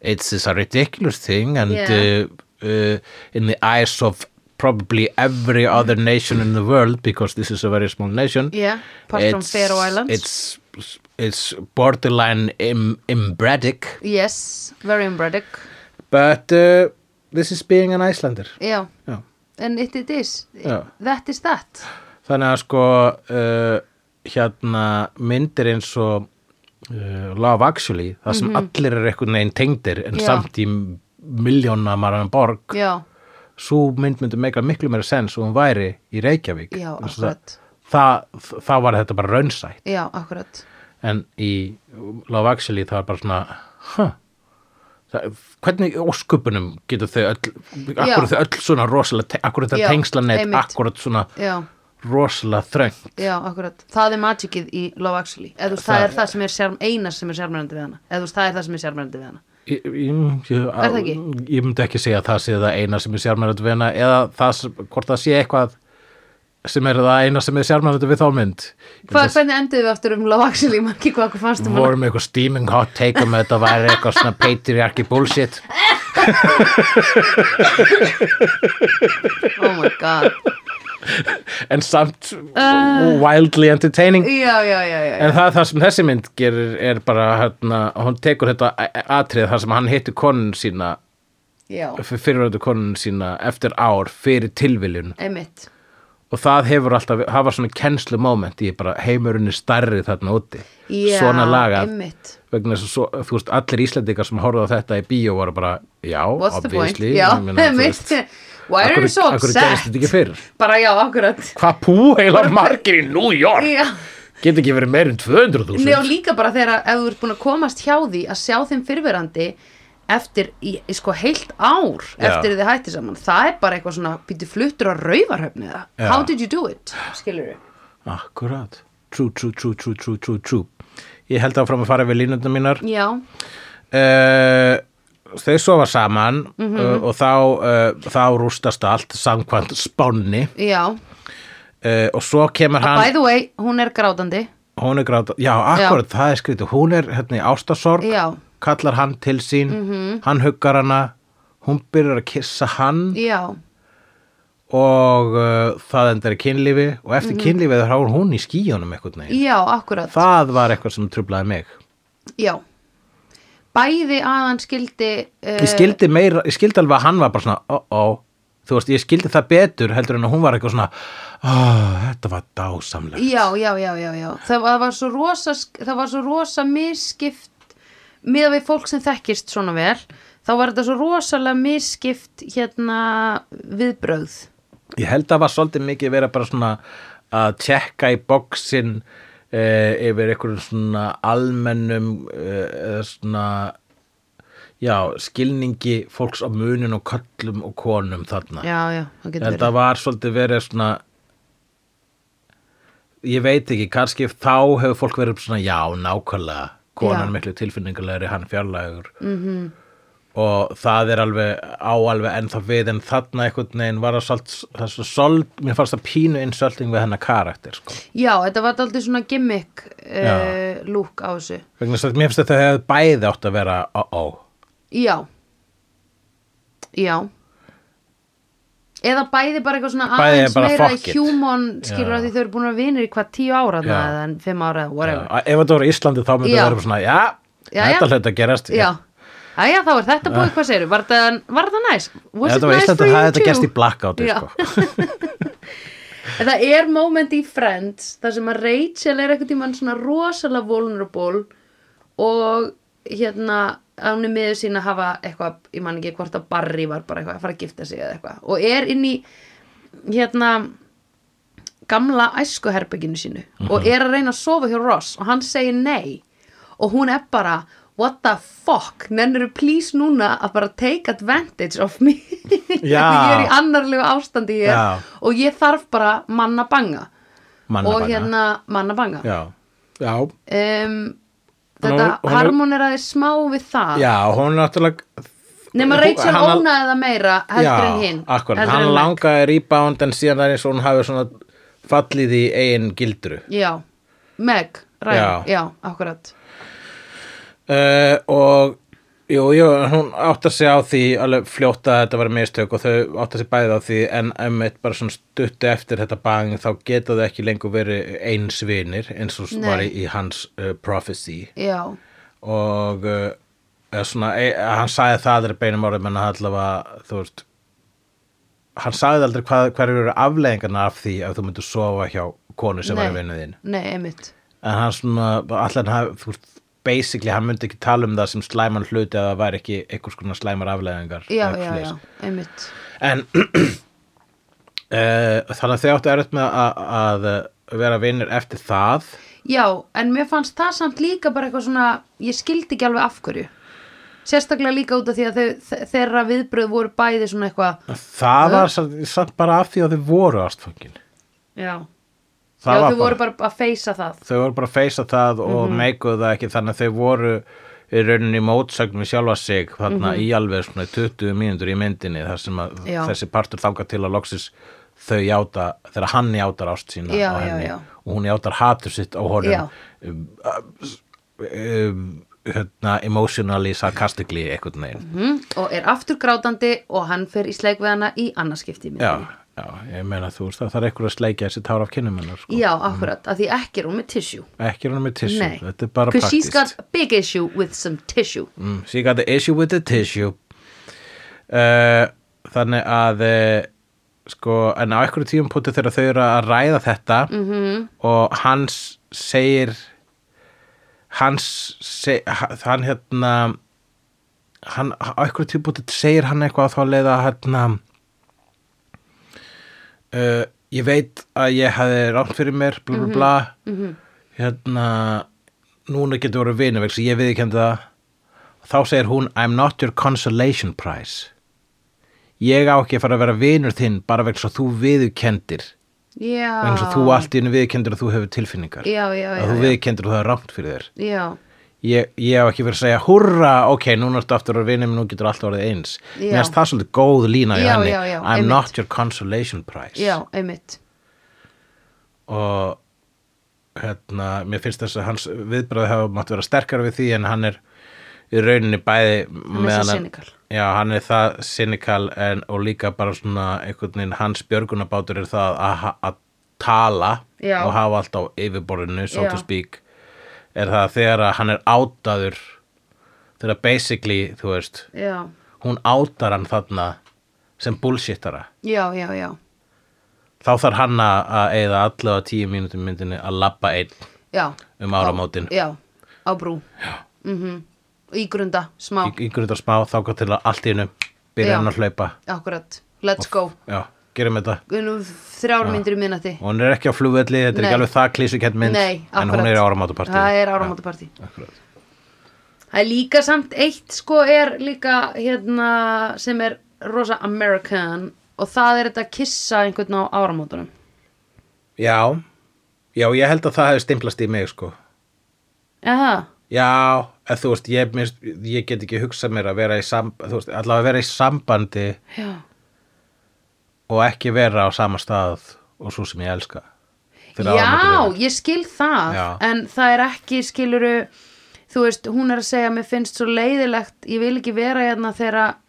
Speaker 2: It's, it's a ridiculous thing. And
Speaker 1: Yeah.
Speaker 2: uh, uh, in the eyes of probably every other nation in the world, because this is a very small nation,
Speaker 1: Yeah, apart from Faroe Islands.
Speaker 2: It's, it's borderline Im- embradic.
Speaker 1: yes, very embratic
Speaker 2: But uh, this is being an Icelander. Oh.
Speaker 1: já,
Speaker 2: Já.
Speaker 1: and it, it is
Speaker 2: Já.
Speaker 1: that is that
Speaker 2: Þannig að sko uh, hérna myndir eins og uh, Love Actually, það sem allir er einhvern veginn tengdir en
Speaker 1: Mhm. Já.
Speaker 2: samt í miljóna marðan borg,
Speaker 1: já,
Speaker 2: svo mynd myndi meika miklu meira sens og hún væri í Reykjavík.
Speaker 1: Já,
Speaker 2: Vegna þess að
Speaker 1: akkurat.
Speaker 2: Það, það var þetta bara raunsætt.
Speaker 1: já, akkurat
Speaker 2: en í Love Actually það var bara svona huh, það, hvernig í ósköpunum getur þau öll
Speaker 1: Já.
Speaker 2: akkur þau öll svona rosalega te- akkur
Speaker 1: Já,
Speaker 2: þetta tengslanett,
Speaker 1: einmitt.
Speaker 2: akkur svona
Speaker 1: já,
Speaker 2: rosalega þröng
Speaker 1: já, akkurat það er magicið í Love Actually eða þú veist, það er það sem er sjarm, einar sem er sjarmærandi við hana eða þú veist, það er það sem er sjarmærandi við hana
Speaker 2: Ég, ég, ég,
Speaker 1: Er það ekki?
Speaker 2: ég myndi ekki segja að það sé það eina sem er sjármærandi við hana eða það, sem- hvort það sé eitthvað sem er það eina sem er sjármærandi við þá mynd
Speaker 1: Hva, hvernig enduðum við aftur um Love Actually man ekki hvað okkur fannst um hana
Speaker 2: vorum með eitthvað steaming hot take um að þetta væri eitthvað svona patriarchy bullshit
Speaker 1: oh my god,
Speaker 2: en samt
Speaker 1: Ah.
Speaker 2: wildly entertaining
Speaker 1: já, já, já, já, já.
Speaker 2: En það, það sem þessi mynd gerir er bara hérna, hún tekur þetta a- atrið þar sem hann hittir konun sína
Speaker 1: já.
Speaker 2: fyrirvæðu konun sína eftir ár fyrir tilviljun
Speaker 1: einmitt
Speaker 2: og það hefur alltaf, það var svona kennslu moment í bara heimurinn er stærri þarna úti
Speaker 1: já,
Speaker 2: svona lagað
Speaker 1: einmitt
Speaker 2: vegna þess að svo, þú veist, allir Íslendingar sem horfðu á þetta í bíó voru bara, já,
Speaker 1: What's the point?
Speaker 2: obviously
Speaker 1: Já,
Speaker 2: ég meina, þú
Speaker 1: einmitt.
Speaker 2: veist,
Speaker 1: Why are you so
Speaker 2: akkur gerist þetta
Speaker 1: upset?
Speaker 2: ekki fyrr?
Speaker 1: Bara já, akkurat. <laughs>
Speaker 2: Hvað pú heila margir í New York?
Speaker 1: Já.
Speaker 2: Get ekki verið meir en 200.000
Speaker 1: Nei og líka bara þegar að ef þú ert búin að komast hjá því að sjá þeim fyrverandi eftir í, í sko heilt ár
Speaker 2: Já.
Speaker 1: eftir þið hætti saman, það er bara eitthvað svona býttu fluttur á rauvarhöfni það.
Speaker 2: Já.
Speaker 1: How did you do it? Skilur
Speaker 2: Akkurat true, true, true, true, true, true, true. Ég held áfram að fara við línundum mínar.
Speaker 1: já,
Speaker 2: Uh, þau sofa saman
Speaker 1: Mhm.
Speaker 2: uh, og þá, uh, þá rústast allt samkvæmt spánni
Speaker 1: já
Speaker 2: uh, og svo kemur
Speaker 1: By
Speaker 2: hann,
Speaker 1: the way, hún er grátandi
Speaker 2: hún er gráta, já, akkurat, það er skritu, hún er hérna í ástasorg,
Speaker 1: Já.
Speaker 2: kallar hann til sín, hann huggar hana, hún byrjar að kissa hann
Speaker 1: Já,
Speaker 2: og uh, það endar í kynlífi og eftir kynlífið þá er hún í skíjónum eitthvað neginn.
Speaker 1: já, akkurat
Speaker 2: Það var eitthvað sem trublaði mig.
Speaker 1: Já Bæði að hann skildi uh,
Speaker 2: Ég skildi meira, ég skildi alveg að hann var bara svona, ó-ó, þú veist, ég skildi það betur heldur en að hún var eitthvað svona, ó, þetta var dásamlegt.
Speaker 1: Já, já, já, já, já Það var, það var svo rosa, það var svo rosa misskipt miða við fólk sem þekkist svona vel þá var þetta svo rosalega misskipt hérna viðbrögð
Speaker 2: Ég held að það var svolítið mikið vera bara svona að tjekka í bóksin eh, yfir einhverjum svona almennum, eh, eða svona, já, skilningi fólks á munin og köllum og konum þarna.
Speaker 1: Já, já, það getur
Speaker 2: þetta var svolítið verið svona ég veit ekki, kannski þá hefur fólk verið svona já, nákvæmlega konan
Speaker 1: Já. Mhm.
Speaker 2: miklu tilfinningulegri, hann fjarlægur -hmm. og það er alveg á alveg ennþá við en þarna einhvern veginn var það svolít, það er svo sold, mér fannst það pínu innsölding við hennar karakter sko.
Speaker 1: Já, þetta var aldrei svona gimmick uh,
Speaker 2: Já.
Speaker 1: lúk á þessu
Speaker 2: vegna þess að mér finnst að þau hefur bæði átt að vera ó-ó
Speaker 1: Já Já Eða bæði bara eitthvað svona
Speaker 2: Bæði
Speaker 1: aðeins
Speaker 2: bara
Speaker 1: meira
Speaker 2: fuck it.
Speaker 1: human skilur
Speaker 2: Já.
Speaker 1: að því þau eru búin að vera vinir í hvað tíu ára þarna
Speaker 2: Já.
Speaker 1: eða en fimm ára eða whatever
Speaker 2: ef þetta voru í Íslandi þá myndi
Speaker 1: Já.
Speaker 2: það vera svona já,
Speaker 1: Já,
Speaker 2: þetta
Speaker 1: já.
Speaker 2: hlut að gerast
Speaker 1: Já, já, já þá er þetta búið, hvað segir Var það, var það næs?
Speaker 2: Ef
Speaker 1: Was
Speaker 2: Ah. þetta var í Íslandi það hefði þetta gerst í blackouti
Speaker 1: Já.
Speaker 2: sko.
Speaker 1: <laughs> En það er moment í Friends þar sem að Rachel er eitthvað tímann svona rosalega vulnerable og hérna að hún er miður sín að hafa eitthvað, ég man ekki hvort að Barry var bara eitthvað að fara að gifta sig eða eitthvað og er inn í hérna gamla æskuherbygginu sínu
Speaker 2: Mhm.
Speaker 1: og er að reyna að sofa hjá Ross og hann segir nei og hún er bara what the fuck, nennirðu please núna að bara take advantage of me <laughs>
Speaker 2: Já.
Speaker 1: ég er í annarlegu ástandi ég
Speaker 2: Já.
Speaker 1: er og ég þarf bara manna banga
Speaker 2: Mannabana.
Speaker 1: og hérna manna banga
Speaker 2: Já, já,
Speaker 1: um, þetta
Speaker 2: Hún- hún-
Speaker 1: harmoneraði smá við það
Speaker 2: já hún náttúrulega
Speaker 1: nema
Speaker 2: hún-
Speaker 1: Rachel
Speaker 2: hann-
Speaker 1: ónaði það meira heldur en hinn
Speaker 2: akkurat,
Speaker 1: heldur
Speaker 2: hann
Speaker 1: en Mac.
Speaker 2: langaði rebound en síðan það er eins og hún hafi svona fallið í eigin gildru
Speaker 1: já, Meg, Ryan,
Speaker 2: Já.
Speaker 1: já, akkurat
Speaker 2: uh, og jú, jú, hún átti sig á því alveg fljótt að þetta var mistök og þau átti sig bæði á því en einmitt bara svona stuttu eftir þetta bang þá geta þau ekki lengur verið eins vinir eins og
Speaker 1: Nei.
Speaker 2: var í, í hans uh, prophecy
Speaker 1: já,
Speaker 2: og uh, eða svona, e, hann sagði það er beinum orðum en hann allavega þú veist hann sagði aldrei hvað, hverju eru afleðingarna af því að þú myndir sofa hjá konu sem var í vinnu þín
Speaker 1: nei, einmitt
Speaker 2: en hann svona, allan hann þú veist, basically hann myndi ekki tala um það sem slæman hluti að það væri ekki einhvers konar slæmar afleðingar
Speaker 1: já,
Speaker 2: eða
Speaker 1: já,
Speaker 2: svoleiðis.
Speaker 1: já, einmitt
Speaker 2: en <clears throat> uh, þannig að þau áttu erut með að, að eh, vera vinnir eftir það
Speaker 1: já, en mér fannst það samt líka bara eitthvað svona, ég skildi ekki alveg af hverju sérstaklega líka út af því að þau, þe- þeirra viðbröð voru bæði svona eitthvað
Speaker 2: það var samt- samt bara af því að þau voru ástfangin
Speaker 1: já,
Speaker 2: Það
Speaker 1: já
Speaker 2: var
Speaker 1: þau voru bara að feysa það
Speaker 2: þau voru bara að feysa það og
Speaker 1: Mhm.
Speaker 2: mm það ekki þannig að þau voru í rauninni mótsögn við sjálfa sig þarna í alveg svona 20 mínútur í myndinni þar sem að
Speaker 1: Mhm. Já.
Speaker 2: þessi partur þangað til að loksis þau játa, þegar hann játar ást sína
Speaker 1: Já,
Speaker 2: á
Speaker 1: já,
Speaker 2: henni
Speaker 1: já.
Speaker 2: og hún játar hatur sitt á
Speaker 1: Já.
Speaker 2: honum um, um, hérna, emotionally, sarcastically eitthvað neginn
Speaker 1: mm, og er aftur grátandi og hann fer í sleik við hana í annarskipti í
Speaker 2: já,
Speaker 1: myndinni.
Speaker 2: já, ég meina þú veist það, það er eitthvað að sleikja þessi tár af kynum hennar sko.
Speaker 1: já, akkurat, af því ekki er hún með tissue
Speaker 2: ekki hann með tissue,
Speaker 1: nei,
Speaker 2: þetta er bara
Speaker 1: she's
Speaker 2: praktist
Speaker 1: got big issue with some tissue
Speaker 2: Mm, so you got the issue with the tissue uh, Þannig að uh, sko, en á einhverju tíum púti þegar þau eru að ræða þetta -hmm. og hans segir hans seg, hann hérna hann, á einhverju tíum púti segir hann eitthvað á þá leið að hérna uh, ég veit að ég hefði rátt fyrir mér bla bla bla hérna núna getur voru vinur vegna sem ég viðkendi það þá segir hún I'm not your consolation prize ég á ekki að fara að vera vinur þinn bara vegna svo þú viðkendir
Speaker 1: já
Speaker 2: vegna þess að þú allt í einu viðkendur að þú hefur tilfinningar
Speaker 1: Ah. já, já, já,
Speaker 2: að þú
Speaker 1: já,
Speaker 2: viðkendur að það er rámt fyrir þér
Speaker 1: já,
Speaker 2: ég, ég hef ekki verið að segja hurra, ok, núna ertu aftur að vinna minn, nú getur allt orðið eins
Speaker 1: Já.
Speaker 2: mér finnst það svolítið góð lína í
Speaker 1: Já,
Speaker 2: henni
Speaker 1: já, já,
Speaker 2: I'm
Speaker 1: einmitt.
Speaker 2: not your consolation prize
Speaker 1: já, einmitt
Speaker 2: og hérna, mér finnst þess að hans viðbröð hafa mátt vera sterkara við því en hann er í rauninni bæði
Speaker 1: hann er
Speaker 2: meðan
Speaker 1: svo sinikal
Speaker 2: já, hann er það cynical en, og líka bara svona einhvern veginn hans björgunabátur er það að, ha- að tala
Speaker 1: Já.
Speaker 2: og hafa allt á yfirborðinu so
Speaker 1: Já.
Speaker 2: to speak er það að þegar að hann er átaður þegar basically, þú veist
Speaker 1: já,
Speaker 2: hún átar hann þarna sem bullshittara
Speaker 1: já, já, já
Speaker 2: þá þarf hann að að eyða allavega tíu mínútum myndinni að labba einn
Speaker 1: já,
Speaker 2: um áramótin í,
Speaker 1: já, á brú já mm í grunda, smá,
Speaker 2: í grundar smá þá gott til að allt í hennu
Speaker 1: Já.
Speaker 2: byrja hann að hlaupa
Speaker 1: akkurat let's go,
Speaker 2: já, gerum þetta
Speaker 1: Nú, þrjármyndir í minnati
Speaker 2: og hún er ekki á flugvelli, þetta er
Speaker 1: Nei.
Speaker 2: ekki alveg það klísukent mynd
Speaker 1: Nei, akkurat.
Speaker 2: en hún er á áramótapartíð
Speaker 1: Það er áramótapartí.
Speaker 2: áramótapartíð
Speaker 1: Það er líka samt eitt sko er líka hérna sem er rosa American og það er þetta að kissa einhvern á áramótunum.
Speaker 2: já, já, ég held að það hefði stimplast í mig sko
Speaker 1: Jaha,
Speaker 2: já, en þú veist, ég, minnst, ég get ekki hugsað mér að vera í sambandi þú veist, allavega að vera í sambandi
Speaker 1: já.
Speaker 2: og ekki vera á sama stað og svo sem ég elska Fyrir
Speaker 1: Já,
Speaker 2: áramótapartíð.
Speaker 1: ég skil það
Speaker 2: Já.
Speaker 1: en það er ekki skiluru þú veist, hún er að segja mér finnst svo leiðilegt ég vil ekki vera hérna þegar að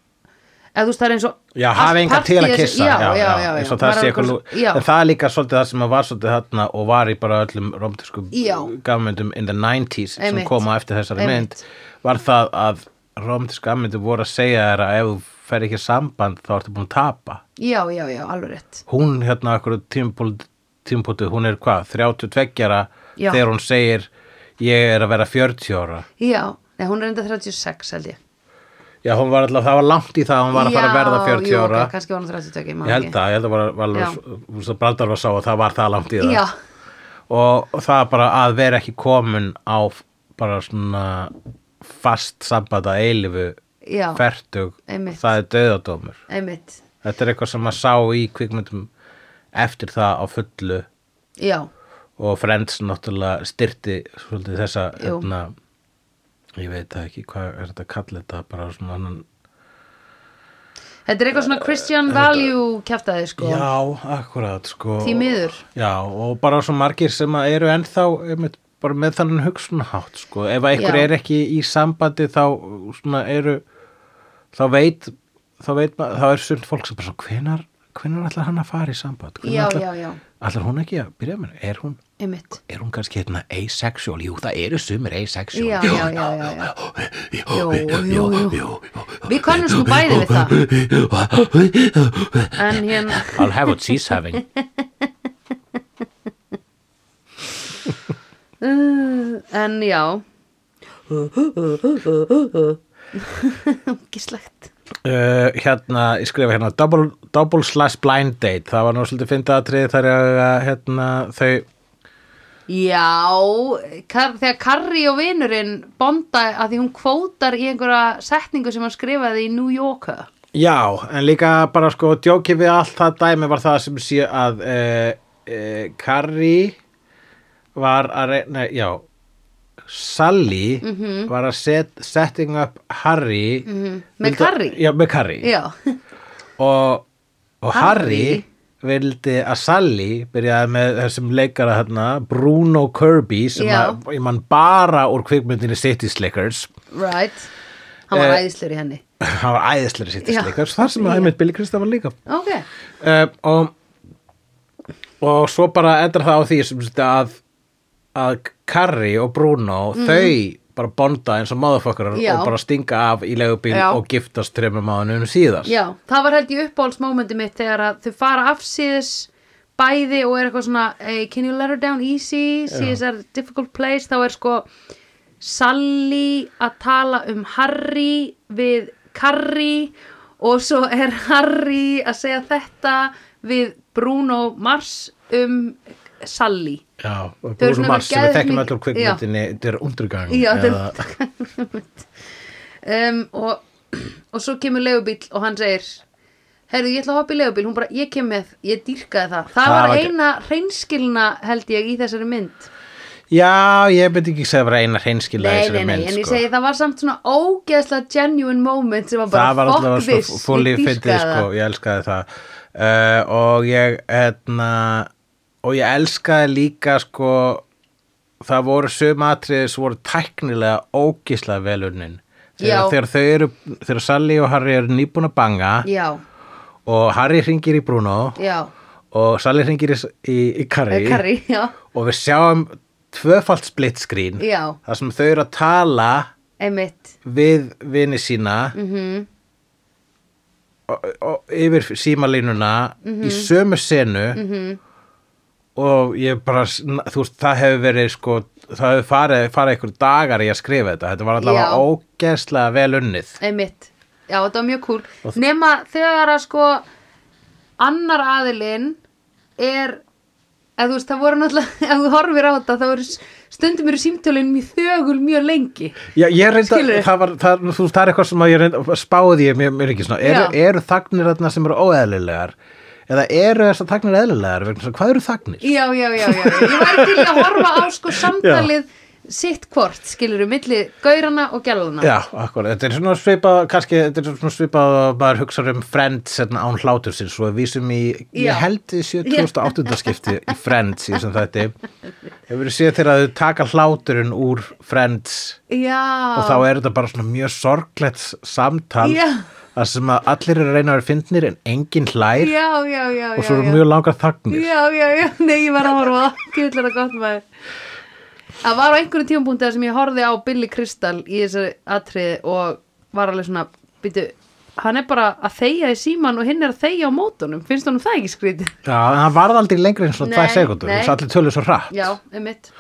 Speaker 1: eða þú veist það er eins og
Speaker 2: Já,
Speaker 1: allt
Speaker 2: hafa enga til að
Speaker 1: partíið-
Speaker 2: kissa
Speaker 1: Já, já, já, já,
Speaker 2: eins og það
Speaker 1: Maður
Speaker 2: sé
Speaker 1: er
Speaker 2: eitthvað
Speaker 1: alveg
Speaker 2: lú-
Speaker 1: já,
Speaker 2: En það er líka svolítið það sem var svolítið þarna og var í bara öllum romtisku
Speaker 1: Já.
Speaker 2: gammyndum in the 90s
Speaker 1: Einmitt.
Speaker 2: sem koma eftir þessari
Speaker 1: Einmitt.
Speaker 2: mynd var það að romtisku gammyndum voru að segja þér að ef þú fer ekki í samband þá ertu búin að tapa
Speaker 1: já, já, já, alveg rétt
Speaker 2: Hún hérna okkur tímpótu, hún er hvað, 32 ára
Speaker 1: Já.
Speaker 2: þegar hún segir ég er að vera 40 ára
Speaker 1: Já, nei, hún er enda 36 held ég
Speaker 2: Já, hún var alltaf, það var langt í það að hún var að fara að verða 40
Speaker 1: jú,
Speaker 2: ára
Speaker 1: ok, kannski var hún 30 tökja,
Speaker 2: Ég held það, ég held það var, var
Speaker 1: Já.
Speaker 2: alveg, þú veist að Brandar var sá að það var það langt í það
Speaker 1: Já,
Speaker 2: og það er bara að vera ekki komin á f- bara svona fast samband að eilifu
Speaker 1: já,
Speaker 2: fertug,
Speaker 1: Einmitt.
Speaker 2: það er döðadómur
Speaker 1: einmitt
Speaker 2: þetta er eitthvað sem maður sá í kvikmyndum eftir það á fullu
Speaker 1: Já,
Speaker 2: og Friends náttúrulega styrti svolítið þessa
Speaker 1: Jú.
Speaker 2: hérna, ég veit það ekki, hvað er þetta að kalla þetta bara svona annan
Speaker 1: þetta er eitthvað svona Christian Value kjaftaði sko
Speaker 2: Já, akkurat sko
Speaker 1: Því miður.
Speaker 2: Já, og bara svo margir sem að eru ennþá einmitt, bara með þannig hugsunhátt sko, ef að einhver
Speaker 1: Já.
Speaker 2: er ekki í sambandi þá svona eru þá veit þá, veit, ma- þá er sund fólk sem bara svo hvenar, hvenar ætlar hann að fara í samband Hvenær
Speaker 1: Já,
Speaker 2: ætlar,
Speaker 1: já, já.
Speaker 2: ætlar hún ekki að byrja með er hún,
Speaker 1: einmitt
Speaker 2: er hún kannski hérna asexual, jú það eru sumir asexual
Speaker 1: Já, já, já, já, já Jú, jú, jú
Speaker 3: jú.
Speaker 1: Við kannum sko bæði við það
Speaker 3: Hva?
Speaker 1: En hérna,
Speaker 2: I'll have what she's having
Speaker 1: uh, en já Gislegt
Speaker 2: Uh, hérna, ég skrifa hérna double, double slash blind date það var nú svolítið fyndið atrið þar að hérna, þau
Speaker 1: Já, kar, þegar Karri og vinurinn bonda að því hún kvótar í einhverja setningu sem hann skrifaði í New Yorker
Speaker 2: já, en líka bara sko djókið við allt það dæmi var það sem sé að uh, uh, Carrie var að reyna, já Sally
Speaker 1: Mhm.
Speaker 2: var að set, setting up Harry
Speaker 1: Með
Speaker 2: vildi-
Speaker 1: Carrie?
Speaker 2: já, með Carrie
Speaker 1: Já, <laughs>
Speaker 2: og, og Harry
Speaker 1: Harry.
Speaker 2: vildi að Sally byrjaði með þessum leikara hérna Bruno Kirby sem
Speaker 1: Já.
Speaker 2: að, ég mann bara úr kvikmyndinni City Slickers <laughs>
Speaker 1: right Hann var
Speaker 2: Eh,
Speaker 1: æðislur í henni
Speaker 2: hann var æðislega City
Speaker 1: Já.
Speaker 2: Slickers þar sem að einmitt Billy Kristaf var líka
Speaker 1: Ok,
Speaker 2: uh, og og svo bara endar það á því sem sagt að að Carrie og Bruno þau bara bonda eins og motherfuckerar
Speaker 1: Mhm. Já.
Speaker 2: og bara stinga af í legubíl
Speaker 1: Já.
Speaker 2: og giftast trefnum máðunum síðast
Speaker 1: já, það var held ég uppáhaldsmómenti mitt þegar að þau fara afsíðis bæði og er eitthvað svona hey, can you let her down easy, see is a difficult place þá er sko Sally að tala um Harry við Carrie og svo er Harry að segja þetta við Bruno Mars um Sally
Speaker 2: Já, og
Speaker 1: Þau eru
Speaker 2: Bruno
Speaker 1: svona
Speaker 2: Mars sem við
Speaker 1: geðveik
Speaker 2: þekkjum
Speaker 1: mikið-
Speaker 2: öllur kvikmyndinni þetta er undergang
Speaker 1: Já,
Speaker 2: eða-
Speaker 1: þetta um, og, og svo kemur leigubíll og hann segir Herðu, ég ætla að hoppa í legubíl, hún bara, ég kem með, ég dýrkaði það. Það,
Speaker 2: Það
Speaker 1: var
Speaker 2: var ekki-
Speaker 1: eina hreinskilna, held ég, í þessari mynd.
Speaker 2: Já, ég myndi ekki segja að vera eina hreinskilda í
Speaker 1: Nei,
Speaker 2: þessari
Speaker 1: nei, nei,
Speaker 2: mynd,
Speaker 1: en ég
Speaker 2: sko.
Speaker 1: segi, það var samt svona ógeðslega genuine moment sem var
Speaker 2: það var
Speaker 1: bara,
Speaker 2: alltaf
Speaker 1: fuck this,
Speaker 2: svo fulli
Speaker 1: ég
Speaker 2: fyndið
Speaker 1: dýrkaði
Speaker 2: sko,
Speaker 1: það.
Speaker 2: ég elskaði það uh, og ég etna, og ég elskaði líka sko það voru sum atriði sem voru tæknilega ógislega velunin
Speaker 1: Já.
Speaker 2: þegar, þegar þau eru þegar Sally og Harry eru nýbúin að banga
Speaker 1: Já,
Speaker 2: og Harry hringir í Bruno
Speaker 1: já,
Speaker 2: og Sally hringir í, í, í
Speaker 1: Eh,
Speaker 2: Carrie,
Speaker 1: Carrie, já,
Speaker 2: og við sjáum tvöfalt split screen
Speaker 1: Já.
Speaker 2: þar sem þau eru að tala
Speaker 1: einmitt,
Speaker 2: við vini sína
Speaker 1: mhm, Mm.
Speaker 2: og- og- yfir símalínuna í
Speaker 1: Mhm.
Speaker 2: sömu senu og ég bara þú veist, það hefur verið sko það hefur farið, farið einhver dagar í að skrifa þetta þetta var
Speaker 1: Já.
Speaker 2: allavega ógeðslega vel unnið
Speaker 1: einmitt. Já, þetta var mjög kúl. Nema þegar að sko annar aðilinn er, eða þú veist, það voru náttúrulega, <laughs> ef þú horfir á þetta, þá voru stundum eru símtölinn mjög þögul mjög lengi.
Speaker 2: Já, ég reynda,
Speaker 1: Skilurðu?
Speaker 2: það, var, það, þú veist, það er eitthvað sem að ég reynda, spáði ég mér, mér ekki svona, eru,
Speaker 1: Já.
Speaker 2: eru þagnir þarna sem eru óeðlilegar eða eru þessar þagnir eðlilegar, vegna þess að hvað eru þagnir?
Speaker 1: Já, já, já, já. Ég væri til í að horfa á
Speaker 2: <laughs>
Speaker 1: sko samtalið sitt hvort, skilur við, milli gaurana og gæluna.
Speaker 2: Já, akkur, þetta er svona svipað, kannski, þetta er svona svipað að maður hugsa um Friends hérna, án hlátur sinns og við vísum í,
Speaker 1: Já.
Speaker 2: ég held í 7008. skipti í Friends í sem þetta hefur við séð þegar þau taka hláturinn úr Friends
Speaker 1: Já.
Speaker 2: og þá er þetta bara svona mjög sorglegt samtal
Speaker 1: Já.
Speaker 2: þar sem að allir eru að reyna að vera fyndnir en enginn hlær
Speaker 1: Já, já, já, já.
Speaker 2: og svo eru
Speaker 1: já.
Speaker 2: mjög langar þagnir.
Speaker 1: Já, já, já. Nei, ég var að horfa á það. Kjöldlega gott maður. Það var á einhverjum tímapunkti þar sem ég horfði á Billy Crystal í þessu atriði og var alveg svona, býtu, hann er bara að þegja í síman og hinn er að þegja á mótunum. Finnst honum það ekki skrítið?
Speaker 2: Já, en það varð aldrei lengri en svona
Speaker 1: Nei,
Speaker 2: 2 sekundur,
Speaker 1: nei.
Speaker 2: þess að allir tölur svo hratt.
Speaker 1: Já, einmitt.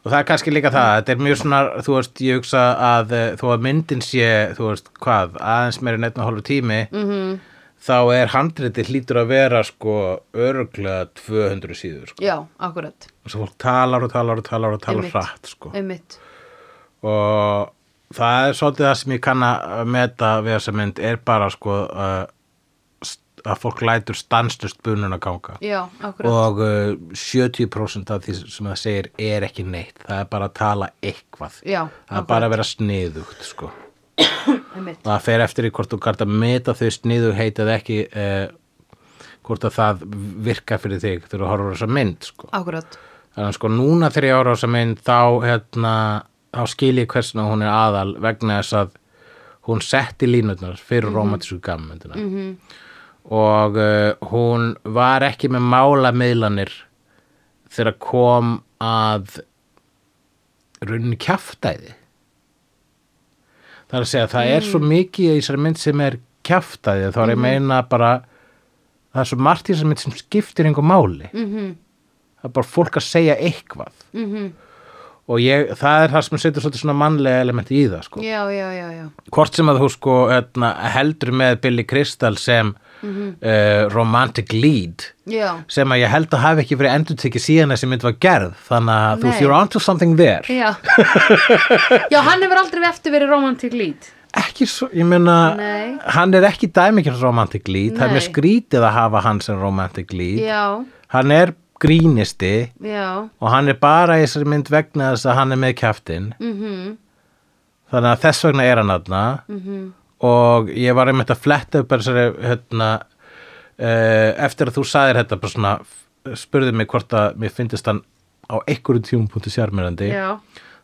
Speaker 2: og það er kannski líka það, þetta er mjög svona þú veist, ég hugsa að eh, þó að myndin sé, þú veist, hvað aðeins meira en einn og hálfu tími -hmm.
Speaker 1: Mhm.
Speaker 2: þá er handritið hlýtur að vera sko örglega 200 síður sko.
Speaker 1: Já, akkurat.
Speaker 2: og svo fólk talar og talar og talar og talar
Speaker 1: Einmitt.
Speaker 2: hratt sko.
Speaker 1: Einmitt.
Speaker 2: og það er svolítið það sem ég kann að meta við þessa mynd er bara sko uh, st- að fólk lætur stanslust bunun að ganga
Speaker 1: Já, akkurat.
Speaker 2: og uh, 70% af því sem það segir er ekki neitt það er bara að tala eitthvað
Speaker 1: Já,
Speaker 2: það er
Speaker 1: akkurat.
Speaker 2: bara að vera sniðugt sko.
Speaker 1: Einmitt.
Speaker 2: og það fer eftir í hvort þú gart að meta þau sniðug heitað ekki eh, hvort að það virka fyrir þig þegar þú horfur þessa mynd sko.
Speaker 1: Akkurat.
Speaker 2: þannig að sko núna þegar ég horfur þessa mynd þá, hérna, þá skil ég hversna hún er aðal vegna þess að hún setti línutnar
Speaker 1: Mhm.
Speaker 2: fyrir mm -hmm. romantísku gammyndina mm -hmm. og uh, hún var ekki með málamiðlanir þegar kom að rauninni kjaftæði það er að segja það er svo mikið í þessari mynd sem er kjaftæði þá er ég meina bara það er svo margt í þessari mynd sem skiptir einhver máli mm -hmm. það er bara fólk að segja eitthvað mm -hmm. og ég, það er það sem setur svolítið svona mannlega element í það sko
Speaker 1: Já, já, já, já.
Speaker 2: hvort sem að þú sko hérna, heldur með Billy Crystal sem mm
Speaker 1: Mhm.
Speaker 2: romantic lead
Speaker 1: Já,
Speaker 2: sem að ég held að hafi ekki verið endur tekið síðan þessi mynd var gerð þannig að þú
Speaker 1: Nei.
Speaker 2: veist, you're onto something there
Speaker 1: <laughs> já. já, hann hefur aldrei eftir verið romantic lead.
Speaker 2: ekki svo, ég meina
Speaker 1: Nei.
Speaker 2: hann er ekki dæmikjum romantic lead það er
Speaker 1: Nei.
Speaker 2: með skrítið að hafa hann sem romantic lead
Speaker 1: Já,
Speaker 2: hann er grínisti
Speaker 1: já,
Speaker 2: og hann er bara í þessari mynd vegna þess að hann er með kjaftin
Speaker 1: mhm,
Speaker 2: þannig að þess vegna er hann aðna
Speaker 1: Mhm.
Speaker 2: og ég var einmitt að fletta upp þessari hérna, uh, eftir að þú sagðir þetta bara svona, f- spurði mig hvort að mér fyndist hann á einhverju tjúmpunktu sjármyrandi
Speaker 1: já.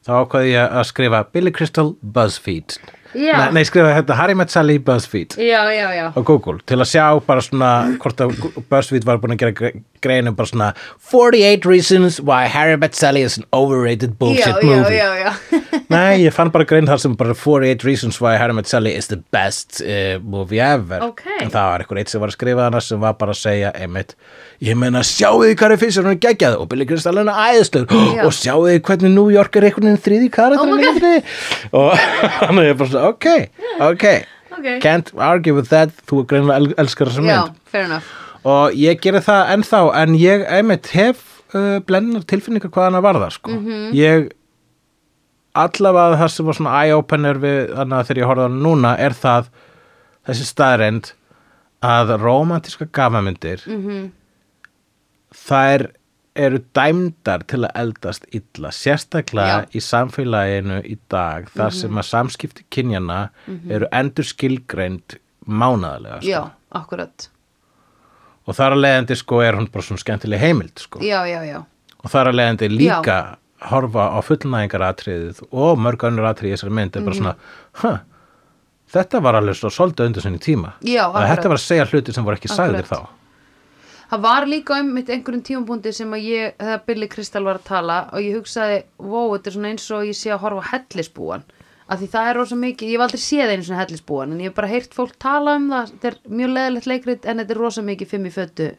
Speaker 2: þá ákvaði ég að skrifa Billy Crystal BuzzFeed
Speaker 1: Já.
Speaker 2: nei, nei, skrifa þetta Harry Met Sally BuzzFeed
Speaker 1: Já, já, já.
Speaker 2: á Google til að sjá bara svona hvort að BuzzFeed var búin að gera gre- grein um bara svona 48 reasons why Harry Met Sally is an overrated bullshit
Speaker 1: já,
Speaker 2: movie
Speaker 1: já, já, já.
Speaker 2: <laughs> Nei, ég fann bara grein þar sem bara 48 Reasons Why Harry Met Sally is the best uh, movie ever
Speaker 1: Ok.
Speaker 2: en það var einhver eitt sem var að skrifa hana sem var bara að segja einmitt, ég meina sjáu þið hvað er fyrst hún er geggjað og Billy Crystal hann er æðislur <gasps>
Speaker 1: Já.
Speaker 2: og sjáu þið hvernig New York er einhvern veginn þriði
Speaker 1: Oh my
Speaker 2: karakterin
Speaker 1: God.
Speaker 2: oh og <laughs> hann er bara svona, ok, ok
Speaker 1: Ok.
Speaker 2: can't argue with that þú er greinlega el elskar þessa
Speaker 1: já,
Speaker 2: mynd
Speaker 1: fair enough.
Speaker 2: og ég gerði það ennþá en ég einmitt hef uh, blennar tilfinningar hvað hana varðar sko.
Speaker 1: Mhm.
Speaker 2: ég allavega það sem var svona eye-opener við þannig að þegar ég horfði á hana núna er það þessi staðreind að rómantíska gamamyndir
Speaker 1: mhm,
Speaker 2: þær eru dæmdar til að eldast illa, sérstaklega
Speaker 1: Já. Mhm.
Speaker 2: í samfélaginu í dag þar sem að samskipti kynjana eru endur skilgreind mánaðarlega sko.
Speaker 1: já, akkurat
Speaker 2: og þar að leiðandi sko er hún bara svona skemmtileg heimild sko.
Speaker 1: já, já, já,
Speaker 2: og þar að leiðandi líka horfa á fullnæðingaratriðið og mörg önnur atriði í þessari mynd er
Speaker 1: Mhm.
Speaker 2: bara svona huh, þetta var alveg svo svolítið undir sinni tíma
Speaker 1: Já,
Speaker 2: Að þetta
Speaker 1: akkurat.
Speaker 2: var að segja hluti sem voru ekki sagðir þá
Speaker 1: Akkurat. það var líka einmitt einhverjum tímapunkti sem að ég, þegar Billy Crystal var að tala og ég hugsaði, wow, þetta er svona eins og ég sé að horfa á hellisbúan af því það er rosa mikið, ég hef aldrei séð einu svona hellisbúan en ég hef bara heyrt fólk tala um það þetta er mjög leðilegt leikrit en þetta er rosa mikið fimm í fötu,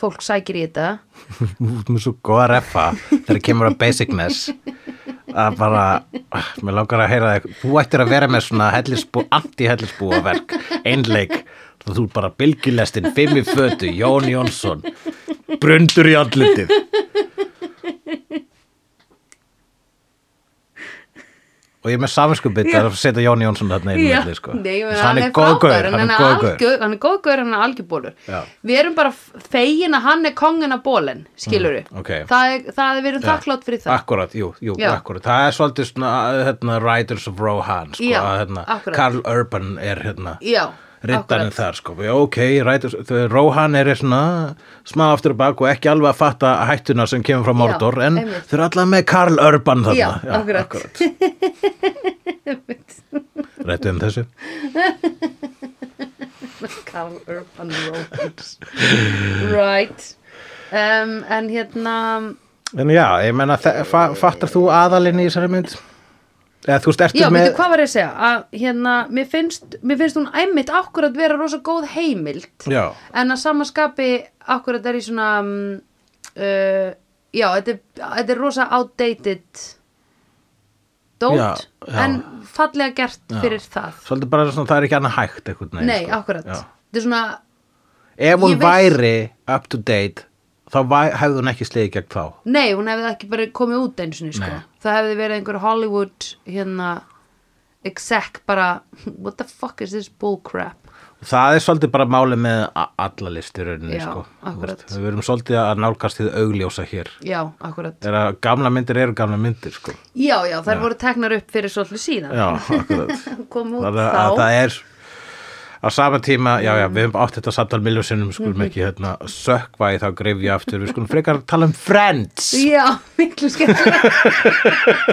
Speaker 1: fólk sækir í þetta
Speaker 2: út með svo góða refa þegar kemur að basicness að bara, mér langar að heyra þig þú ættir að vera með svona hellisbú, anti-hellisbúaverk, einleik þá þú bara bylgjulestin, fimm í fötu Jón Jónsson brundur í andlitið og ég er með saminskupið það er að setja Jón Jónsson þarna einu milli sko.
Speaker 1: Nei, ég meina,
Speaker 2: Þess að hann er góð
Speaker 1: frábær,
Speaker 2: gaur,
Speaker 1: en
Speaker 2: hann er
Speaker 1: hann
Speaker 2: góð gaur
Speaker 1: algjör- hann er góð gaur, hann er algjörbólur
Speaker 2: Já.
Speaker 1: við erum bara fegin að hann er kongin að bólen skilur við,
Speaker 2: Mm, ok.
Speaker 1: það, er- það er við erum þakklátt fyrir það
Speaker 2: Akkurat, jú, jú,
Speaker 1: Já.
Speaker 2: akkurat Það er svolítið svona, hérna, Riders of Rohan sko,
Speaker 1: Já,
Speaker 2: að, hérna,
Speaker 1: akkurat.
Speaker 2: Karl Urban er hérna
Speaker 1: já,
Speaker 2: Riddarinn þar, sko, Já, ok, Riders, þau, Rohan er svona smá aftur og bak og ekki alveg að fatta hættuna sem kemur frá Mordor en
Speaker 1: einmitt.
Speaker 2: þau eru allavega með Karl Urban þarna
Speaker 1: Já, akkurat. <laughs>
Speaker 2: akkurat. Rættu um þessu
Speaker 1: Karl Urban Roberts Right um, En hérna
Speaker 2: En já, ég menna, fa fattar þú aðalinn í þessari mynd? Eða þú veist, ertu
Speaker 1: Já,
Speaker 2: með
Speaker 1: veitu hvað var ég að segja að hérna, mér finnst, mér finnst hún æmitt akkurat vera rosa góð heimild
Speaker 2: Já,
Speaker 1: en að samaskapi akkurat er í svona um, uh, Já, þetta er, þetta er rosa outdated dót
Speaker 2: Já, já.
Speaker 1: en fallega gert fyrir það
Speaker 2: svolítið bara svona, það er ekki annað hægt einhvern veginn
Speaker 1: Nei,
Speaker 2: sko.
Speaker 1: akkurat
Speaker 2: Já.
Speaker 1: Þetta er svona,
Speaker 2: Ef hún
Speaker 1: Ég veist-
Speaker 2: væri up to date þá væ- hefði hún ekki slegið gegn þá
Speaker 1: nei, hún hefði ekki bara komið út eins og niður, sko.
Speaker 2: Nei.
Speaker 1: Það hefði verið einhver Hollywood, hérna, exec bara, what the fuck is this bullcrap?
Speaker 2: Það er svolítið bara málið með a- alla listir rauninni,
Speaker 1: Já,
Speaker 2: sko. Þú
Speaker 1: akkurat.
Speaker 2: veist, Við erum svolítið að nálgast þið augljósa hér
Speaker 1: Já, akkurat.
Speaker 2: er að gamla myndir eru gamla myndir sko.
Speaker 1: Já, já, þær voru teknar upp fyrir svolítið síðan.
Speaker 2: Já, akkurat
Speaker 1: Kom út
Speaker 2: Það er að
Speaker 1: þá.
Speaker 2: það er á sama tíma, já, já, við hefum átt þetta samtal miljósinnum,
Speaker 1: Mhm.
Speaker 2: skulum ekki hérna sökva í þá grifja aftur, við skulum frekar tala um Friends
Speaker 1: Já, miklu skemmtilega.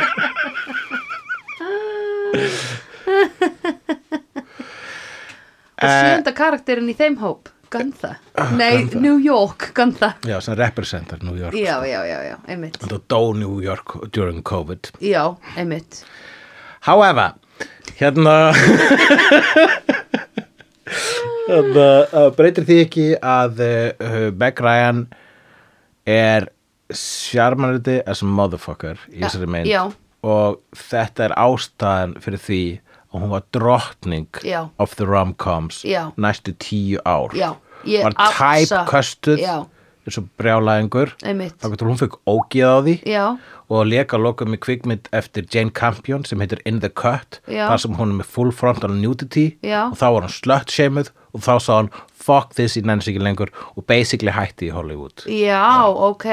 Speaker 1: Og sjönda karakterin í þeim hóp, Guntha. Nei, New York, Guntha.
Speaker 2: Já, sem representar New York
Speaker 1: Já, já, já, já, einmitt.
Speaker 2: Það dó New York during COVID
Speaker 1: Já, einmitt.
Speaker 2: However, hérna hérna uh, breytir því ekki að uh, Meg Ryan er sjarmarandi as a motherfucker í þessari mynd
Speaker 1: já.
Speaker 2: og þetta er ástæðan fyrir því að hún var drottning
Speaker 1: Já.
Speaker 2: of the rom-coms
Speaker 1: Já.
Speaker 2: næstu tíu ár
Speaker 1: Já, ég
Speaker 2: var
Speaker 1: absa-
Speaker 2: typecustuð
Speaker 1: Já.
Speaker 2: eins og brjálæðingur
Speaker 1: Einmitt.
Speaker 2: þá getur hún fekk ógið á því
Speaker 1: Já,
Speaker 2: og leka lokum í kvikmynd eftir Jane Campion sem heitir In the Cut
Speaker 1: Já.
Speaker 2: þar sem hún er með full frontal nudity
Speaker 1: Já.
Speaker 2: og þá var hann slött sheimuð og þá sá hann fuck this í nenns ekki lengur og basically hætti í Hollywood
Speaker 1: já, ok.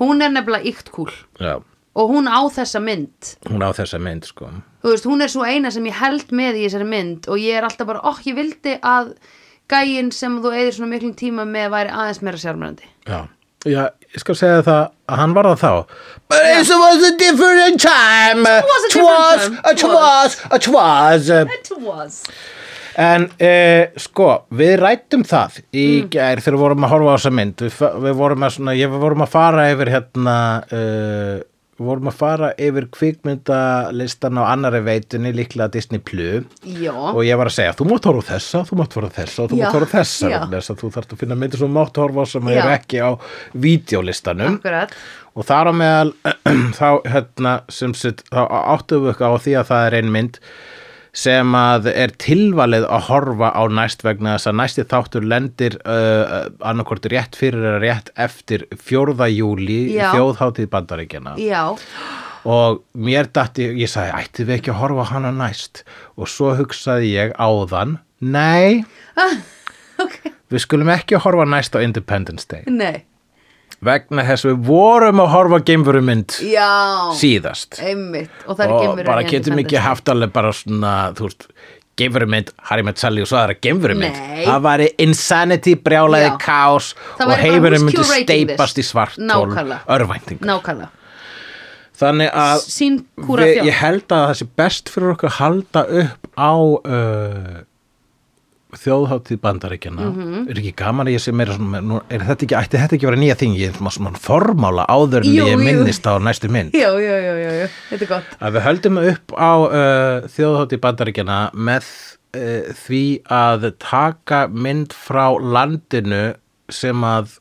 Speaker 1: Hún er nefnilega ykt kúl
Speaker 2: Já.
Speaker 1: og hún á þessa mynd.
Speaker 2: hún á þessa mynd sko
Speaker 1: þú veist, hún er svo eina sem ég held með í þessari mynd og ég er alltaf bara, óh, ég vildi að gæinn sem þú eigðir svona miklum tíma með væri aðeins meira sjármærandi.
Speaker 2: Já. Já, ég skal segja það að hann var það þá But it was a different time It
Speaker 1: was a different time.
Speaker 2: It was, it was
Speaker 1: It was.
Speaker 2: En e, sko, við rættum það í
Speaker 1: Mm.
Speaker 2: gær þegar við vorum að horfa á þessa mynd við, fa- við vorum að svona, ég, við vorum að fara yfir hérna e, við vorum að fara yfir kvikmyndalistan á annari veitunni líklega Disney Plus
Speaker 1: Já,
Speaker 2: og ég var að segja, þú mátt horfa á þessa, þú mátt horfa á þessa og þú
Speaker 1: Ah. Já,
Speaker 2: mátt horfa á þessa
Speaker 1: já.
Speaker 2: vegna þess að þú þarft að finna myndir sem þú mátt horfa á sem
Speaker 1: Já.
Speaker 2: eru ekki á vídeolistanum
Speaker 1: akkurat.
Speaker 2: og þar á meðal <clears throat> þá, hérna, sem sitt, þá áttum við okkur á því að það er ein mynd sem að er tilvalið að horfa á næst vegna þess að næsti þáttur lendir uh, annarkvort rétt fyrir eða rétt eftir 4. júli
Speaker 1: Já.
Speaker 2: þjóðháttið bandaríkjana
Speaker 1: Já, <laughs>
Speaker 2: og mér datti, ég sagði, ættum við ekki að horfa á hana næst og svo hugsaði ég áðan, nei
Speaker 1: ok,
Speaker 2: Við skulum ekki horfa næst á Independence Day
Speaker 1: nei
Speaker 2: vegna þess að við vorum að horfa geimveru mynd
Speaker 1: Já,
Speaker 2: síðast
Speaker 1: einmitt Og það er
Speaker 2: og
Speaker 1: geimurinn
Speaker 2: bara
Speaker 1: í
Speaker 2: getum ekki
Speaker 1: Independence
Speaker 2: haft alveg bara svona, þú veist geimveru mynd, Harry Met Sally og svo aðra geimveru mynd
Speaker 1: Nei.
Speaker 2: það væri insanity, brjálæði,
Speaker 1: Já.
Speaker 2: kaos
Speaker 1: Það væri
Speaker 2: og
Speaker 1: bara
Speaker 2: heimurinn
Speaker 1: who's
Speaker 2: myndi
Speaker 1: curating
Speaker 2: steipast
Speaker 1: this?
Speaker 2: í svart
Speaker 1: Nákvæmlega.
Speaker 2: örvænting
Speaker 1: Nákvæmlega,
Speaker 2: þannig að
Speaker 1: sín kúra
Speaker 2: við,
Speaker 1: þjóð
Speaker 2: ég held að það sé best fyrir okkur að halda upp á uh, þjóðháttíð bandaríkjana
Speaker 1: Mhm.
Speaker 2: er ekki gaman að ég sé meira svona, nú, er þetta ekki, ætti þetta ekki að vera nýja þing ég er svona, svona formála áður en
Speaker 1: Jú,
Speaker 2: ég
Speaker 1: jú.
Speaker 2: minnist á næstu mynd
Speaker 1: Já, já, já, já, já, þetta er gott
Speaker 2: að við höldum upp á uh, þjóðháttíð bandaríkjana með uh, því að taka mynd frá landinu sem að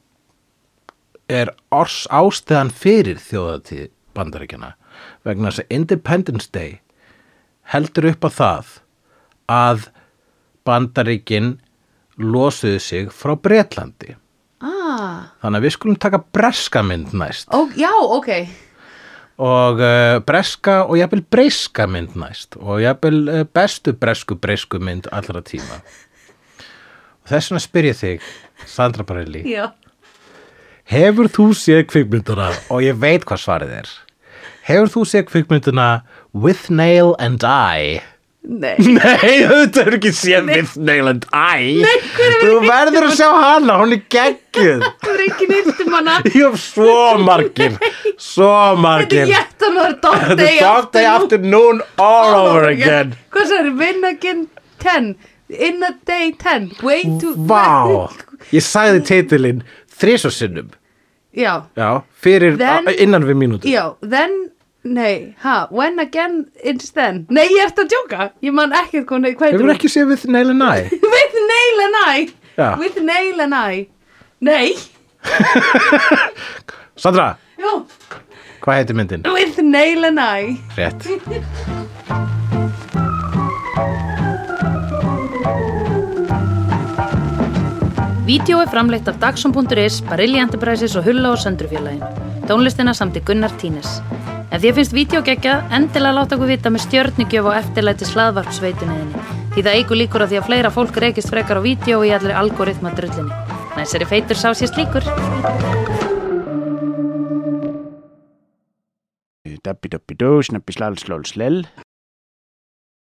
Speaker 2: er ors ástæðan fyrir þjóðháttíð bandaríkjana vegna þess að Independence Day heldur upp á það að bandaríkin losuðu sig frá Bretlandi
Speaker 1: ah,
Speaker 2: þannig að við skulum taka breska mynd næst
Speaker 1: ó, Já, ok
Speaker 2: og uh, breska og jafnvel breska mynd næst og jafnvel uh, bestu bresku bresku mynd allra tíma og þess vegna spyr ég þig Sandra Barelli
Speaker 1: Já,
Speaker 2: hefur þú séð kvikmynduna og ég veit hvað svarið er hefur þú séð kvikmynduna With Nail and I
Speaker 1: nei
Speaker 2: <laughs> Nei, þetta er ekki séð With Nail and I Nei, þú verður að sjá hana, hún er geggjöð
Speaker 1: Það er ekki nýtt um hana
Speaker 2: <laughs> ég hef svo margir svo
Speaker 1: Þetta
Speaker 2: margir
Speaker 1: er jættan og það er
Speaker 2: The dog
Speaker 1: dog
Speaker 2: day
Speaker 1: day afternoon.
Speaker 2: afternoon all over <laughs> again
Speaker 1: Hvað það er, win again 10 In a day 10 Way to
Speaker 2: <laughs> Vá, ég sagði titilinn þrísar sinnum
Speaker 1: <laughs> Já,
Speaker 2: Já, fyrir,
Speaker 1: Then-
Speaker 2: a- innan við mínútu
Speaker 1: já, then Nei, ha, when again it's then Nei, ég ert að djóka Ég man ekkert hvað nei- hvað
Speaker 2: Hefur ekki séð við Neil and I? <laughs>
Speaker 1: With nail and I
Speaker 2: Já.
Speaker 1: With nail and I Nei,
Speaker 2: Sandra,
Speaker 1: já,
Speaker 2: hvað heitir myndin?
Speaker 1: with nail and I
Speaker 2: Rétt
Speaker 1: Vídeó er framleitt af Dagsum.is, Barilli Enterprises og Hulla og Söndrufjörlægin. Tónlistina samt í Gunnar Tínes. Ef þér finnst vídeo geggja, endilega láta okkur vita með stjörnigjöf og eftirlæti slaðvarpsveituninni. Því það eigur líkur að því að fleira fólk reykist frekar á vídeo í allri algoritma drullinni. Næsari feitur sá sér slíkur.
Speaker 4: Dabbi dabbi dó, snabbi slal slól slell